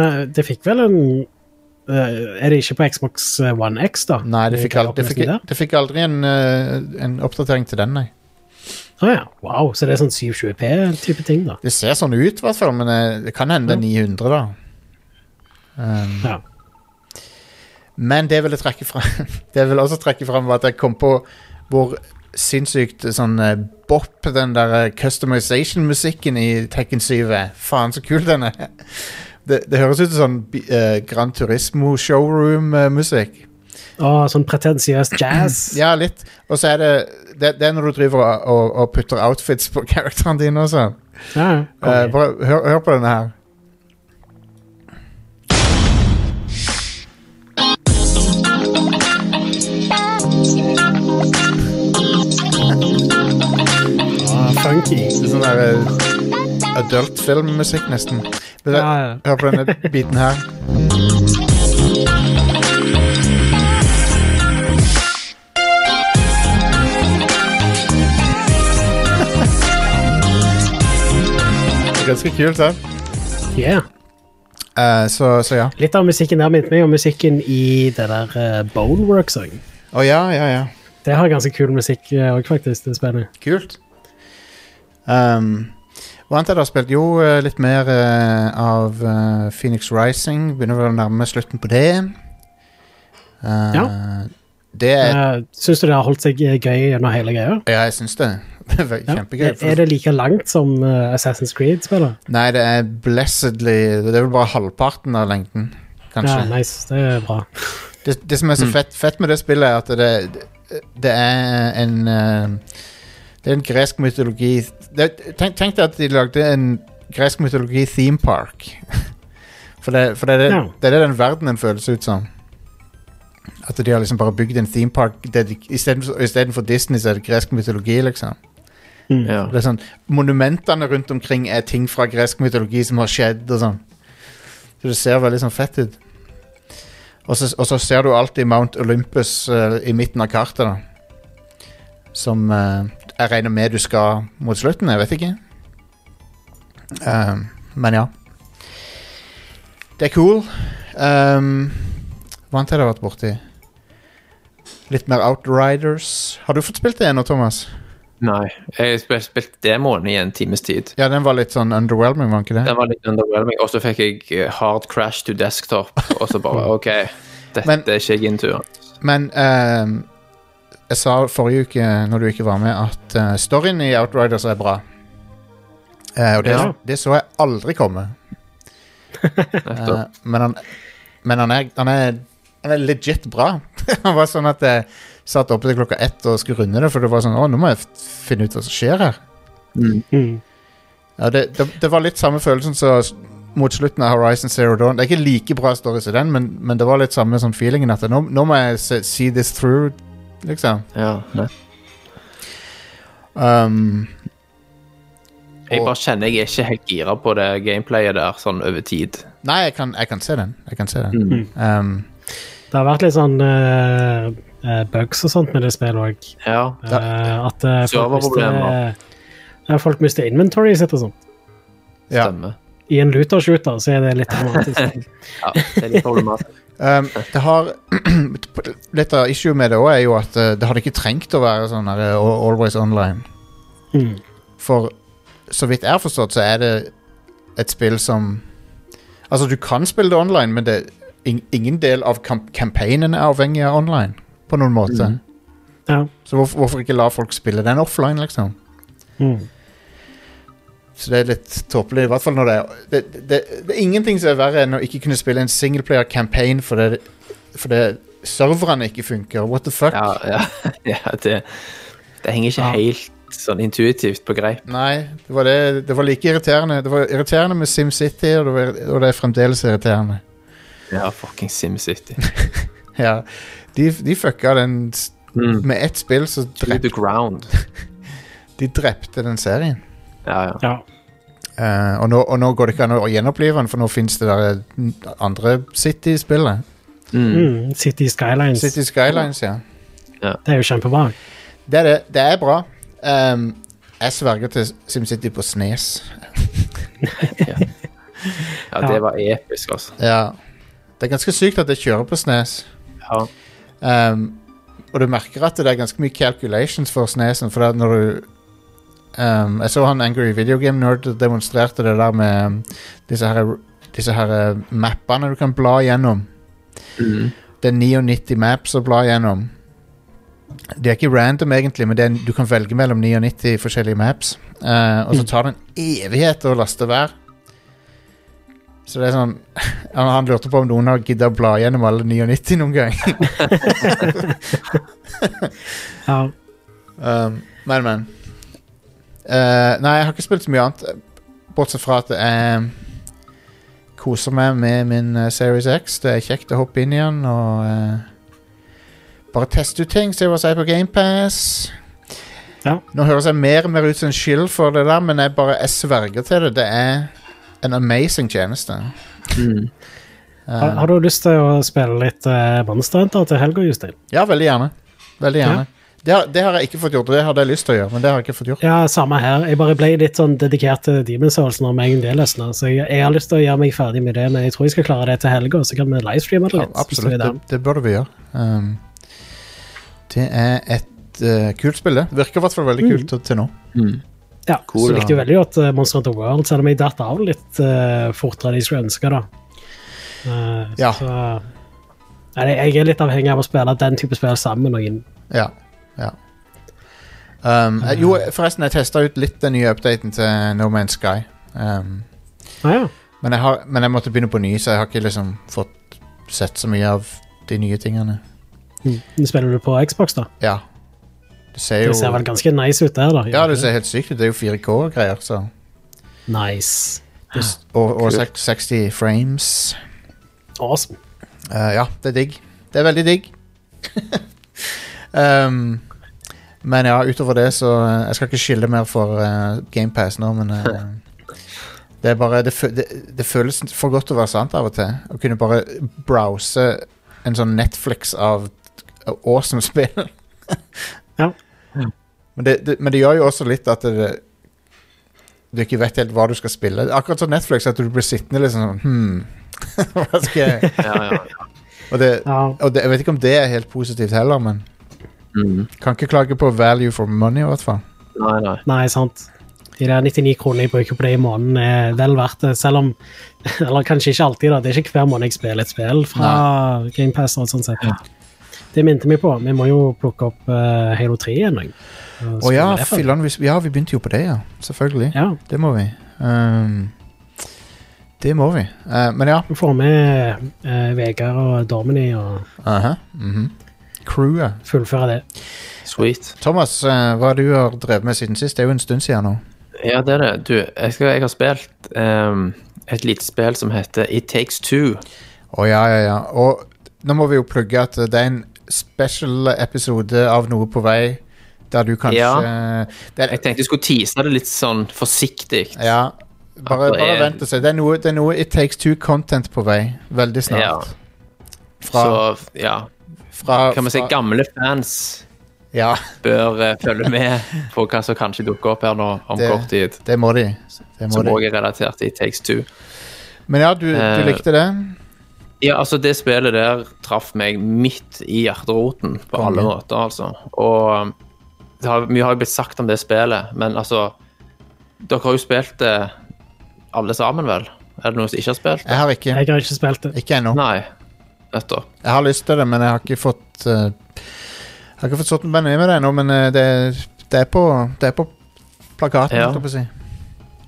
[SPEAKER 2] Eh, Det fikk vel en eh, Er det ikke på Xbox One X, da?
[SPEAKER 1] Nei, det fikk, aldri, det fikk,
[SPEAKER 2] Å
[SPEAKER 1] det fikk aldri en, eh, en oppdatering til den, nei.
[SPEAKER 2] ja. Wow, så det er sånn 720P-type ting, da.
[SPEAKER 1] Det ser sånn ut, i hvert fall, men eh, det kan hende det er 900, da. Um,
[SPEAKER 2] Ja.
[SPEAKER 1] Men det jeg ville trekke frem, det jeg ville også trekke frem var at jeg kom på hvor sinnssykt sånn eh, bop den der eh, customization-musikken i Tekken 7 er. Faen, så kul den er. Det, det høres ut som sånn bi- eh, Gran Turismo showroom-musikk.
[SPEAKER 2] Å, sånn pretensiøs jazz.
[SPEAKER 1] Ja, litt. Og så er det, det Det er når du driver og, og, og putter outfits på karakterene dine og sånn.
[SPEAKER 2] Ja, ja.
[SPEAKER 1] Eh,
[SPEAKER 2] Konge.
[SPEAKER 1] bare hør, hør på denne her.
[SPEAKER 2] Ah, funky.
[SPEAKER 1] Det er sånn der eh, adult filmmusikk, nesten. Men det,
[SPEAKER 2] Ja, ja.
[SPEAKER 1] Hør på denne biten her. Det er Ganske kult, det.
[SPEAKER 2] Yeah.
[SPEAKER 1] Eh, så, så ja.
[SPEAKER 2] Litt av musikken der minnet meg om musikken i det der uh, Boneworks òg.
[SPEAKER 1] Å ja, ja, ja.
[SPEAKER 2] Det har ganske kul musikk òg, faktisk. Det er spennende.
[SPEAKER 1] Kult. Um, hva annet er det du har spilt? Jo, eh, litt mer eh, av eh, Phoenix Rising. Begynner vel å nærme slutten på det. Eh,
[SPEAKER 2] Ja.
[SPEAKER 1] Det er
[SPEAKER 2] Uh, Syns du det har holdt seg eh, gøy gjennom hele greia?
[SPEAKER 1] Ja, jeg syns det. Det er
[SPEAKER 2] Ja.
[SPEAKER 1] Kjempegøy.
[SPEAKER 2] Er- Er det like langt som eh, Assassin's Creed-spillet?
[SPEAKER 1] Nei, det er blessedly Det er vel bare halvparten av lengden, kanskje.
[SPEAKER 2] Ja, nice. Det er bra.
[SPEAKER 1] det, det som er så fett, fett med det spillet, er at det, det, det er en eh, Det er en gresk mytologi det, tenk, tenk deg at de lagde en gresk mytologi theme park. For det, for det, er det,
[SPEAKER 2] Ja.
[SPEAKER 1] det er det den verdenen føles ut som. At de har liksom bare bygd en theme park dedik- istedenfor istedenfor Disney, så er det gresk mytologi, liksom.
[SPEAKER 3] Ja.
[SPEAKER 1] Det er sånn, Monumentene rundt omkring er ting fra gresk mytologi som har skjedd. og sånn. Så Det ser veldig sånn fett ut. Og så, og så ser du alltid Mount Olympus eh, i midten av kartet. da. Som eh, jeg regner med du skal mot slutten. Jeg vet ikke. Ehm, men ja. Det er cool. Um, hva annet har jeg vært borti? Litt mer Outriders. Har du fått spilt det ennå, Thomas?
[SPEAKER 3] Nei. Jeg spil- spilte demoen i en times tid.
[SPEAKER 1] Ja, den var litt sånn underwhelming, var den ikke det?
[SPEAKER 3] Den var litt underwhelming, og så fikk jeg eh, hard crash to desktop, og så bare OK, dette
[SPEAKER 1] Men-
[SPEAKER 3] er ikke jeg into.
[SPEAKER 1] Men ehm, jeg sa forrige uke, når du ikke var med, at eh, storyen i Outriders er bra. Eh, og det,
[SPEAKER 3] Ja.
[SPEAKER 1] det så jeg aldri komme.
[SPEAKER 3] Nettopp.
[SPEAKER 1] Eh, men han, men han, er, han, er, han er legit bra. han var sånn at jeg satt oppe til klokka ett og skulle runde det, for det var sånn Å, nå må jeg f- finne ut hva som skjer her.
[SPEAKER 2] Mm.
[SPEAKER 1] Ja, det, det, det var litt samme følelsen som s- mot slutten av Horizon Zero Dawn. Det er ikke like bra story som den, men, men det var litt samme sånn feelingen at nå, nå må jeg se, see this through, liksom.
[SPEAKER 3] Ja, nei.
[SPEAKER 1] Um,
[SPEAKER 3] jeg bare kjenner jeg er ikke helt gira på det gameplayet der sånn over tid.
[SPEAKER 1] nei, jeg kan, jeg kan se den. Jeg kan se den. Um,
[SPEAKER 2] Det har vært litt sånn eh, eh, bugs og sånt med det spillet òg.
[SPEAKER 3] Ja.
[SPEAKER 2] at eh, folk,
[SPEAKER 3] Serverproblemer.
[SPEAKER 2] mister, ja, folk mister inventory sitt og sånt.
[SPEAKER 1] ja.
[SPEAKER 3] Stemmer.
[SPEAKER 2] I en looter-shooter så er det litt dramatisk.
[SPEAKER 3] Ja, det er litt problematisk.
[SPEAKER 1] Um, det har Litt av issue med det òg er jo at eh, det hadde ikke trengt å være sånn her, eh, al- always online.
[SPEAKER 2] Mm.
[SPEAKER 1] For så vidt jeg har forstått, så er det et spill som Altså, du kan spille det online, men det, ing- ingen del av kam campaignen er avhengig av online. På noen måte.
[SPEAKER 2] Mm. Ja.
[SPEAKER 1] Så hvorfor, hvorfor ikke la folk spille den offline, liksom?
[SPEAKER 2] Mm.
[SPEAKER 1] Så det er litt tåpelig. I hvert fall når det er det, det, det, det er ingenting som er verre enn å ikke kunne spille en singleplayer-campaign fordi for det- serverne ikke funker. What the fuck?
[SPEAKER 3] Ja, ja. ja det, det henger ikke helt sånn intuitivt på greip.
[SPEAKER 1] Nei, det var, det, det var like irriterende. Det var irriterende med SimCity, og det, var, og det er fremdeles irriterende.
[SPEAKER 3] Ja, fucking SimCity.
[SPEAKER 1] Ja, de, de fucka den s-
[SPEAKER 3] Mm.
[SPEAKER 1] Med ett spill så
[SPEAKER 3] To
[SPEAKER 1] drep,
[SPEAKER 3] the ground.
[SPEAKER 1] de drepte den serien.
[SPEAKER 3] Ja, ja.
[SPEAKER 2] ja.
[SPEAKER 1] Eh, og, nå, og nå går det ikke an å gjenopplive den, for nå fins det der eh, andre City i spillet.
[SPEAKER 3] Mm.
[SPEAKER 2] Mm. City Skylines.
[SPEAKER 1] City Skylines, ja.
[SPEAKER 2] Det er jo kjempebra.
[SPEAKER 1] Det er, det, det er bra. Ehm, jeg sverger til SimCity på snes.
[SPEAKER 3] ja, det var episk, altså.
[SPEAKER 1] Ja. Det er ganske sykt at det kjører på snes.
[SPEAKER 3] Ja.
[SPEAKER 1] Ehm, og du merker at det er ganske mye calculations for snesen, for at når du ehm, Jeg så han Angry Video Game Nerd demonstrerte det der med ehm, disse her, disse her eh, mappene du kan bla gjennom.
[SPEAKER 3] Mm.
[SPEAKER 1] Det er 99 maps å bla gjennom. De er ikke random, egentlig, men det er, du kan velge mellom 99 forskjellige maps. Eh, og så tar det en evighet å laste hver. Så det er sånn Han, han lurte på om noen har gidda å bla gjennom alle 99 noen gang.
[SPEAKER 2] Ja.
[SPEAKER 1] Um, men, men. Eh, nei, jeg har ikke spilt så mye annet. Bortsett fra at jeg um, koser meg med min eh, Series X. Det er kjekt å hoppe inn i den og eh, bare teste ut ting. Se hva som er på GamePass.
[SPEAKER 2] Ja.
[SPEAKER 1] Nå høres jeg mer og mer ut som en skyld for det der, men jeg bare jeg sverger til det. Det er en amazing tjeneste.
[SPEAKER 3] Mm.
[SPEAKER 2] Har, har du lyst til å spille litt eh, Monster Hunter til helga, Justin?
[SPEAKER 1] Ja, veldig gjerne. Veldig gjerne. Det, har, det har jeg ikke fått gjort, og det hadde jeg lyst til å gjøre, men det har jeg ikke fått gjort.
[SPEAKER 2] Ja, samme her. Jeg bare ble litt sånn dedikert til Demon Souls når meg det løsner. Så jeg, jeg har lyst til å gjøre meg ferdig med det, men jeg tror jeg skal klare det til helga, så kan vi livestreame det
[SPEAKER 1] Ja,
[SPEAKER 2] litt. hvis vi
[SPEAKER 1] absolutt,
[SPEAKER 2] er
[SPEAKER 1] det,
[SPEAKER 2] der.
[SPEAKER 1] det burde vi gjøre. Um, det er et eh, kult spill, det. Virker i hvert fall veldig
[SPEAKER 2] Mm.
[SPEAKER 1] kult til- til nå.
[SPEAKER 2] Ja,
[SPEAKER 1] Cool,
[SPEAKER 2] så
[SPEAKER 1] ja.
[SPEAKER 2] likte jeg veldig godt eh, Monster Hunter World, selv om jeg datt av litt eh, fortere enn jeg skulle ønske. da. Eh,
[SPEAKER 1] Ja.
[SPEAKER 2] Så, nei, jeg er litt avhengig av å spille den type spill sammen med noen.
[SPEAKER 1] Ja. ja. Um, eh, jo, forresten, jeg testa ut litt den nye updaten til No Man's Sky. Um,
[SPEAKER 2] Ah, ja.
[SPEAKER 1] men, jeg har, men jeg måtte begynne på ny, så jeg har ikke liksom fått sett så mye av de nye tingene.
[SPEAKER 2] Mm. Spiller du på Xbox, da?
[SPEAKER 1] Ja. Det ser jo
[SPEAKER 2] Det ser vel ganske nice ut der, da.
[SPEAKER 1] Ja, det ser helt sykt ut. Det er jo 4K og greier, så
[SPEAKER 2] Nice.
[SPEAKER 1] Og, og sek- 60 frames.
[SPEAKER 2] Awesome.
[SPEAKER 1] Eh, ja, det er digg. Det er veldig digg. um, men ja, utover det så eh, Jeg skal ikke skille mer for eh, Game GamePass nå, men eh, Det er bare det, fø- det, det føles for godt til å være sant av og til. Å kunne bare browse en sånn Netflix av av awesome spill.
[SPEAKER 2] Ja.
[SPEAKER 1] Men det, det, men det gjør jo også litt at det, du ikke vet helt hva du skal spille. Akkurat som Netflix, at du blir sittende litt sånn hmm. Hva skal jeg
[SPEAKER 3] Ja, ja.
[SPEAKER 1] Og det,
[SPEAKER 2] Ja.
[SPEAKER 1] og det, jeg vet ikke om det er helt positivt heller, men
[SPEAKER 3] Mm.
[SPEAKER 1] kan ikke klage på value for money, i hvert fall.
[SPEAKER 3] Nei, nei.
[SPEAKER 2] Nei, sant. De der 99 kronene jeg bruker på det i måneden, er vel verdt det. Selv om Eller kanskje ikke alltid, da. Det er ikke hver måned jeg spiller et spill fra GamePass. og sånn sett. Det minte meg på. Vi må jo plukke opp eh, Halo 3 igjen. jeg. Og
[SPEAKER 1] Å
[SPEAKER 2] spille
[SPEAKER 1] ja,
[SPEAKER 2] det for-
[SPEAKER 1] fillan, vi, ja, vi begynte jo på det, ja. Selvfølgelig.
[SPEAKER 2] Ja,
[SPEAKER 1] Det må vi. Ehm, det må vi. Eh, men ja.
[SPEAKER 2] vi får med eh, Vegard og Dormany og
[SPEAKER 1] aha, mhm. Crewet.
[SPEAKER 2] fullføre det.
[SPEAKER 3] Sweet.
[SPEAKER 1] Thomas, eh, hva du har drevet med siden sist? Det er jo en stund siden nå.
[SPEAKER 3] Ja, det er det. Du, jeg, skal, jeg har spilt ehm, et lite spill som heter It Takes Two.
[SPEAKER 1] Å ja, ja, ja. Og nå må vi jo plugge at det er en special episode av noe på vei, der du kanskje eh, det er,
[SPEAKER 3] Jeg tenkte jeg skulle tease det litt sånn forsiktig.
[SPEAKER 1] Ja. Bare,
[SPEAKER 3] At det
[SPEAKER 1] bare
[SPEAKER 3] er-
[SPEAKER 1] vent og se. Det er noe, det er noe It Takes Two-content på vei. Veldig
[SPEAKER 3] Ja.
[SPEAKER 1] snart. Fra,
[SPEAKER 3] Så ja,
[SPEAKER 1] fra
[SPEAKER 3] kan vi si
[SPEAKER 1] fra-
[SPEAKER 3] gamle fans
[SPEAKER 1] Ja,
[SPEAKER 3] bør eh, følge med på hva som kanskje dukker opp her nå om
[SPEAKER 1] Det-
[SPEAKER 3] kort tid.
[SPEAKER 1] det må de. Det må
[SPEAKER 3] Som
[SPEAKER 1] de.
[SPEAKER 3] òg er relatert til It Takes Two.
[SPEAKER 1] Men ja, du, du
[SPEAKER 3] Eh,
[SPEAKER 1] likte det?
[SPEAKER 3] Ja, altså det spillet der traff meg midt i hjerteroten på
[SPEAKER 1] Konge.
[SPEAKER 3] alle måter, altså. Og det har, mye har jo blitt sagt om det spillet, men altså Dere har jo spilt det alle sammen, vel? Er det noen som ikke har spilt?
[SPEAKER 1] Jeg har ikke.
[SPEAKER 2] Jeg har ikke spilt det.
[SPEAKER 1] Ikke ennå.
[SPEAKER 3] Nei. Nettopp.
[SPEAKER 1] Jeg har lyst til det, men jeg har ikke fått eh, Jeg har ikke fått satt meg ned med det ennå, men eh, det, det, er på, det er på plakaten,
[SPEAKER 3] Ja.
[SPEAKER 1] holdt jeg på å si.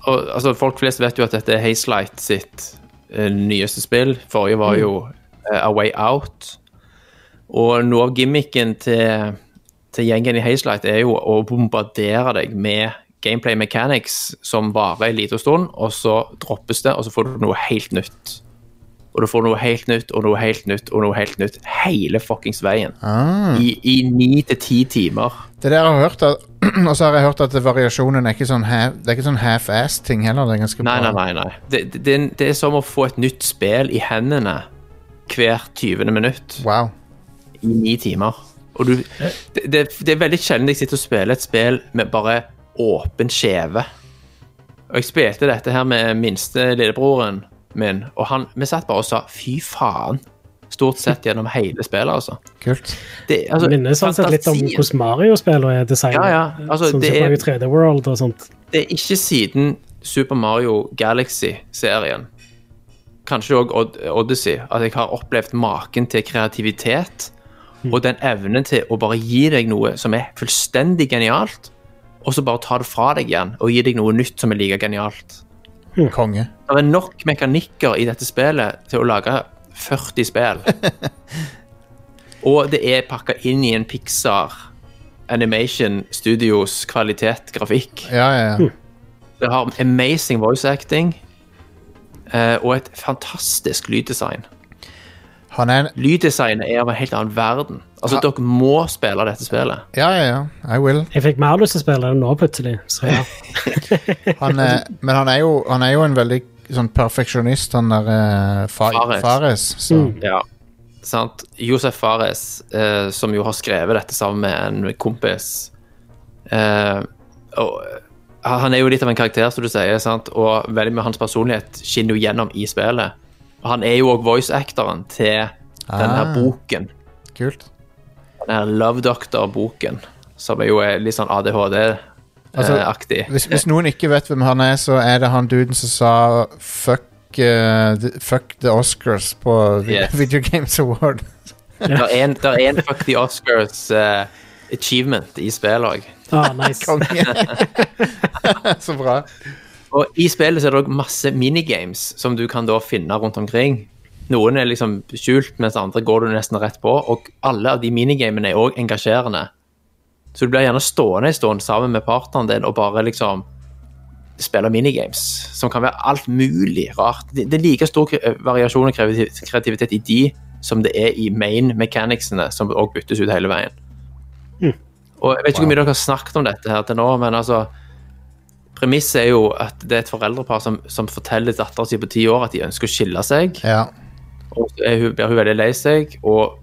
[SPEAKER 3] Og altså, folk flest vet jo at dette er Hazelight sitt eh, nyeste spill. Forrige var jo eh, A Way Out. Og noe av gimmicken til, til gjengen i Hazelight er jo å bombardere deg med gameplay mechanics som varer en liten stund, og så droppes det, og så får du noe helt nytt. Og du får noe helt nytt og noe helt nytt og noe helt nytt hele fuckings veien. I, i ni til ti timer.
[SPEAKER 1] Det der jeg har hørt, at, og så har jeg hørt at variasjonen er ikke sånn, ha- det er ikke sånn half-ass-ting heller. Det er ganske
[SPEAKER 3] Nei,
[SPEAKER 1] bra.
[SPEAKER 3] nei, nei. nei. Det, det, det, er- det er som å få et nytt spill i hendene hvert 20. minutt
[SPEAKER 1] Wow.
[SPEAKER 3] i ni timer. Og du, det, det, det er veldig sjelden jeg sitter og spiller et spill med bare åpen kjeve. Og jeg spilte dette her med minste lillebroren min, og han, vi satt bare og sa fy faen. Stort sett gjennom hele spillet, altså.
[SPEAKER 1] Kult.
[SPEAKER 3] Det, altså,
[SPEAKER 2] Det minner sånn sett litt om
[SPEAKER 3] fantasien-
[SPEAKER 2] hvordan Mario-spillene er designet.
[SPEAKER 3] Ja, ja, altså,
[SPEAKER 2] sånn
[SPEAKER 3] det
[SPEAKER 2] som
[SPEAKER 3] er-
[SPEAKER 2] på 3D World og sånt.
[SPEAKER 3] det er ikke siden Super Mario Galaxy-serien, kanskje òg Odyssey, at jeg har opplevd maken til kreativitet og den evnen til å bare gi deg noe som er fullstendig genialt, og så bare ta det fra deg igjen og gi deg noe nytt som er like genialt.
[SPEAKER 1] Konge.
[SPEAKER 3] Det er nok mekanikker i dette spillet til å lage 40 spill. Og det er pakka inn i en Pixar Animation Studios kvalitet grafikk.
[SPEAKER 1] Ja, ja, ja.
[SPEAKER 3] Det har amazing voice acting eh, og et fantastisk lyddesign.
[SPEAKER 1] Han er en
[SPEAKER 3] Lyddesignet er av en helt annen verden. Altså, Dere må spille dette spillet.
[SPEAKER 1] Ja, ja, ja. I will.
[SPEAKER 2] Jeg fikk mer lyst til å spille det nå, plutselig. Så ja.
[SPEAKER 1] Han er, men han er, jo, han er jo en veldig sånn perfeksjonist, han der eh, fa Fares.
[SPEAKER 3] Fares.
[SPEAKER 1] så.
[SPEAKER 3] Ja. Sant? Josef Fares, eh, som jo har skrevet dette sammen med en kompis eh, og, eh, Han er jo litt av en karakter, som du sier, sant? og veldig mye av hans personlighet skinner jo gjennom i spillet. Og han er jo òg voice-actoren til denne
[SPEAKER 1] Ah.
[SPEAKER 3] her boken.
[SPEAKER 1] Kult.
[SPEAKER 3] den her Love Doctor-boken, som er jo er litt sånn ADHD-aktig.
[SPEAKER 1] Hvis, hvis noen ikke vet hvem han er, så er det han duden som sa fuck, eh, the- fuck the Oscars på vi-
[SPEAKER 3] Yes.
[SPEAKER 1] Video Games Award.
[SPEAKER 3] Det er en, der er en Fuck the Oscars eh, achievement i spillet òg.
[SPEAKER 2] ah, nice.
[SPEAKER 1] Konge. så bra.
[SPEAKER 3] Og i spillet så er det òg masse minigames som du kan da finne rundt omkring. Noen er liksom skjult, mens andre går du nesten rett på. Og alle av de minigamene er òg engasjerende. Så du blir gjerne stående en stund sammen med partneren din og bare liksom spille minigames, som kan være alt mulig rart. Det det er like stor kre- variasjon og kreativ- kreativitet i de som det er i main mechanicsene, som òg byttes ut hele veien. Og jeg vet ikke hvor mye dere har snakket om dette her til nå, men altså Premisset er jo at det er et foreldrepar som, som forteller datteren sin på ti år at de ønsker å skille seg.
[SPEAKER 1] Ja.
[SPEAKER 3] Og så er hun, blir hun veldig lei seg og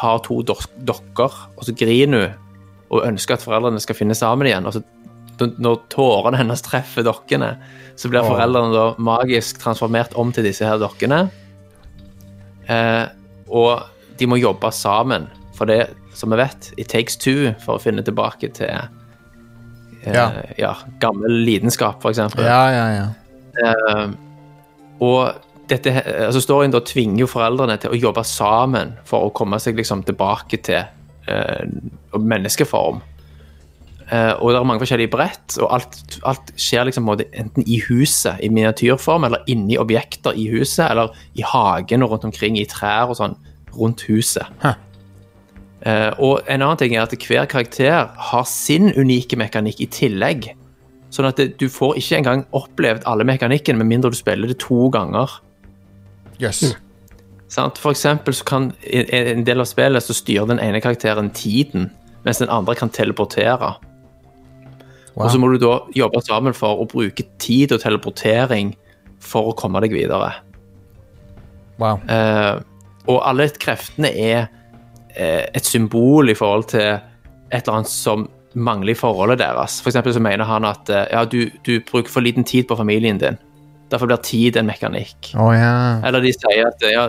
[SPEAKER 3] har to dors- dokker, og så griner hun og ønsker at foreldrene skal finne sammen igjen. Og så n- når tårene hennes treffer dokkene, så blir
[SPEAKER 1] Åh.
[SPEAKER 3] foreldrene da magisk transformert om til disse her dokkene. Eh, og de må jobbe sammen, for det, som vi vet, it takes two for å finne tilbake til eh,
[SPEAKER 1] Ja.
[SPEAKER 3] ja, gammel lidenskap, for eksempel.
[SPEAKER 1] Ja, ja, ja.
[SPEAKER 3] Eh, og dette, he- altså storyen da tvinger jo foreldrene til å jobbe sammen for å komme seg liksom tilbake til eh, menneskeform. Eh, og det er mange forskjellige brett, og alt, alt skjer liksom på en måte enten i huset, i miniatyrform, eller inni objekter i huset, eller i hagen og rundt omkring, i trær og sånn, rundt huset.
[SPEAKER 1] Hæ.
[SPEAKER 3] Eh, og en annen ting er at hver karakter har sin unike mekanikk i tillegg. Sånn at det, du får ikke engang opplevd alle mekanikken, med mindre du spiller det to ganger.
[SPEAKER 1] Jøss.
[SPEAKER 3] Sant? For eksempel så kan i i en del av spillet så styrer den ene karakteren tiden, mens den andre kan teleportere. Og så
[SPEAKER 1] Wow.
[SPEAKER 3] må du da jobbe sammen for å bruke tid og teleportering for å komme deg videre.
[SPEAKER 1] wow.
[SPEAKER 3] Eh, og alle kreftene er eh, et symbol i forhold til et eller annet som mangler i forholdet deres. For eksempel så mener han at eh, ja, du, du bruker for liten tid på familien din. Derfor blir tid en mekanikk.
[SPEAKER 1] Å ja.
[SPEAKER 3] Eller de sier at ja,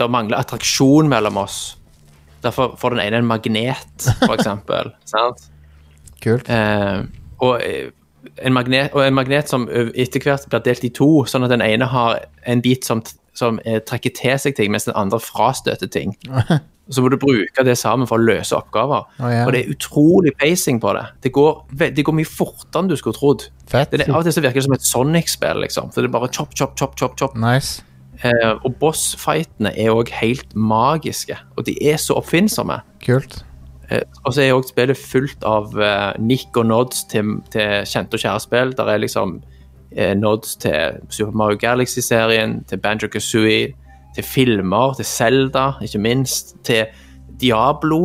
[SPEAKER 3] det mangler attraksjon mellom oss. Derfor får den ene en magnet, for eksempel. sant?
[SPEAKER 1] Kult.
[SPEAKER 3] Eh, og, eh, en magnet, og en magnet som ø- etter hvert blir delt i to, sånn at den ene har en bit som, t- som eh, trekker til seg ting, mens den andre frastøter ting. Så må du bruke det sammen for å løse oppgaver.
[SPEAKER 1] Å, ja.
[SPEAKER 3] Og det er utrolig pacing på det. Det går, ve- det går mye fortere enn du skulle trodd.
[SPEAKER 1] Fett.
[SPEAKER 3] Det er, av og til så virker det som et Sonic-spill, liksom. Så det er bare chop, chop, chop, chop, chop.
[SPEAKER 1] Nice.
[SPEAKER 3] Eh, og bossfightene er òg helt magiske, og de er så oppfinnsomme.
[SPEAKER 1] Kult.
[SPEAKER 3] Eh, og så er òg spillet fullt av eh, nikk og nods til, til kjente og kjære spill. Der er liksom eh, nods til Super Mario Galaxy-serien, til Banjo Kazooie, til filmer, til Zelda, ikke minst, til Diablo.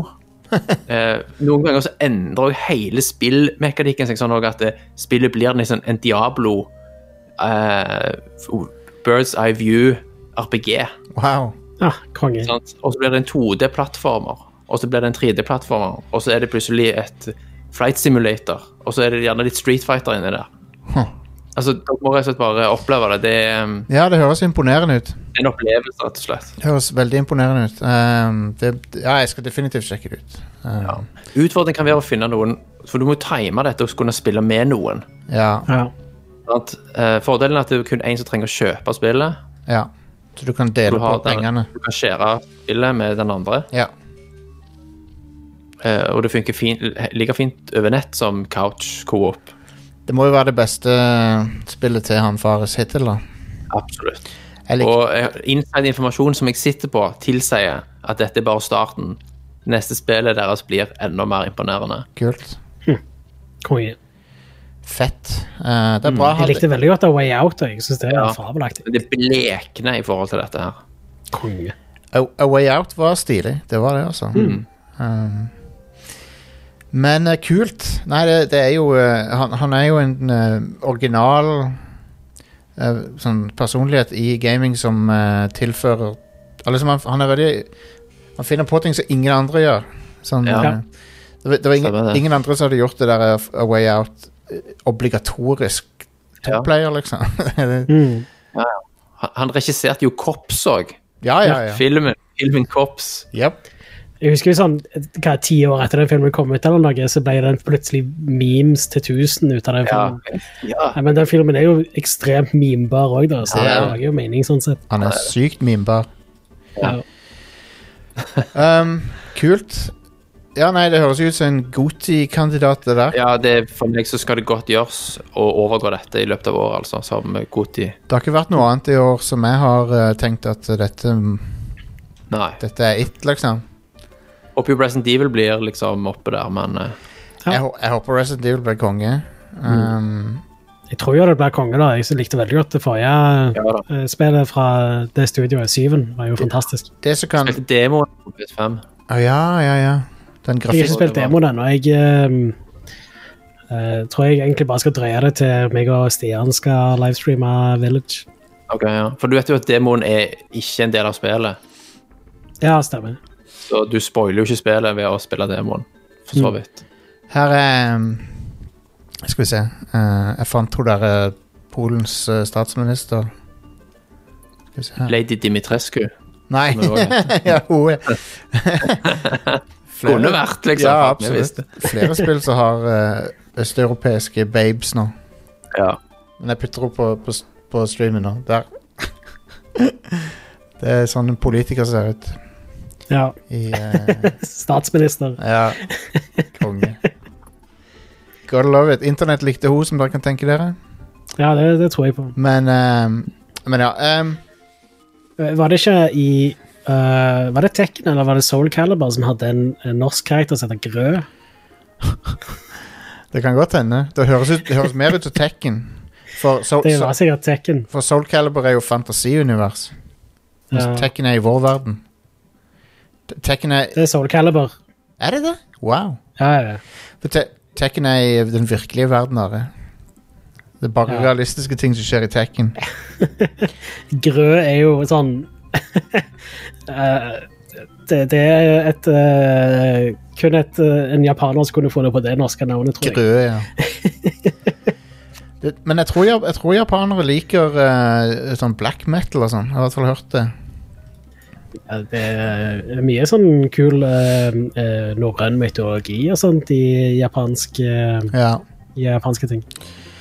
[SPEAKER 3] Eh, noen ganger så endrer også hele spillmekanikken seg sånn også at eh, spillet blir liksom en Diablo eh, Birds Eye View RPG.
[SPEAKER 1] Wow.
[SPEAKER 2] Ja, Ah, konge.
[SPEAKER 3] Sant? Og så blir det en 2D-plattformer, og så blir det en 3D-plattformer, og så er det plutselig et flight simulator, og så er det gjerne litt Street Fighter inni der.
[SPEAKER 1] Huh.
[SPEAKER 3] Altså, Dere må rett og slett bare oppleve det. Det er um,
[SPEAKER 1] Ja, det høres imponerende ut.
[SPEAKER 3] en opplevelse, rett og slett.
[SPEAKER 1] Det høres veldig imponerende ut. Ehm, det, ja, jeg skal definitivt sjekke det ut. Ehm,
[SPEAKER 3] Utfordringen kan være å finne noen For du må jo time dette og kunne spille med noen.
[SPEAKER 1] ja.
[SPEAKER 2] Ja.
[SPEAKER 3] Sant? Eh, fordelen er at det er kun én som trenger å kjøpe spillet.
[SPEAKER 1] ja. Så du kan dele
[SPEAKER 3] Du, har
[SPEAKER 1] på
[SPEAKER 3] den,
[SPEAKER 1] pengene.
[SPEAKER 3] du kan skjære spillet med den andre,
[SPEAKER 1] Ja.
[SPEAKER 3] eh, og det funker fin, like fint over nett som couch co-op.
[SPEAKER 1] Det må jo være det beste eh, spillet til han Fares hittil, da.
[SPEAKER 3] Absolutt.
[SPEAKER 1] Jeg likte
[SPEAKER 3] Og eh, inside informasjon som jeg sitter på, tilsier at dette er bare starten. Neste spillet deres blir enda mer imponerende.
[SPEAKER 1] kult.
[SPEAKER 2] Konge.
[SPEAKER 1] Fett. Eh, det er
[SPEAKER 3] Mm.
[SPEAKER 1] bra.
[SPEAKER 2] Jeg likte veldig godt av Way Out. og Jeg synes det er
[SPEAKER 3] Ja.
[SPEAKER 2] fabelaktig.
[SPEAKER 3] Men det blekner i forhold til dette her.
[SPEAKER 2] Konge.
[SPEAKER 1] A, A Way Out var stilig. Det var det, altså.
[SPEAKER 3] Mm.
[SPEAKER 1] Ehm, men eh, kult. Nei, det, det er jo eh, han, han er jo en eh, original eh, sånn personlighet i gaming som eh, tilfører eller som han, han er veldig Han finner på ting som ingen andre gjør. Sånn,
[SPEAKER 3] Ja.
[SPEAKER 1] eh, det, var- det var ingen,
[SPEAKER 3] Stemmer det.
[SPEAKER 1] ingen andre som hadde gjort det der eh, A Way Out eh, obligatorisk
[SPEAKER 3] Ja.
[SPEAKER 1] toplayer, liksom.
[SPEAKER 2] Mm.
[SPEAKER 3] Han, han regisserte jo Kops òg.
[SPEAKER 1] ja, ja, ja.
[SPEAKER 3] Filmen, filmen Kops.
[SPEAKER 1] Yep.
[SPEAKER 2] Jeg husker jo sånn, hva, ti år etter den filmen kom ut, eller noe, så ble den plutselig memes til tusen ut av den
[SPEAKER 3] Ja.
[SPEAKER 2] filmen.
[SPEAKER 3] ja.
[SPEAKER 2] Nei, men den filmen er jo ekstremt memebar òg, så
[SPEAKER 3] Ja,
[SPEAKER 2] det
[SPEAKER 3] ja.
[SPEAKER 2] lager jo mening sånn sett.
[SPEAKER 1] Han er sykt mimbar.
[SPEAKER 2] Ja.
[SPEAKER 1] Um, kult. Ja, nei, det høres jo ut som en Goti-kandidat, det der.
[SPEAKER 3] ja det, er- for meg så skal det godt gjøres å overgå dette i løpet av året, altså, som Goti.
[SPEAKER 1] Det har ikke vært noe annet i år som jeg har eh, tenkt at dette,
[SPEAKER 3] Nei.
[SPEAKER 1] dette er it, liksom.
[SPEAKER 3] Håper jo Resident Evil blir liksom oppe der, men eh,
[SPEAKER 2] Ja. Mm.
[SPEAKER 1] Jeg, hå- jeg håper Resident Evil blir konge. Um,
[SPEAKER 2] Jeg tror jo det blir konge, da. Jeg så likte veldig godt det forrige
[SPEAKER 3] ja da.
[SPEAKER 2] eh, spillet fra det studioet, Syven. var jo fantastisk.
[SPEAKER 1] Det som kan Å
[SPEAKER 3] Spilte demoen på PS5.
[SPEAKER 1] ja, ja, ja. Den
[SPEAKER 2] Jeg har
[SPEAKER 1] grafikken
[SPEAKER 2] ikke spilt demoen ennå. Jeg eh, eh, tror jeg egentlig bare skal drøye det til meg og Stian skal livestreame Village.
[SPEAKER 3] Ok, ja. For du vet jo at demoen er ikke en del av spillet.
[SPEAKER 2] Ja, stemmer.
[SPEAKER 3] Så du spoiler jo ikke spillet ved å spille demoen, for
[SPEAKER 1] Mm.
[SPEAKER 3] så vidt.
[SPEAKER 1] Her er um, Skal vi se. Eh, jeg fant hun derre Polens eh, statsminister. Skal vi se her.
[SPEAKER 3] Lady Dimitrescu.
[SPEAKER 1] Nei.
[SPEAKER 3] Som det også
[SPEAKER 1] ja, hun er
[SPEAKER 3] Kunne vært, liksom.
[SPEAKER 1] Ja,
[SPEAKER 3] Jeg visste.
[SPEAKER 1] absolutt. Flere spill som har eh, østeuropeiske babes nå.
[SPEAKER 3] Ja.
[SPEAKER 1] Men jeg putter opp på, på, på streamen nå. Der. det er sånn en politiker ser ut.
[SPEAKER 2] Ja.
[SPEAKER 1] I, eh,
[SPEAKER 2] Statsminister.
[SPEAKER 1] ja. Konge. Gotta love it. Internett likte hun, som dere kan tenke dere.
[SPEAKER 2] Ja, det, det tror jeg på.
[SPEAKER 1] Men, ehm, men ja. ehm,
[SPEAKER 2] Eh, Var det ikke i eh, Var det Tekken eller var det Soul Calibur som hadde en, en norsk karakter som heter Grø?
[SPEAKER 1] det kan godt hende. Det høres, ut, det høres mer ut som Tekken. For, Soul-
[SPEAKER 2] Det altså- var sikkert Tekken.
[SPEAKER 1] for Soul Calibur er jo fantasiunivers. Mens
[SPEAKER 2] Ja.
[SPEAKER 1] Tekken er i vår verden. Te- Tekken er
[SPEAKER 2] Det er Soul Calibur.
[SPEAKER 1] Er det det? Wow.
[SPEAKER 2] Ja, ja, ja.
[SPEAKER 1] For te Tekken er i den virkelige verden. Are. Det er bare
[SPEAKER 2] Ja.
[SPEAKER 1] realistiske ting som skjer i Tekken.
[SPEAKER 2] Grø er jo sånn eh, det, det er et eh, Kun et, eh, en japaner som kunne funnet på det norske navnet, tror jeg.
[SPEAKER 1] Grøe, ja. det, men jeg tror, jap- jeg tror japanere liker eh, sånn black metal og sånn. Jeg har i hvert fall hørt det.
[SPEAKER 2] Ja, Det er mye sånn kul eh, eh, norrøn mytologi og sånt i japansk eh,
[SPEAKER 1] Ja.
[SPEAKER 2] japanske ting.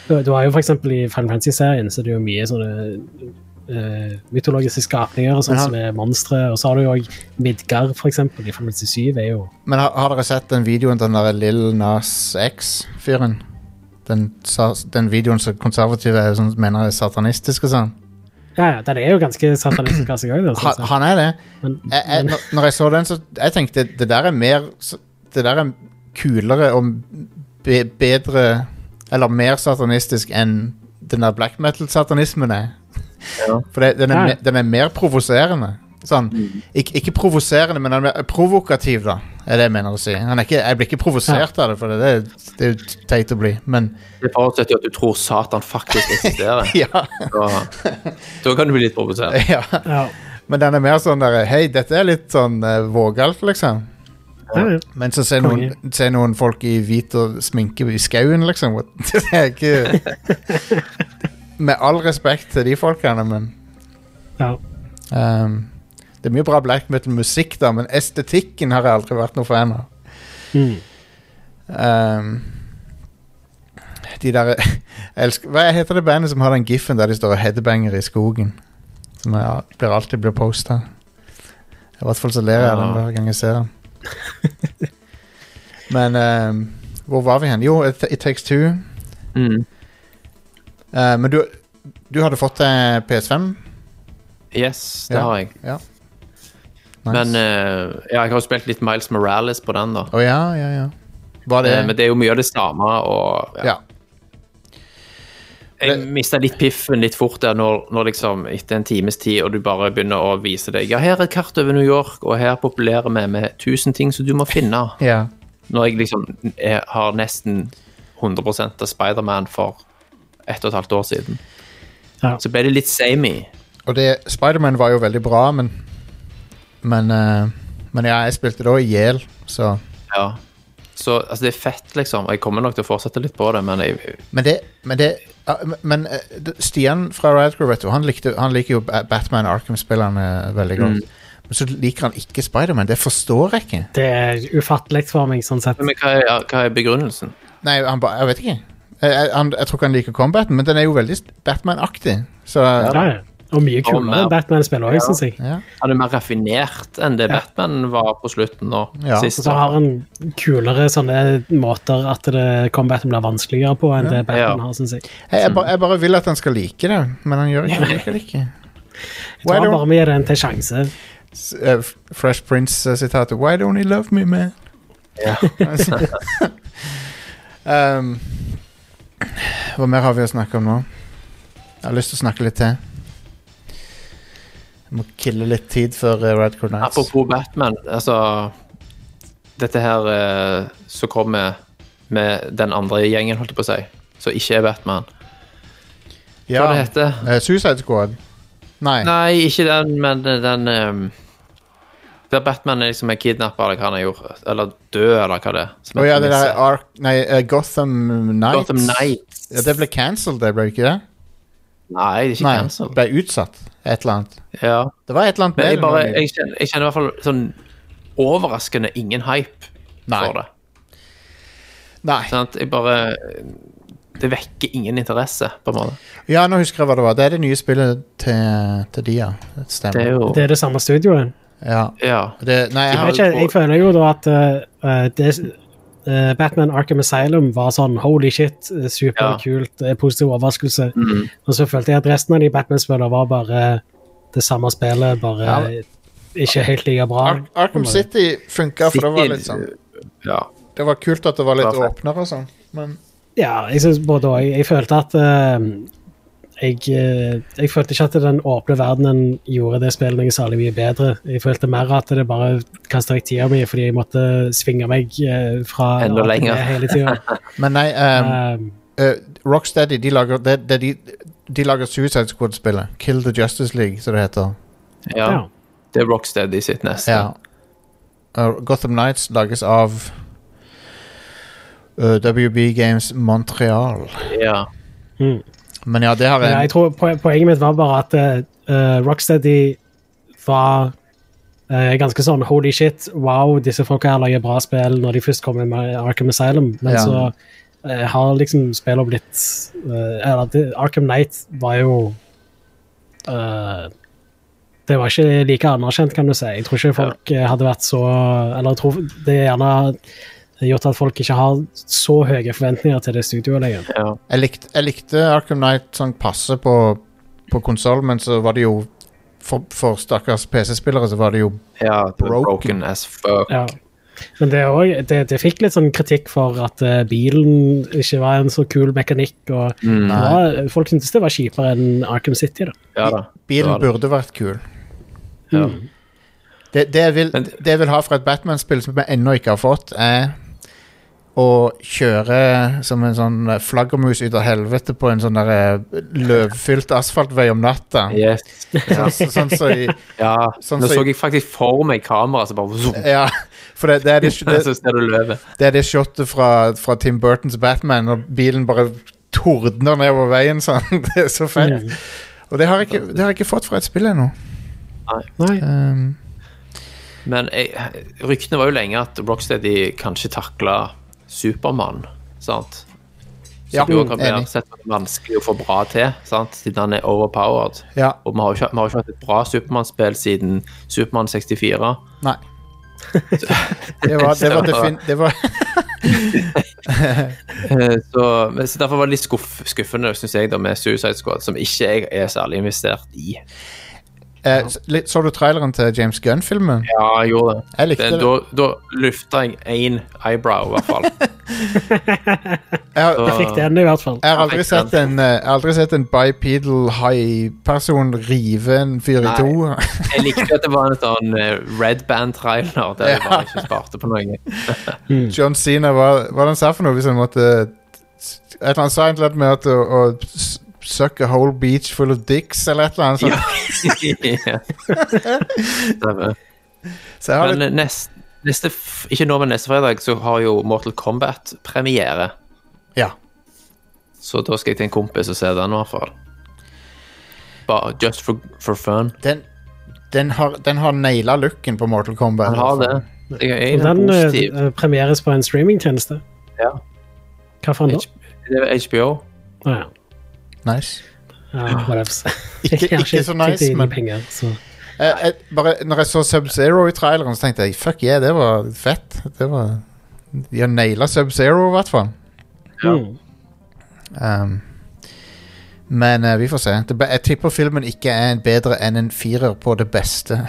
[SPEAKER 2] Du, du har jo for eksempel i Final Fantasy-serien så er det jo mye sånne eh, mytologiske skapninger og sånt
[SPEAKER 1] Ja.
[SPEAKER 2] som er monstre, og så har du jo òg Midgard, for eksempel, i Final Fantasy 7 er jo
[SPEAKER 1] Men har, har dere sett den videoen til den der Lill Nas X-fyren? Den, sa- den videoen som konservative er, sånn, mener er satanistisk og sånn?
[SPEAKER 2] Ja, ja, den er jo ganske satanistisk av seg òg,
[SPEAKER 1] Han, han er det.
[SPEAKER 2] altså. men,
[SPEAKER 1] jeg, jeg,
[SPEAKER 2] men,
[SPEAKER 1] når- når jeg så den, så jeg tenkte det der er mer s- Det der er kulere og be, bedre Eller mer satanistisk enn den der black metal-satanismen er.
[SPEAKER 3] Ja.
[SPEAKER 1] For det, den, er,
[SPEAKER 2] Ja.
[SPEAKER 1] me- den er mer provoserende. Sånn, ikke, ikke provoserende, men han er mer provokativ, da, er det jeg mener å si. Han er ikke, jeg blir ikke provosert av det, for det, er- det er jo teit å bli, men
[SPEAKER 3] Det forutsetter jo at du tror Satan faktisk eksisterer.
[SPEAKER 1] ja,
[SPEAKER 3] Da, da kan du bli litt provosert.
[SPEAKER 1] ja.
[SPEAKER 2] ja.
[SPEAKER 1] Men den er mer sånn der Hei, dette er litt sånn eh, vågalt, liksom.
[SPEAKER 2] Ja, ja.
[SPEAKER 1] Men så ser noen, ser noen folk i hvit og sminke i skauen, liksom. What? Det er ikke Med all respekt til de folkene, men
[SPEAKER 2] ja.
[SPEAKER 1] ehm, Det er mye bra black metal-musikk, da, men estetikken har jeg aldri vært noe fan av.
[SPEAKER 2] Mm.
[SPEAKER 1] Ehm, de der jeg elsker, Hva heter det bandet som har den giffen der de står og headbanger i skogen? Som jeg al- blir alltid blir posta. I hvert fall så ler jeg av den
[SPEAKER 3] Ja.
[SPEAKER 1] hver gang jeg ser den. Men ehm, hvor var vi hen? Jo, It, it Takes Two.
[SPEAKER 3] Mm.
[SPEAKER 1] Eh, men du, du hadde fått eh, deg PS5?
[SPEAKER 3] Yes, det
[SPEAKER 1] Ja.
[SPEAKER 3] har jeg.
[SPEAKER 1] Nice.
[SPEAKER 3] Men eh, ja, jeg har jo spilt litt Miles Morales på den, da.
[SPEAKER 1] Å ja, ja, ja. Var det
[SPEAKER 3] Eh, Men det er jo mye av det samme, og ja.
[SPEAKER 1] Ja.
[SPEAKER 3] Jeg
[SPEAKER 1] Det-
[SPEAKER 3] mista litt piffen litt fort der når, når liksom etter en times tid, og du bare begynner å vise deg Ja, her er et kart over New York, og her populerer vi med tusen ting som du må finne.
[SPEAKER 1] ja.
[SPEAKER 3] Når jeg liksom jeg har nesten 100 av Spiderman for ett og et halvt år siden.
[SPEAKER 2] Ja.
[SPEAKER 3] Så ble det litt samey.
[SPEAKER 1] Og det Spiderman var jo veldig bra, men Men, eh, men ja, jeg spilte da i hjel, så
[SPEAKER 3] Ja. Så altså, det er fett, liksom. Jeg kommer nok til å fortsette litt på det, men jeg,
[SPEAKER 1] Men det, men det ja, Men eh, det- Stian fra Radcrew, vet du, han, likte, han liker jo Ba- Batman Arkham-spillerne eh, veldig
[SPEAKER 2] Mm.
[SPEAKER 1] godt. Men så liker han ikke Spiderman. Det forstår jeg ikke.
[SPEAKER 2] Det er ufattelig for meg, sånn sett.
[SPEAKER 3] men hva, er, hva er begrunnelsen?
[SPEAKER 1] Nei, han ba, jeg vet ikke. Jeg, jeg, han, jeg tror ikke han liker combaten, men den er jo veldig Batman-aktig. Så
[SPEAKER 2] Ja,
[SPEAKER 1] ja.
[SPEAKER 2] ja. Og mye
[SPEAKER 3] Og
[SPEAKER 2] kulere
[SPEAKER 3] mer.
[SPEAKER 2] enn Batman-spill òg, syns jeg.
[SPEAKER 1] Ja,
[SPEAKER 3] Han er mer raffinert enn det Batman var på slutten nå.
[SPEAKER 1] Ja.
[SPEAKER 3] sist.
[SPEAKER 2] Og så har han kulere sånne måter at det combaten blir vanskeligere på enn det Batman
[SPEAKER 3] Ja.
[SPEAKER 2] har, syns jeg.
[SPEAKER 1] jeg, jeg, ba, jeg bare vil at han skal like det, men han gjør ikke, han liker det ikke.
[SPEAKER 2] Jeg
[SPEAKER 1] Why
[SPEAKER 2] tror
[SPEAKER 1] don't,
[SPEAKER 2] bare vi gir den til sjanse.
[SPEAKER 1] s- eh, F- Fresh Prince-sitatet Why don't he love me, man? um, hva mer har vi å snakke om nå? Jeg har lyst til å snakke litt til. Jeg må kille litt tid før uh, Red Crew Nights.
[SPEAKER 3] Apropos Batman, altså Dette her eh, som kommer med den andre gjengen, holdt jeg på å si, som ikke er Batman. Hva
[SPEAKER 1] ja,
[SPEAKER 3] det heter
[SPEAKER 1] eh, Suicide Squad. Nei.
[SPEAKER 3] Nei, ikke den, men den ehm, Der Batman er liksom er kidnappa, eller hva han er gjort, eller død, eller hva det er. som
[SPEAKER 1] Å ja, det der
[SPEAKER 3] premisset.
[SPEAKER 1] Ark... Nei, eh, Gotham Nights.
[SPEAKER 3] Gotham Knights.
[SPEAKER 1] Ja, det ble cancelled, det ble ikke det?
[SPEAKER 3] Nei, det er ikke
[SPEAKER 1] Nei,
[SPEAKER 3] cancel.
[SPEAKER 1] ble utsatt. Et eller annet.
[SPEAKER 3] Ja.
[SPEAKER 1] Det var et eller annet
[SPEAKER 3] Men jeg,
[SPEAKER 1] med
[SPEAKER 3] bare,
[SPEAKER 1] det nå.
[SPEAKER 3] jeg, kjenner, jeg kjenner i hvert fall sånn overraskende ingen hype
[SPEAKER 1] Nei.
[SPEAKER 3] for det.
[SPEAKER 1] Nei.
[SPEAKER 3] Sånn at jeg bare Det vekker ingen interesse, på en måte.
[SPEAKER 1] Ja, nå husker jeg hva det var. Det er det nye spillet til, til de, ja. Det
[SPEAKER 3] Det
[SPEAKER 1] stemmer.
[SPEAKER 3] er jo
[SPEAKER 2] Det er det samme studioet.
[SPEAKER 1] Ja.
[SPEAKER 3] Ja.
[SPEAKER 1] Det, nei, jeg
[SPEAKER 2] Jeg,
[SPEAKER 1] har
[SPEAKER 2] vet ikke, jeg føler jo da at eh, det, eh, Batman Arkham Asylum var sånn holy shit, eh, superkult, eh, positiv overraskelse.
[SPEAKER 1] Mm.
[SPEAKER 2] Og så følte jeg at resten av de Batman-spillene var bare det samme spillet, bare
[SPEAKER 1] Ja, men-
[SPEAKER 2] ikke helt like bra.
[SPEAKER 1] Ar Arkham City funka, for det var litt sånn
[SPEAKER 3] Ja.
[SPEAKER 1] Det var kult at det var litt
[SPEAKER 3] Perfekt.
[SPEAKER 1] åpnere og sånn, men
[SPEAKER 2] Ja, jeg synes både òg. Jeg følte at eh, jeg, eh, jeg følte ikke at den åpne verdenen gjorde det spillet noe særlig mye bedre. Jeg følte mer at det bare kasta vekk tida mi fordi jeg måtte svinge meg eh, fra
[SPEAKER 3] Enda
[SPEAKER 2] A til B
[SPEAKER 3] lenger.
[SPEAKER 2] hele tida.
[SPEAKER 1] Men nei, um,
[SPEAKER 2] Um,
[SPEAKER 1] eh, Rocksteady, de lager det, det, de, de lager Suicide Squad-spillet. Kill the Justice League, som det heter.
[SPEAKER 3] ja.
[SPEAKER 2] ja.
[SPEAKER 3] Det er Rocksteady sitt neste.
[SPEAKER 1] Ja. Og Gotham Nights lages av eh, WB Games Montreal.
[SPEAKER 3] Ja.
[SPEAKER 2] Mm.
[SPEAKER 1] Men ja, det har
[SPEAKER 2] Men
[SPEAKER 1] jeg
[SPEAKER 2] jeg tror po- Poenget mitt var bare at eh, Rocksteady var eh, ganske sånn holy shit, wow, disse folka her lager bra spill når de først kommer med Arkham Asylum, men
[SPEAKER 1] Ja.
[SPEAKER 2] så eh, har liksom spillene blitt eh, Eller det, Arkham Knight var jo eh, det var ikke like anerkjent, kan du si. Jeg tror ikke folk eh, hadde vært så Eller jeg tror det er gjerne gjort at folk ikke har så høye forventninger til det studioet lenger.
[SPEAKER 3] ja.
[SPEAKER 1] Jeg likte, jeg likte Arkham Knight sånn passe på, på konsoll, men så var det jo For, for stakkars PC-spillere så var det jo
[SPEAKER 3] ja det er
[SPEAKER 1] Broken.
[SPEAKER 3] broken as fuck.
[SPEAKER 2] Ja. Men det, er også, det, det fikk litt sånn kritikk for at eh, bilen ikke var en så kul mekanikk. og det var, Folk syntes det var kjipere enn Arkham City. da.
[SPEAKER 3] Ja da.
[SPEAKER 1] Bilen
[SPEAKER 3] det var
[SPEAKER 1] burde vært kul.
[SPEAKER 3] Ja.
[SPEAKER 1] Det, det, jeg vil,
[SPEAKER 3] Men-
[SPEAKER 1] det jeg vil ha fra et Batman-spill som jeg ennå ikke har fått, er å kjøre som en sånn eh, flaggermus ut av helvete på en sånn der eh, løvfylt asfaltvei om natta.
[SPEAKER 3] Yes.
[SPEAKER 1] Så- så- Sånn som i
[SPEAKER 3] Ja.
[SPEAKER 1] Sånn
[SPEAKER 3] Nå
[SPEAKER 1] så-
[SPEAKER 3] så jeg faktisk for meg kameraet som bare zoom,
[SPEAKER 1] Ja, for det, det, er, det,
[SPEAKER 3] Så ser du løvet.
[SPEAKER 1] det er det shotet fra, fra Tim Burtons Batman, når bilen bare tordner nedover veien sånn. Det er så fett. Og det har jeg ikke, det har jeg ikke fått fra et spill ennå.
[SPEAKER 2] Nei.
[SPEAKER 1] Um,
[SPEAKER 3] Men jeg, ryktene var jo lenge at Rocksteady kanskje takla Supermann, sant?
[SPEAKER 1] Ja,
[SPEAKER 3] Som jo kan bli
[SPEAKER 1] enig.
[SPEAKER 3] sett som vanskelig å få bra til, sant? siden han er overpowered.
[SPEAKER 1] ja,
[SPEAKER 3] Og vi har jo ikke, vi har jo ikke hatt et bra Supermann-spill siden Supermann 64.
[SPEAKER 1] nei. Det var, det var, defin, det var
[SPEAKER 3] Eh, Så, men- så derfor var det litt skuff, skuffende, synes jeg, da, med Suicide Squad, som ikke jeg er særlig investert i.
[SPEAKER 1] Eh, s- litt- så du traileren til James Gunn-filmen?
[SPEAKER 3] Ja, jeg gjorde det.
[SPEAKER 1] Jeg likte det.
[SPEAKER 3] Eh, Da, da lufta jeg én eyebrow, i hvert fall.
[SPEAKER 1] Jeg, har-
[SPEAKER 2] Jeg fikk den i hvert fall.
[SPEAKER 1] jeg har
[SPEAKER 3] Jeg
[SPEAKER 1] aldri
[SPEAKER 3] likte den.
[SPEAKER 1] sett en, eh, jeg har aldri sett en bipedal high-person rive en fyr i
[SPEAKER 3] Nei.
[SPEAKER 1] to.
[SPEAKER 3] Jeg likte at det var en sånn eh, red band-trailer der jeg bare ikke sparte på noe.
[SPEAKER 1] John Cena, hva, hva han sa for noe hvis han måtte et eller annet, sa et eller annet med at å, å s- suck a whole beach full of dicks, eller et eller annet sånt.
[SPEAKER 3] Ja. Stemmer.
[SPEAKER 1] Så jeg har
[SPEAKER 3] Men
[SPEAKER 1] litt,
[SPEAKER 3] eh, nest, neste, f- ikke nå, men neste fredag så har jo Mortal Kombat premiere.
[SPEAKER 1] ja.
[SPEAKER 3] Så da skal jeg til en kompis og se den, i hvert fall. Bare just for, for fun.
[SPEAKER 1] Den, den har, den har naila looken på Mortal Kombat.
[SPEAKER 3] Han har det. Jeg er
[SPEAKER 2] Og
[SPEAKER 3] egentlig
[SPEAKER 2] Den eh,
[SPEAKER 3] positiv.
[SPEAKER 2] eh, premieres på en streamingtjeneste.
[SPEAKER 3] Ja.
[SPEAKER 2] Hva for en da?
[SPEAKER 3] Det er HBO.
[SPEAKER 2] Å ja.
[SPEAKER 1] Nice.
[SPEAKER 2] Ja, whatevs.
[SPEAKER 1] Ikke-
[SPEAKER 2] Jeg har
[SPEAKER 1] ikke så nice,
[SPEAKER 2] tid i
[SPEAKER 1] men-
[SPEAKER 2] penger, så.
[SPEAKER 1] Jeg, jeg, Eh, bare, når jeg så Sub-Zero i traileren, så tenkte jeg fuck yeah, det var fett. Det var, de har naila Sub-Zero, i hvert fall.
[SPEAKER 2] Mm.
[SPEAKER 1] Um, men eh, vi får se. Det, be- jeg tipper filmen ikke er en bedre enn en firer på det beste.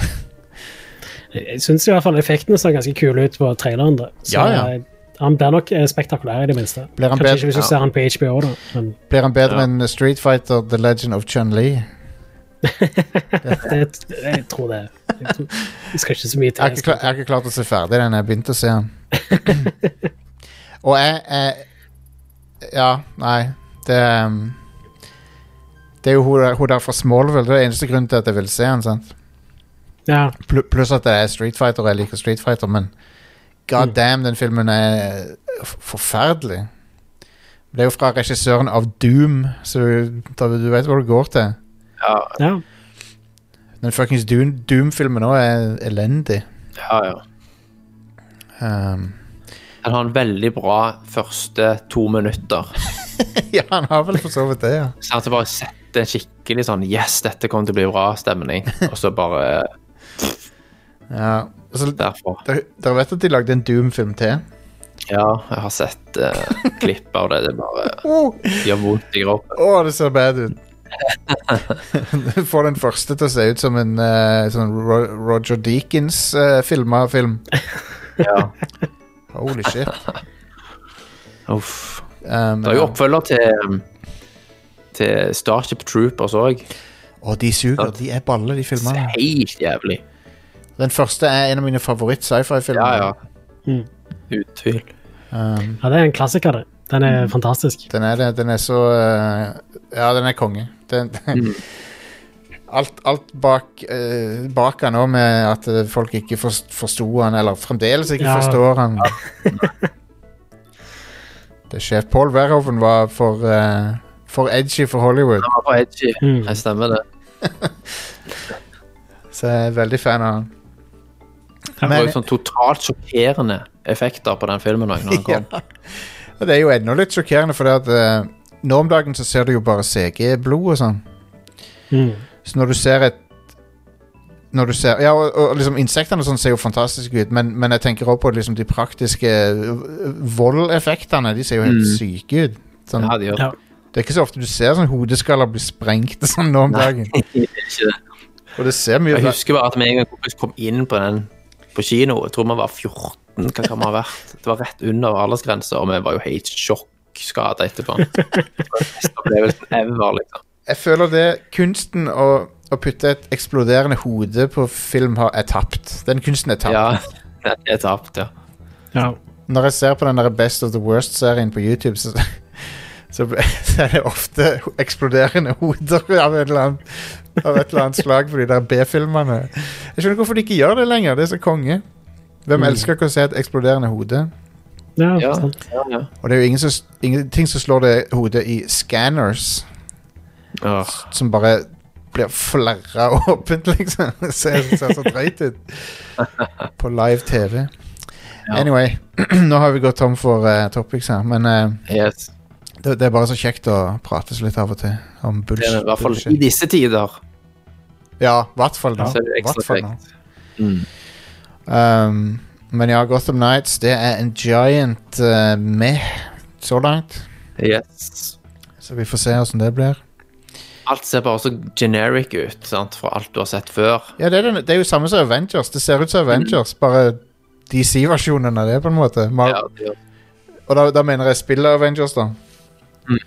[SPEAKER 2] Jeg- Jeg syns i hvert fall effektene ser ganske kule ut på traileren. da. Så
[SPEAKER 1] Ja, ja.
[SPEAKER 2] eh, han blir nok eh, spektakulær, i det minste.
[SPEAKER 1] Blir han
[SPEAKER 2] Kanskje
[SPEAKER 1] bedre-
[SPEAKER 2] ikke hvis du
[SPEAKER 3] Ja.
[SPEAKER 2] ser han på HBO, da. Men
[SPEAKER 1] Blir han bedre
[SPEAKER 3] Ja.
[SPEAKER 1] enn Street Fighter The Legend of Chun-Li?
[SPEAKER 2] det, jeg tror det. Jeg, tror, jeg skal ikke så mye
[SPEAKER 1] Jeg har
[SPEAKER 2] til.
[SPEAKER 1] ikke, kla- jeg har ikke klart å se ferdig den. Jeg begynte å se den. Og jeg, jeg Ja, nei. Det um, Det er jo hun, der- hun der fra Smallville. Det er eneste grunnen til at jeg vil se den. sant?
[SPEAKER 2] Ja,
[SPEAKER 1] Pl pluss at det er Street Fighter, og jeg liker Street Fighter, men god damn, den filmen er f- forferdelig. Det er jo fra regissøren av Doom, så da, du vet hvor det går til.
[SPEAKER 3] Ja,
[SPEAKER 2] ja.
[SPEAKER 1] Den fuckings Doom- Doom-filmen òg er elendig.
[SPEAKER 3] ja. ja.
[SPEAKER 1] Um,
[SPEAKER 3] Den har en veldig bra første to minutter.
[SPEAKER 1] ja, han har vel for så vidt det, ja.
[SPEAKER 3] Så at det bare setter en skikkelig sånn Yes, dette kommer til å bli bra stemning. Og så bare
[SPEAKER 1] ja. Altså,
[SPEAKER 3] derfor.
[SPEAKER 1] dere, dere vet at de lagde en Doom-film til?
[SPEAKER 3] Ja, jeg har sett eh, klipp av det. Det bare
[SPEAKER 1] Å,
[SPEAKER 3] gjør vondt i kroppen.
[SPEAKER 1] Å, det ser bad ut. du får den første til å se ut som en eh, sånn Ro Roger Deakins-filma film.
[SPEAKER 3] Ja.
[SPEAKER 1] Holy shit.
[SPEAKER 3] Uff.
[SPEAKER 1] Um,
[SPEAKER 3] Det er jo oppfølger til, til Starship Troopers òg.
[SPEAKER 1] og de suger. De er baller, de filmene.
[SPEAKER 3] Helt jævlig.
[SPEAKER 1] Den første er en av mine favoritt-sci-fi-filmer.
[SPEAKER 3] Ja, ja. Uten tvil.
[SPEAKER 1] Um,
[SPEAKER 2] Ja, det er en klassiker, det. Den er fantastisk.
[SPEAKER 1] den er det. Den er så eh, Ja, den er konge. Den, alt, alt bak, eh, bak han nå med at eh, folk ikke forst- forsto han, eller fremdeles ikke
[SPEAKER 2] Ja.
[SPEAKER 1] forstår han. det Sjef Paul Verhoven var for, eh, for edgy for Hollywood,
[SPEAKER 3] Han var på edgy.
[SPEAKER 2] Mm.
[SPEAKER 3] Jeg stemmer det.
[SPEAKER 1] så jeg er veldig fan av han.
[SPEAKER 3] Det var
[SPEAKER 1] Men-
[SPEAKER 3] jo sånn totalt sjokkerende effekter på den filmen også, når han kom.
[SPEAKER 1] Ja. Og det er jo enda litt sjokkerende, for at, eh, nå om dagen så ser du jo bare CG-blod og sånn.
[SPEAKER 2] Mm.
[SPEAKER 1] Så når du ser et når du ser, ja, og, og liksom Insektene og sånn ser jo fantastiske ut, men, men jeg tenker også på liksom de praktiske øh, voldeffektene. De ser jo helt
[SPEAKER 3] Mm.
[SPEAKER 1] syke ut. Sånn,
[SPEAKER 3] Ja, de gjør
[SPEAKER 2] Ja.
[SPEAKER 1] Det er ikke så ofte du ser sånn hodeskaller bli sprengt og sånn nå om dagen.
[SPEAKER 3] ikke det.
[SPEAKER 1] Og det ser mye
[SPEAKER 3] Jeg
[SPEAKER 1] bra-
[SPEAKER 3] husker bare at vi en gang kompis kom inn på den på kino. Jeg tror vi var 14, hva kan vi ha vært? Det var rett under aldersgrensa, og vi var jo helt sjokkskada etterpå. Det var den beste opplevelsen ever, liksom.
[SPEAKER 1] Jeg føler det kunsten å, å putte et eksploderende hode på film har, er tapt. Den kunsten er tapt.
[SPEAKER 3] Ja, det er tapt, ja.
[SPEAKER 2] Ja.
[SPEAKER 1] Når jeg ser på den der Best of the Worst-serien på YouTube, så, så, ble- så er det ofte eksploderende hoder av et eller annet, av et eller annet slag på de der B-filmene. Jeg skjønner ikke hvorfor de ikke gjør det lenger. Det er så konge. Hvem elsker ikke å se et eksploderende hode?
[SPEAKER 2] Ja,
[SPEAKER 3] Ja,
[SPEAKER 2] sant.
[SPEAKER 3] ja, ja.
[SPEAKER 1] Og det er jo ingen som, ingenting som slår det hodet i scanners,
[SPEAKER 3] Åh,
[SPEAKER 1] som bare blir flerra åpent, liksom. Det ser, ser så drøyt ut. På live TV.
[SPEAKER 3] Ja.
[SPEAKER 1] Anyway, nå har vi gått tom for eh, topics her, men eh,
[SPEAKER 3] yes.
[SPEAKER 1] Det, det er bare så kjekt å prates litt av og til om
[SPEAKER 3] Det
[SPEAKER 1] bullshit.
[SPEAKER 3] er I hvert fall i
[SPEAKER 1] bullshit.
[SPEAKER 3] disse tider.
[SPEAKER 1] Ja, i hvert fall nå.
[SPEAKER 3] så er det
[SPEAKER 1] Hvert
[SPEAKER 3] ekstra
[SPEAKER 1] fall nå.
[SPEAKER 3] kjekt. Mm.
[SPEAKER 1] Um, men ja, Gotham Nights, det er en giant uh, meh så langt.
[SPEAKER 3] Yes.
[SPEAKER 1] Så vi får se åssen det blir.
[SPEAKER 3] Alt ser bare så generic ut sant? fra alt du har sett før.
[SPEAKER 1] Ja, det er, den, det er jo samme som Avengers. Det ser ut som Avengers, bare DC-versjonen av det, på en måte. Mar
[SPEAKER 3] Mm. Ja, det gjør-
[SPEAKER 1] Og da, da mener jeg spillet Avengers, da.
[SPEAKER 3] Mm.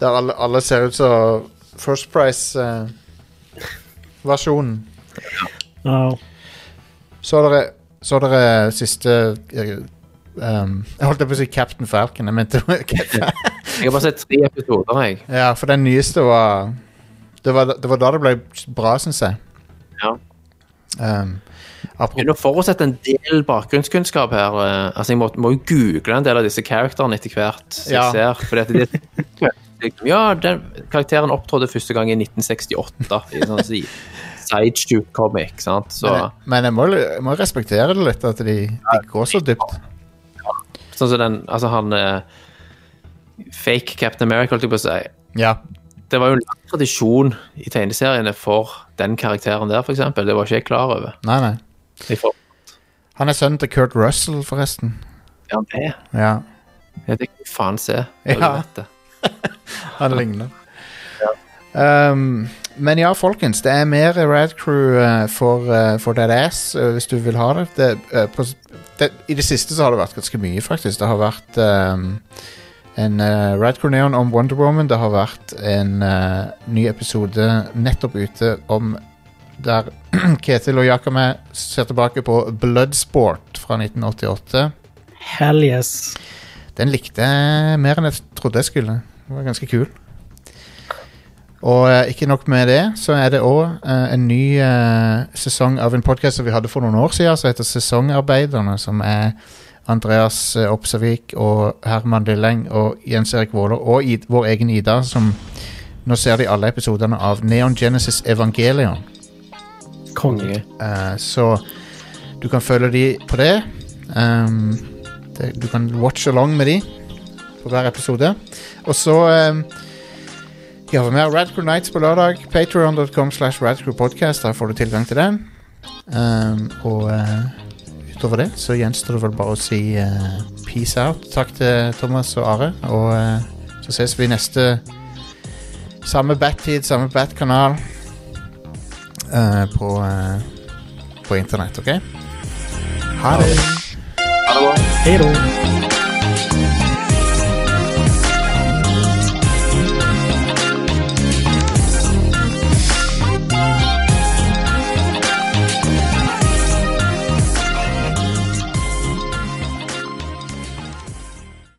[SPEAKER 1] Der alle, alle ser ut som First eh, Price-versjonen.
[SPEAKER 2] Ja.
[SPEAKER 1] Så dere, så dere siste eh, um, Jeg holdt på å si Captain Falcon. Jeg mente Captain Falcon.
[SPEAKER 3] Jeg har bare sett tre episoder, jeg.
[SPEAKER 1] Ja, for den nyeste var det, var det var da det ble bra, syns jeg.
[SPEAKER 3] Ja.
[SPEAKER 1] Um, apropos
[SPEAKER 3] Begynner å forutsette en del bakgrunnskunnskap her. eh, Altså, Jeg må, må jo google en del av disse karakterene etter hvert. som
[SPEAKER 1] Ja.
[SPEAKER 3] jeg ser, fordi at det, liksom, ja, den karakteren opptrådte første gang i 1968 i en sånn si, sideshoot comic. sant? Så,
[SPEAKER 1] men, jeg, men jeg må, jeg må respektere det litt, at de, de går så dypt.
[SPEAKER 3] sånn som den Altså, han eh, Fake Captain America, holdt jeg på å si.
[SPEAKER 1] Ja.
[SPEAKER 3] Det var jo en lang tradisjon i tegneseriene for den karakteren der, f.eks. Det var ikke jeg klar over.
[SPEAKER 1] Nei, nei.
[SPEAKER 3] Jeg får-
[SPEAKER 1] Han er sønnen til Kurt Russell, forresten.
[SPEAKER 3] Ja, han er.
[SPEAKER 1] Ja,
[SPEAKER 3] Ja, det kan du faen se.
[SPEAKER 1] Ja.
[SPEAKER 3] Ja.
[SPEAKER 1] han ligner. Um, men ja, folkens, det er mer Rad Crew eh, for, eh, for Dead Ass eh, hvis du vil ha det. det, eh, på, det I det siste så har det vært ganske mye, faktisk. Det har vært ehm, en uh, Rad Crew Neon om Wonder Woman. Det har vært en eh, ny episode nettopp ute om der Ketil og Jakame ser tilbake på Bloodsport fra 1988.
[SPEAKER 2] Hell yes.
[SPEAKER 1] Den likte jeg mer enn jeg trodde jeg skulle. Den var ganske kul. Og eh, ikke nok med det, så er det òg en ny eh, sesong av en podkast som vi hadde for noen år siden, som heter Sesongarbeiderne, som er Andreas eh, Opsavik og Herman Dilleng og Jens Erik Våler og Id vår egen Ida, som nå ser de alle episodene av Neon Genesis Evangelion.
[SPEAKER 2] Konge.
[SPEAKER 1] Eh, så du kan følge de på det. Ehm, det, du kan watch along med de på hver episode. Og så um, gjør vi mer Radcrew Nights på lørdag. Patreon.com slash radcrewpodcast. Der får du tilgang til den. Um, og eh, utover det så gjenstår det vel bare å si eh, peace out. Takk til Thomas og Are. Og eh, så ses vi neste samme bat-tid, samme bat-kanal eh, på, eh, på internett, OK? Ha det.
[SPEAKER 2] Hei då.